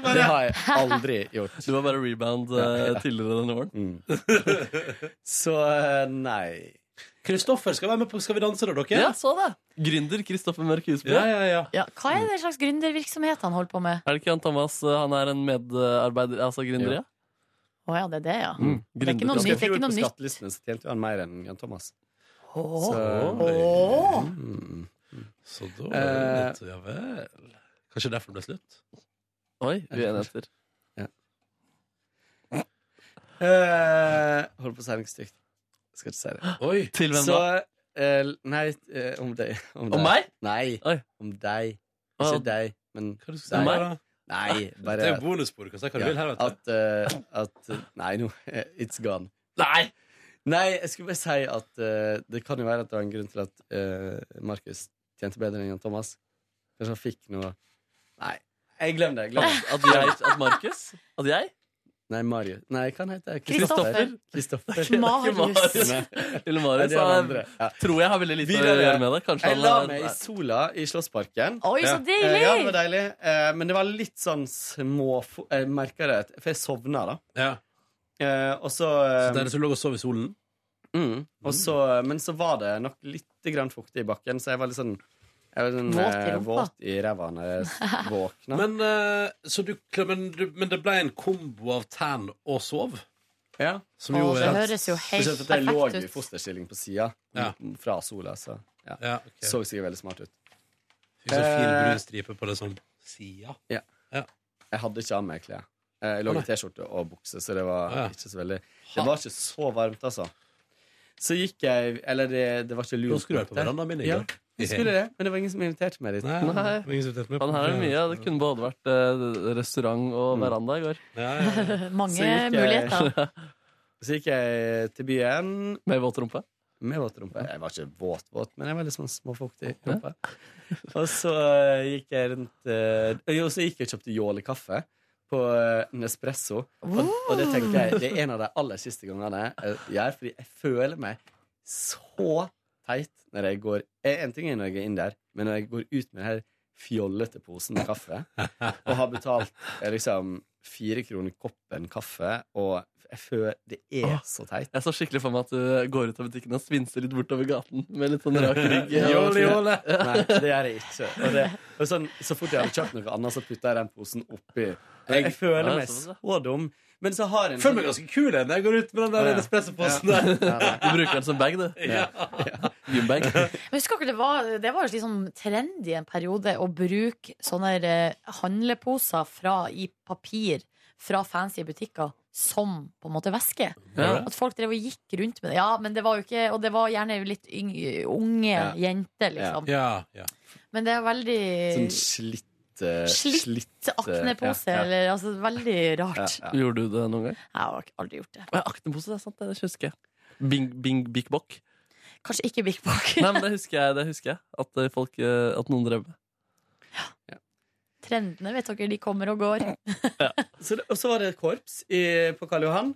bare
*laughs*
Det har jeg aldri gjort.
*laughs*
Du var bare rebound eh, tidligere denne våren.
Mm. Så eh, nei.
Kristoffer skal være med på Skal vi danse, da, dere?
Ja, så det. Gründer Kristoffer Mørk Husby.
Ja, ja, ja.
Ja, hva er det slags gründervirksomhet han holder på med?
Er det ikke han Thomas? eh, Han er en medarbeider, altså gründer,
Jo.
ja?
Å ja, det er det, ja.
*laughs*
Mm.
Det er ikke noe nytt.
Ganske
Det er
fjor
ikke noe
på
nytt.
skattelistene så tjente jo han mer enn Jan Thomas.
Åh.
Åh.
Mm.
Så da er det litt, Ja vel. Kanskje derfor det ble slutt?
Oi, uenigheter.
Eh, holder på å si noe stygt. Skal ikke si det.
Oi.
Til hvem
så, eh, nei, eh, om deg. Om, deg.
meg?
Nei, om deg.
Hva-
Ikke deg, men
Hva du skal si
deg.
da?
Nei, bare
Det er jo bonusspor. Du kan si hva du vil her, vet du.
at, eh, at Nei, nå. eh, It's gone.
Nei!
Nei, jeg skulle bare si at eh, det kan jo være at det var en grunn til at eh, Markus tjente bedre enn Jan Thomas. Kanskje han fikk noe Nei, jeg glem det. Glem det.
At jeg At Markus? At jeg?
Nei, Mario. Nei, hva han heter
Kristoffer.
Kristoffer.
Marius.
Nei.
Lille
Nei,
Marius
det er han
han,
andre. Ja.
tror jeg har veldig lite å gjøre med det. Kanskje
jeg
han
la
er-
meg i sola i Slåssparken.
Oi, så
Ja.
deilig!
Eh, Ja, det var deilig. Eh, Men det var litt sånn små Jeg merka det, for jeg sovna, da.
Ja.
Eh, Og så
Så
eh,
det er det som lå og sov i solen?
mm, og så, Men så var det nok litt grann fuktig i bakken, så jeg var litt sånn jeg var sånn,
Våt i
eh,
rumpa.
våt i ræva når jeg våkna.
Men, eh, så du, men, du, men det ble en kombo av tan og sov?
Ja.
Som jo
Å, det
er
høres jo helt
Spesielt at jeg lå
perfekt
i
ut.
fosterstilling på sida
Ja.
fra sola, så ja.
ja, ok.
så sikkert veldig smart ut.
Fikk så fin
Eh.
brun stripe på det sånn sida.
Jeg hadde ikke av meg klær. Eh, Jeg lå
Å,
i
nei.
T-skjorte og bukse, så det var
Ja.
ikke så veldig Det var ikke så varmt, altså. Så gikk jeg Eller det, det var ikke
Nå
lunt.
skulle du være på
der.
verandaen min i
Ja,
går.
jeg skulle det, men det var ingen som inviterte meg dit.
Nei,
Nei.
det var ingen som tok med på
Han her er mye. Det kunne både vært eh, restaurant
Mm.
og veranda i går.
Ja, ja, ja.
*laughs*
Så
Mange
gikk jeg-
muligheter.
Så gikk jeg til byen
Med våt rumpe.
med våt rumpe. Jeg var ikke våt, våt, men jeg var litt sånn småfuktig i rumpa. Og så eh, gikk jeg rundt eh, Jo, så gikk jeg og kjøpte jålekaffe på eh, Nespresso. Og, og det tenker jeg Det er en av de aller siste gangene jeg gjør, fordi jeg føler meg så teit når jeg går eh, En ting er når jeg er inn der, men når jeg går ut med den her fjollete posen med kaffe og har betalt eh, liksom fire kroner koppen kaffe, og jeg føler Det er så teit.
Jeg så skikkelig for meg at du går ut av butikken og svinser litt bortover gaten med litt sånn rak
*laughs*
rygg.
Jåle, jåle. Nei, det gjør jeg ikke. Og det, og sånn, så fort jeg hadde kjøpt noe annet, så putta jeg den posen oppi. Jeg, føler
Nei,
meg
sånn,
så dum. Men så har jeg en sånn
Føler meg ganske kul jeg, når jeg går ut med den der
Ja.
Nespresso-posten der.
Ja, nei.
Du bruker den som bag, du.
Ja.
Gymbag.
Men husker dere, det var, det var jo litt sånn trendy en periode å bruke sånne eh, handleposer fra, i papir fra fancy butikker som på en måte væske.
Ja.
At folk drev og gikk rundt med det. Ja, men det var jo ikke Og det var gjerne litt yng- unge
Ja.
jenter, liksom.
Ja, ja.
Men det er veldig
sånn slitt, eh,
Slitt aknepose,
ja, ja.
eller altså Veldig rart.
Ja, ja.
Gjorde du det noen gang?
Jeg har aldri gjort det.
Å, ja, Aktenpose, det er sant. Det husker jeg. Bing, bing, big bock.
Kanskje ikke Big Bok.
Nei, men det husker jeg. Det husker jeg. At, eh, folk, eh, at noen drev med.
Trendene, vet dere, de kommer og går.
Så, det- og så var det et korps i, på Karl Johan.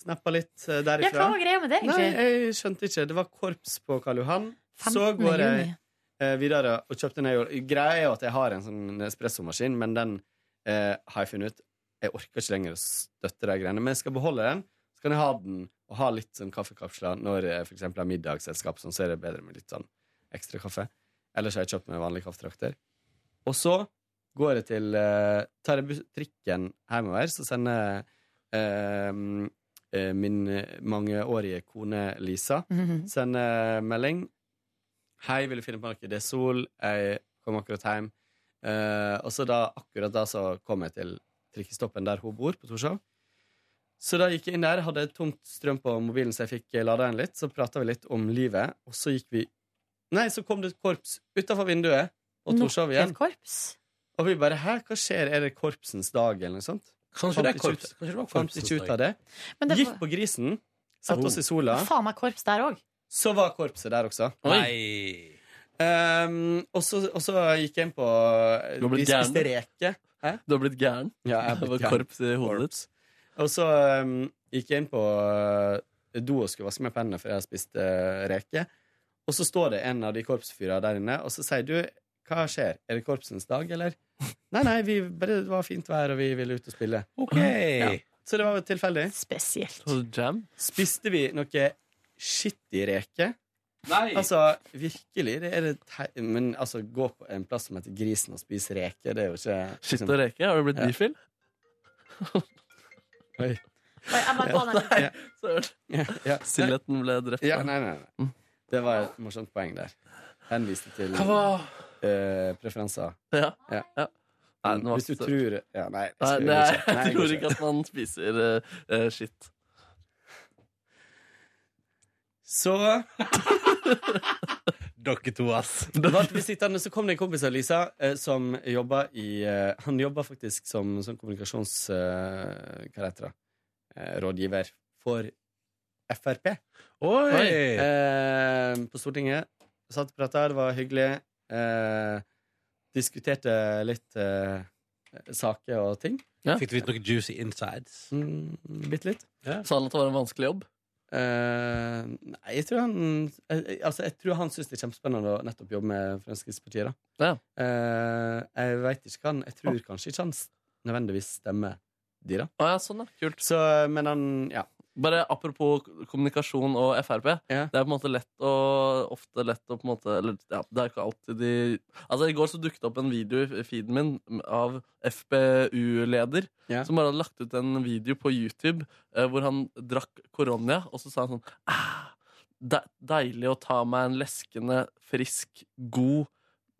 Snappa litt
Ja,
eh,
hva
derifra.
var greia med det,
Nei,
egentlig?
jeg skjønte ikke. Det var korps på Karl Johan. Så
15.
går jeg
juni.
eh, videre og kjøpte en Aeol. Greia er jo at jeg har en sånn espressomaskin, men den eh, har jeg funnet ut Jeg orker ikke lenger å støtte de greiene, men jeg skal beholde den. Så kan jeg ha den og ha litt sånn kaffekapsler når jeg for eksempel har middagsselskap, sånn, så er det bedre med litt sånn ekstra kaffe. Ellers har jeg kjøpt meg vanlige kaffetrakter. Og så går jeg til eh, Tar jeg bus- trikken hjemover, så sender jeg eh, eh, min mangeårige kone Lisa
Mhm.
Send eh, melding. Hei, vil du finne på noe? Det er sol. Jeg kom akkurat hjem. Eh, og så da, akkurat da så kom jeg til trikkestoppen der hun bor, på Torshov. Så da gikk jeg inn der, hadde tomt strøm på mobilen, så jeg fikk eh, lada den litt. Så prata vi litt om livet, og så gikk vi Nei, så kom det et korps utafor vinduet og Torshov
Nok
igjen.
et korps.
Og vi bare Hæ, hva skjer? Er det korpsens dag, eller noe sånt?
Kanskje det er korps. Kanskje det var
Fant
korpsens
ikke ut av
dag.
det.
Men det
Gikk på grisen, satte oss i sola.
var faen meg korps der òg.
Så var korpset der også.
Nei.
Ehm, og, så, og så gikk jeg inn på
Du har
Vi
blitt
spiste
gæren.
reke.
Du har blitt gæren.
Ja, *laughs* jeg har
Det
blitt
var
gæren.
korps i hodet ditt.
Og så ehm, gikk jeg inn på eh, do og skulle vaske meg på hendene før jeg hadde spist eh, reke. Og så står det en av de korpsfyra der inne, og så sier du "Hva- hva skjer? Er det korpsens dag, eller? *laughs* Nei, nei, vi bare, det var fint vær, og vi ville ut og spille.
Ok
Ja. Så det var jo tilfeldig.
Spesielt.
Spiste vi noe skittig reke?
Nei.
Altså, virkelig. Det er det tei- Men altså, gå på en plass som heter Grisen og spise reke, det er jo ikke liksom-
Skitt og reke? Har du blitt *laughs* bifil?
Oi.
jeg må gå ned.
Nei.
Søren.
Ja, *laughs* ja.
Stillheten ble drept.
Ja, nei, nei, nei. Det var et morsomt poeng der. Henviste til
Mm. Hva var-
eh, preferanser.
Ja.
Ja.
Nei, nå var
Hvis du
ikke-
tror ja, Nei, jeg
Nei,
skal
det er,
ikke. Nei,
jeg
går
tror ikke at man spiser eh, eh, skitt.
Så
Dere to, ass.
Vart vi sittende, så kom det en kompis av Lisa eh, som jobba i eh, Han jobba faktisk som, som kommunikasjons... Eh, hva heter det? Eh, rådgiver for Frp.
Oi!
Eh, på Stortinget. Satt og prata, det var hyggelig. Eh, diskuterte litt eh, saker og ting.
Fikk du vite noe juicy insides?
Mm, bitte litt.
Sa han at det var en vanskelig jobb?
nei, jeg tror han eh, Altså, jeg tror han syns det er kjempespennende å nettopp jobbe med Fremskrittspartiet, da. Eh, jeg veit ikke hva han Jeg
Ah.
tror kanskje ikke han s- nødvendigvis stemmer de, da.
Å ja, sånn, ja. Kult.
eh,
Så, men han, ja.
Bare apropos kommunikasjon og Frp. Det er på en måte lett å ofte lett å på en måte eller, ja, Det er ikke alltid de Altså I går så dukket det opp en video i feeden min av FPU-leder som bare hadde lagt ut en video på YouTube eh, hvor han drakk koronia, og så sa han sånn ah, de Deilig å ta meg en leskende, frisk, god,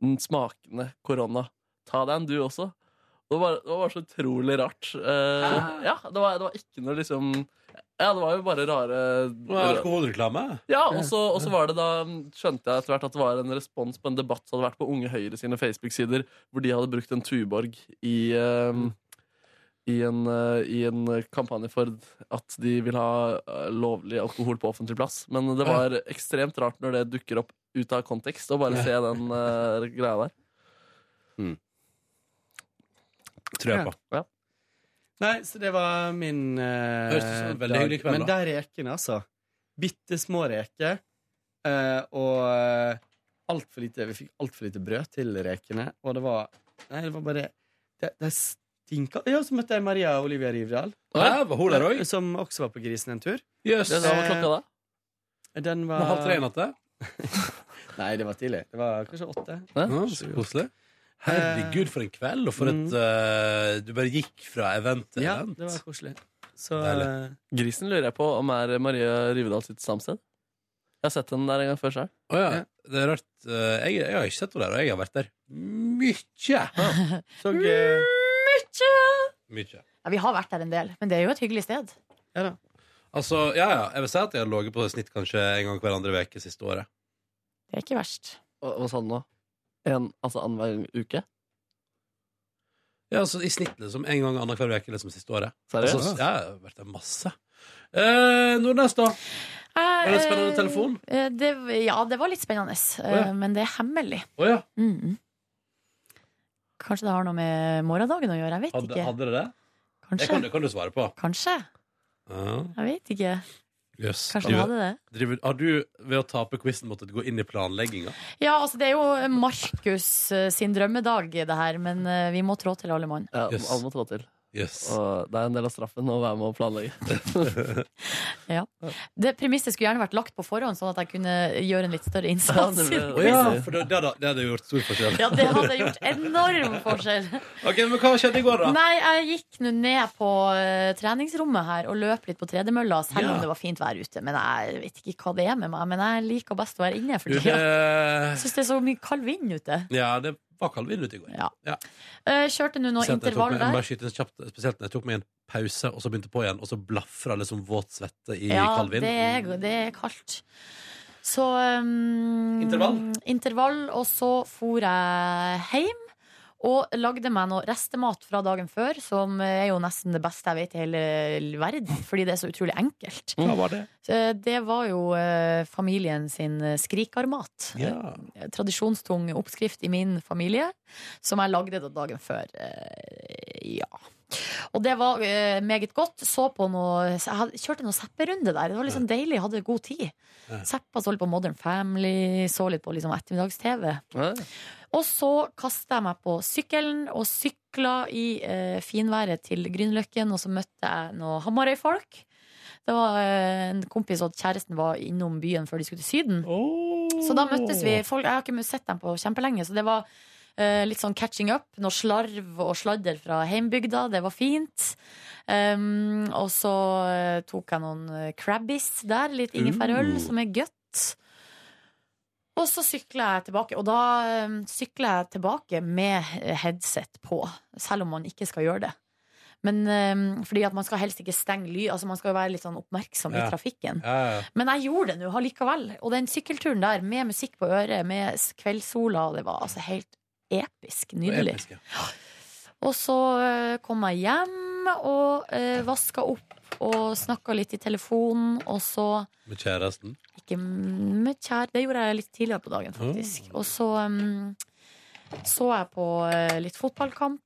mm, smakende korona. Ta deg en, du også. Det var, det var bare så utrolig rart. Eh, ja, det var, det var ikke noe liksom Ja, det var jo bare rare
Nå er det Alkoholreklame?
ja, og så og så var det da skjønte jeg etter hvert at det var en respons på en debatt som hadde vært på Unge Høyre sine Facebook-sider, hvor de hadde brukt en Tuborg i, ehm, i, en, eh, i en kampanje for at de vil ha eh, lovlig alkohol på offentlig plass. Men det var ekstremt rart når det dukker opp ut av kontekst, å bare se den eh, greia der.
Tror jeg på.
Ja.
Nei, så det var min eh,
Høres ut som en veldig
dag.
hyggelig kveld,
Men
da.
der rekene, altså. Bitte små reker. eh, og altfor lite Vi fikk altfor lite brød til rekene, og det var Nei, det var bare Det, det stinka Ja, så møtte jeg Maria Olivia Rivdal.
Ja, var hun der også?
Som også var på Grisen en tur.
Jøss. Ja, hva var klokka da?
Eh, Den var
Var halv tre i natt, det?
Nei, det var tidlig. Det var kanskje åtte.
Ja, så koselig. Herregud, for en kveld, og for et eh, Du bare gikk fra event til
Ja,
event.
det var koselig. Så eh,
Deilig.
Grisen lurer jeg på om er Marie Rivedal sitt stamsted. Jeg har sett den der en gang før selv.
Å ja. Det er rart. Eh, jeg, jeg har ikke sett henne der, og jeg har vært der mye.
Så eh,
Mykje!
Mye.
Ja, vi har vært der en del, men det er jo et hyggelig sted.
Altså, ja, ja. Jeg vil si at jeg har ligget på snitt kanskje en gang hver andre uke siste året.
Det er ikke verst.
Hva, hva sa du nå? En, altså annenhver uke?
Ja, altså I snitt liksom en gang annenhver uke liksom, siste året.
Seriøst?
Altså, ja, jeg har vært der masse. Eh, Nordnes, da?
Var
det en spennende telefon?
Eh, Det, ja, det var litt spennende, eh, men det er hemmelig.
Å ja.
Mm. Kanskje det har noe med morgendagen å gjøre, jeg vet
Hadde,
ikke.
hadde det det?
Kanskje.
Det kan, det kan du svare på.
Kanskje.
Ja.
Jeg vet ikke.
Jøss.
Kanskje
Driver-
han hadde det.
driver- Har du ved å tape quizen måttet gå inn i planlegginga?
Ja, altså det er jo Markus eh, sin drømmedag, det her, men eh, vi må trå til alle mann.
Ja, Alle må trå til. Og det er en del av straffen å være med og planlegge.
Ja. Det premisset skulle gjerne vært lagt på forhånd, sånn at jeg kunne gjøre en litt større innsats. i det.
Å ja, for det, det, hadde, det hadde gjort stor forskjell.
*laughs* Ja, det hadde gjort enorm forskjell.
Ok, Men hva skjedde i går, da?
Nei, jeg gikk nå ned på eh, treningsrommet her og løp litt på tredemølla, selv
Ja.
om det var fint vær ute. Men jeg vet ikke hva det er med meg, men jeg liker best å være inne for
Du,
tida.
eh,
Syns det er så mye kald vind ute.
Ja, det var kald vind ute i går.
Ja.
Ja.
Eh, Kjørte nå
Spesielt når
noen
jeg tok
intervall
meg- jeg må bare
der.
skyte en kjapt, spesielt når jeg tok meg en pause, og så begynte på igjen, og så blafra liksom våt svette i
Ja,
kald vind.
det er, det er kaldt. Så um,
Intervall?
Intervall, og så for jeg hjem. Og lagde meg noe restemat fra dagen før, som er jo nesten det beste jeg vet i hele verden. Fordi det er så utrolig enkelt.
Hva var det?
Så det var jo eh, familien sin eh, skrikarmat.
Ja.
Eh, Tradisjonstung oppskrift i min familie, som jeg lagde da dagen før. Eh, ja. Og det var eh, meget godt. Så på noe Jeg hadde- kjørte noe zapperunde der. Det var liksom deilig. Jeg hadde god tid.
Ja.
Zappa så litt på Modern Family, så litt på liksom ettermiddags-TV. Og så kasta jeg meg på sykkelen og sykla i eh, finværet til Grünerløkken, og så møtte jeg noen Hamarøy-folk. Det var eh, en kompis og kjæresten var innom byen før de skulle til Syden. Så da møttes vi. Folk, jeg har ikke sett dem på kjempelenge, så det var eh, litt sånn catching up. Noe slarv og sladder fra heimbygda. Det var fint. Um, og så eh, tok jeg noen eh, Crabbies der. Litt ingefærøl,
Uh.
som er godt. Og så sykla jeg tilbake. Og da um, sykla jeg tilbake med headset på, selv om man ikke skal gjøre det. Men um, fordi at man skal helst ikke stenge ly. Altså Man skal jo være litt sånn oppmerksom i trafikken. Men jeg gjorde det nå allikevel. Og den sykkelturen der, med musikk på øret, med s- kveldssola, og det var altså helt episk. Nydelig.
Episk, ja.
Og så eh, kom jeg hjem og uh, vaska opp og snakka litt i telefonen, og så
Med kjæresten.
ikke med kjære Det gjorde jeg litt tidligere på dagen, faktisk. Og så um, så jeg på eh, litt fotballkamp.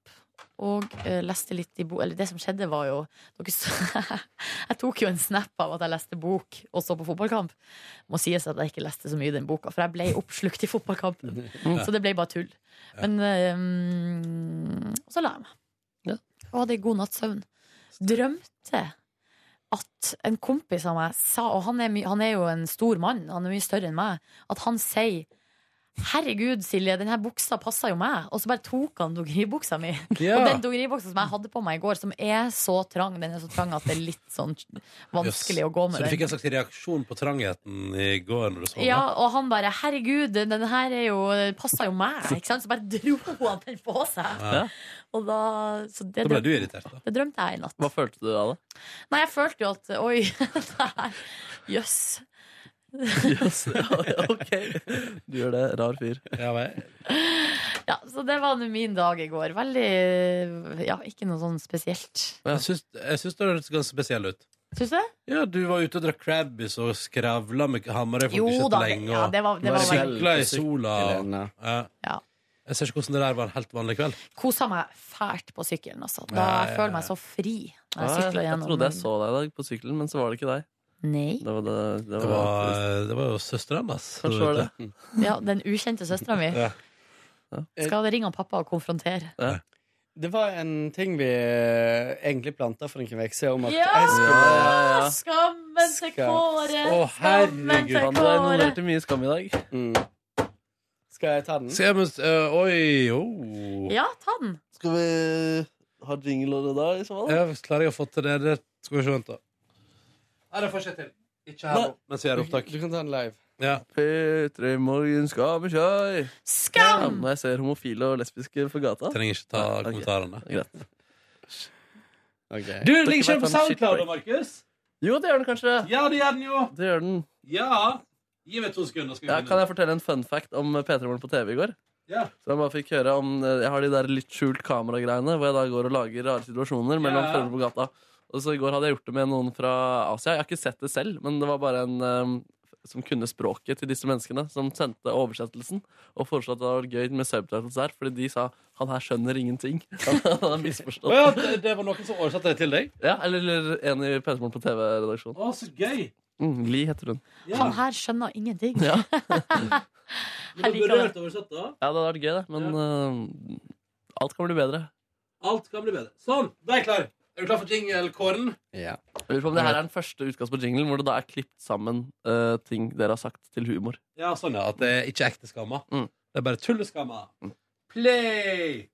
Og eh, leste litt i bok Eller det som skjedde, var jo dere så, *laughs* Jeg tok jo en snap av at jeg leste bok og så på fotballkamp. Må sies at jeg ikke leste så mye i den boka, for jeg ble oppslukt i fotballkampen.
Ja.
Så det ble bare tull. Men eh, mm, Og så la jeg meg. Og hadde en god natts søvn. Drømte at en kompis av meg sa, og han er, my han er jo en stor mann, han er mye større enn meg, at han sier Herregud, Silje, denne buksa passer jo meg. Og så bare tok han dogeribuksa
*laughs*
mi.
Ja.
Og den dogeribuksa som jeg hadde på meg i går, som er så trang, den er så trang at det er litt sånn vanskelig
Jøss.
å gå med
Så du
den.
fikk en slags reaksjon på trangheten i går når du sov?
Ja, og han bare 'herregud, den her er jo, passer jo meg'. Ikke sant? Så bare dro han den på seg.
Ja.
Og da, så
Da
det,
ble du
drøm-
irritert, da.
Det drømte jeg i natt.
Hva følte du av det?
Nei, jeg følte jo at Oi, *laughs* det her Jøss.
Jøss, *laughs* ja, ok. Du gjør det. Rar fyr.
Ja, så det var nå min dag i går. Veldig Ja, ikke noe sånn spesielt.
Jeg syns, jeg syns det høres ganske spesiell ut.
Syns du det?
Ja, du var ute og drakk Crabbies og skravla med Hamarøy folk
Jo
i
da, det-
kjøttdeig.
ja, det var- det var veldig-
Sykla i sola. og-
Ja.
Jeg ser ikke hvordan det der var en helt vanlig kveld.
Kosa meg fælt på sykkelen, altså. Da
Ja, ja,
jeg
ja.
føler meg så fri når
Ja,
jeg
jeg,
sykler
jeg
gjennom.
trodde jeg så deg i dag på sykkelen, men så var det ikke deg.
Nei.
Det var, det, det
Det var, eh, det var jo søsteren hans.
Kanskje var det.
Ja, den ukjente søstera mi.
Ja.
Skal det ringe han pappa og konfrontere?
Det var en ting vi eh, egentlig planta for en uke siden, om at
Ja!
jeg skulle
Skammen til
Skam.
Kåre!
Å,
Skammen til
Du er
Kåre!
involvert i mye skam i dag.
Mm. Skal jeg ta den?
Se, men, øh, oi, jo.
Ja, ta den.
Skal vi ha jingler da, i så fall?
Ja, hvis klarer jeg å få til det, det skal vi se, vent da. Nei, det får jeg ikke til. Ikke her nå, mens vi er i opptak.
Du kan ta den live.
Ja.
P3 Morgen skal vi kjøre!
Skam!
Ja, når jeg ser homofile og lesbiske på gata.
Trenger ikke ta kommentarene.
Greit.
Du, det ligger ikke på SoundCloud, da, Markus?
Jo, det gjør den kanskje.
Ja, det gjør den jo.
Det gjør den.
Ja. Gi meg to sekunder. Skal vi
Ja,
finne
kan jeg
den.
fortelle en fun fact om P3 Morgen på TV i går?
Ja.
Så Jeg bare fikk høre om eh, Jeg har de der litt skjult kameragreiene hvor jeg da går og lager rare situasjoner mellom
Ja.
følgere på gata. Og så I går hadde jeg gjort det med noen fra Asia. Jeg har ikke sett det selv, men det var bare en um, som kunne språket til disse menneskene, som sendte oversettelsen og foreslo at det var gøy med subtitles der, fordi de sa 'han her skjønner ingenting'. *laughs* Han har misforstått.
Å ja, det, det var noen som oversatte det til deg?
Ja, eller, eller en i P3 Morgen på TV-redaksjonen.
Å, så gøy.
Mm, Li heter hun.
Han her skjønner ingenting.
Ja.
*laughs* Jeg liker det.
oversatt, da.
Ja, det hadde vært gøy, det. Men eh, alt kan bli bedre.
Alt kan bli bedre. Sånn, da er jeg klar. Er du klar for jingle-kåren?
Ja.
Jeg lurer på om det her er den første utkast på jinglen hvor det da er klippet sammen eh, ting dere har sagt til humor.
Ja, sånn, ja. At det er ikke er ekte skamma.
Mm.
Det er bare tulleskamma. Play!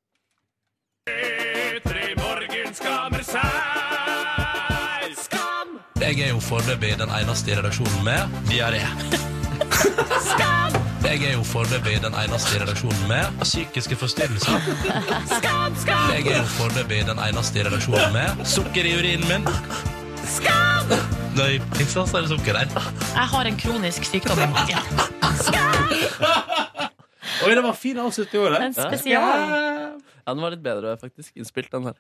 P3 Morgen skammer seg. Skam!
Jeg er jo foreløpig den eneste i redaksjonen med diaré.
Skam!
Jeg er jo foreløpig den eneste i redaksjonen med psykiske forstyrrelser.
Skam, skam!
Jeg er jo foreløpig den eneste i redaksjonen med sukker i urinen min.
Skam!
Når jeg pisser, så er det sukker der.
Jeg har en kronisk sykdom. Ja.
Oi, det var fin avslutning i år,
En spesial.
Ja, den var litt bedre faktisk innspilt, den her.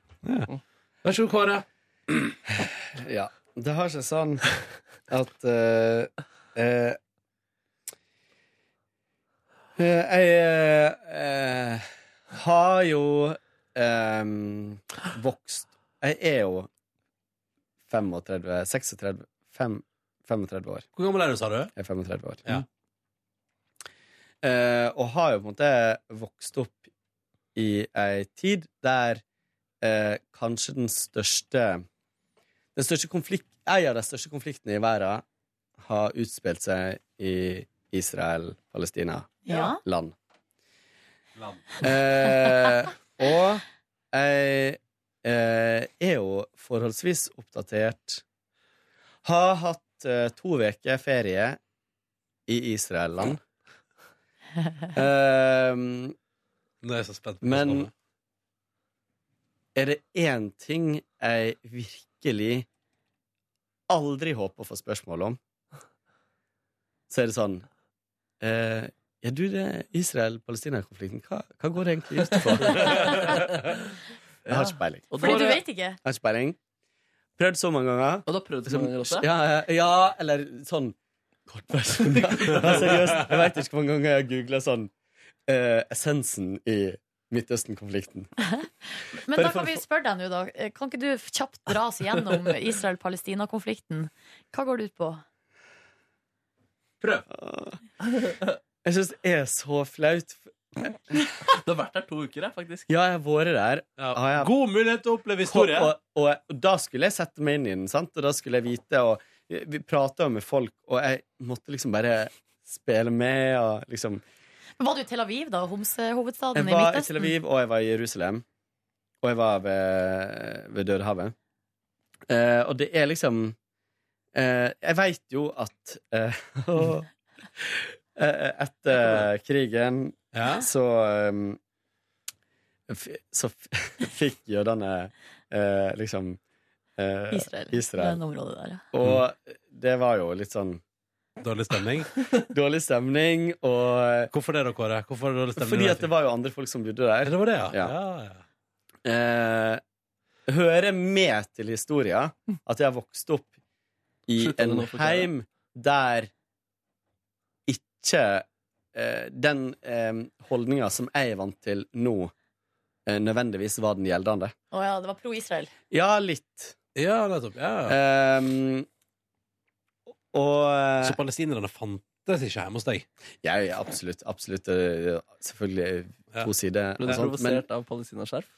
Vær så god, Kåre.
Ja. Det har seg sånn at eh, eh, eh, Jeg eh, eh, har jo eh, vokst Jeg er jo 35 36 fem, 35 år.
Hvor gammel er du, sa du?
Jeg er 35 år. Mm.
Ja.
Eh, og har jo på en måte vokst opp i ei tid der eh, kanskje den største den største konflikt, En av de største konfliktene i verden har utspilt seg i
Ja.
Israel-Palestina-land. Eh, og jeg eh, er jo forholdsvis oppdatert. Har hatt eh, to uker ferie i Israel-land. Ehm,
Nå er jeg så spent. på
men
spørsmålet.
er det én ting jeg virkelig aldri håper å få spørsmål om, så er det sånn eh, Ja, du, det Israel-Palestina-konflikten, hva, hva går det egentlig ut
*laughs*
på? Jeg har ikke peiling.
Og da- Fordi du vet ikke?
Jeg har ikke peiling. Prøvd så mange ganger.
Og da prøvd så mange ganger også?
Ja, ja, ja eller sånn Kort
*laughs*
versjon. Ja, seriøst, jeg veit ikke hvor mange ganger jeg har googla sånn eh, essensen i Midtøsten-konflikten.
Men
Bare
da
for
kan
å
vi
få-
spørre deg nå, da. Kan ikke du kjapt dra oss gjennom Israel-Palestina-konflikten? Hva går det ut på?
Jeg syns det er så flaut.
Du har vært der to uker, jeg, faktisk.
Ja, jeg har vært der. Har jeg-
God mulighet til å oppleve historie.
Og, og, og, da skulle jeg sette meg inn i den, sant? og da skulle jeg vite og Vi vi prata med folk, og jeg måtte liksom bare spille med og liksom
Var du i Tel Aviv, da? Homsehovedstaden i
Jeg var i
Midtøsten?
Tel Aviv, og jeg var i Jerusalem. Og jeg var ved, ved Dødehavet. Eh, og det er liksom eh, Jeg veit jo at
*laughs*
eh, *laughs* eh, Etter krigen så um, f Så f *laughs* fikk jødene eh, liksom eh,
Israel.
Israel.
Det området der, ja.
Og det var jo litt sånn
Dårlig stemning?
dårlig stemning, og
Hvorfor det, da, Kåre? Hvorfor er det dårlig stemning?
Fordi at det var jo andre folk som bodde der.
Det var det, ja.
Ja.
Ja, ja.
Eh, hører med til historia at jeg har vokst opp i
Slutt å
en
nå forklare.
heim der ikke eh, den eh, holdninga som jeg er vant til nå, eh, nødvendigvis var den gjeldende.
Å ja, det var pro-Israel.
Ja, litt.
Ja, nettopp.
Ehm, og eh,
Så palestinerne fantes ikke hjemme hos deg?
Ja, ja absolutt. absolutt eh, selvfølgelig to sider.
Ble
og
du
sånt, men-
provosert av palestinaskjerf?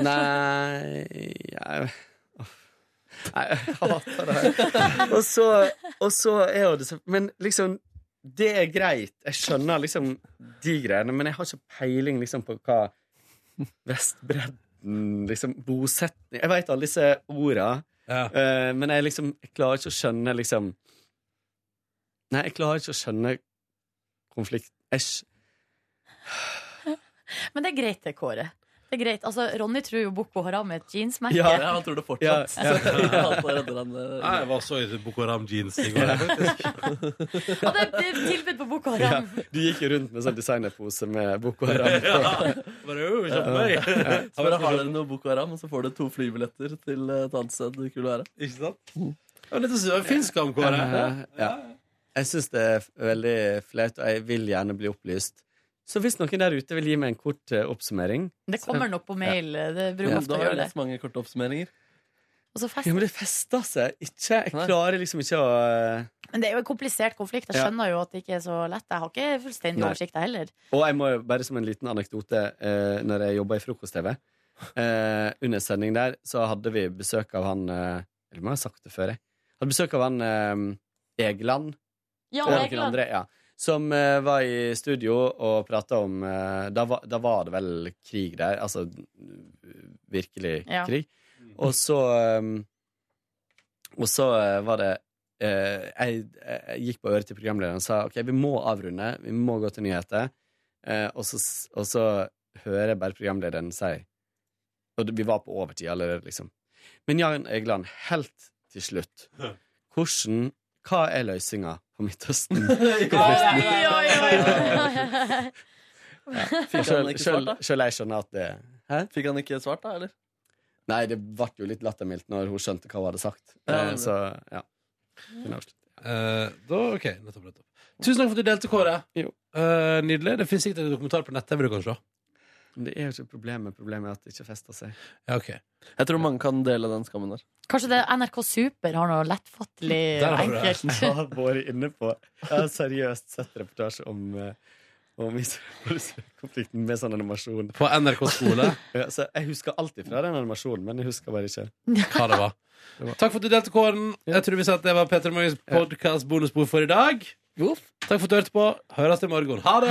Nei jeg, Nei, *laughs* jeg hater det her. Og så, og så er jo det så Men liksom, det er greit. Jeg skjønner liksom de greiene, men jeg har ikke peiling liksom på hva *laughs* Vestbredden liksom Bosetning Jeg veit alle disse orda, eh, men jeg liksom Jeg klarer ikke å skjønne liksom Nei, jeg klarer ikke å skjønne konflikt... Jeg, skj-
Men det er greit, det, Kåre. Det er greit. Altså, Ronny tror jo Boko Haram er et jeansmerke.
Ja. Ja, han tror det
*laughs*
fortsatt. Ja, ja. Han redder Nei,
Nei,
jeg var så i Boko Haram-jeans i *laughs* går. faktisk.
Og det er et tilbud på Boko Haram.
Ja, du gikk jo rundt med sånn designerpose med Boko Haram. *laughs* på.
Ja.
Bare, «Øy,
kjapp meg!»
Så bare har dere noe Boko Haram, og så får dere to flybilletter til eh, et annet sted du kunne være.
*laughs* Ikke sant? Det var litt å finsk skam, Kåre.
Eh, ja. Jeg syns det er veldig flaut, og jeg vil gjerne bli opplyst. Så hvis noen der ute vil gi meg en kort eh, oppsummering
Det kommer nok på mail. Det bruker ofte å gjøre det.
mange korte
*laughs*
oppsummeringer.
Og så fest.
Ja, men det fester seg ikke. Jeg klarer liksom ikke å eh,
Men det er jo en komplisert konflikt. Jeg
Ja.
skjønner jo at det ikke er så lett. Jeg har ikke fullstendig
Nei.
oversikt, jeg heller.
Og jeg må jo bare som en liten anekdote eh, Når jeg jobbet i frokost-TV eh, Under sending der Så hadde vi besøk av han eh, Eller må jeg ha sagt det før jeg Hadde besøk av han eh, Egeland
Ja,
Og noen
Egeland.
andre, ja, Som eh, var i studio og pratet om eh, da, var, da var det vel krig der Altså virkelig
Ja.
krig Og så eh, og så eh, var det eh, jeg, jeg gikk på øret til programlederen og sa ok, vi må avrunde, vi må gå til nyheter. Eh, og, så, s- og så hører jeg bare programlederen si Og det- vi var på overtid allerede, liksom. Men Jan Egeland, helt til slutt, hvordan Hva er løsninga på Midtøsten?
*laughs* Fikk han ikke svart,
Sjøl
da?
jeg skjønner at det
Fikk han ikke svart, da? eller?
Nei, det ble jo litt lattermildt når hun skjønte hva hun hadde sagt.
Ja,
Eh,
det-
så ja. Kunne avslutte.
Eh, da, ok, nettopp, nettopp. Tusen takk for at du delte, Kåre. Eh, nydelig. Det finnes sikkert en dokumentar på nett-TV du kan se.
Men det er jo ikke problemet. Problemet er at det ikke fester seg.
Ja, ok.
Jeg tror mange kan dele den skammen der.
Kanskje det NRK Super har noe lettfattelig
Der har du det.
enkelt.
*laughs* Jeg har vært inne på Jeg har seriøst sett reportasje om eh, om *laughs* Israel-konflikten med sånn animasjon.
På NRK skole?
ja, så jeg husker alltid fra den animasjonen, men jeg husker bare ikke.
Hva *laughs* det var. Takk for at du delte kåren. Jeg tror vi sier at det var Petter Morgens podkast bonusbord for i dag. Takk for at du hørte på. Høres i morgen. Ha det!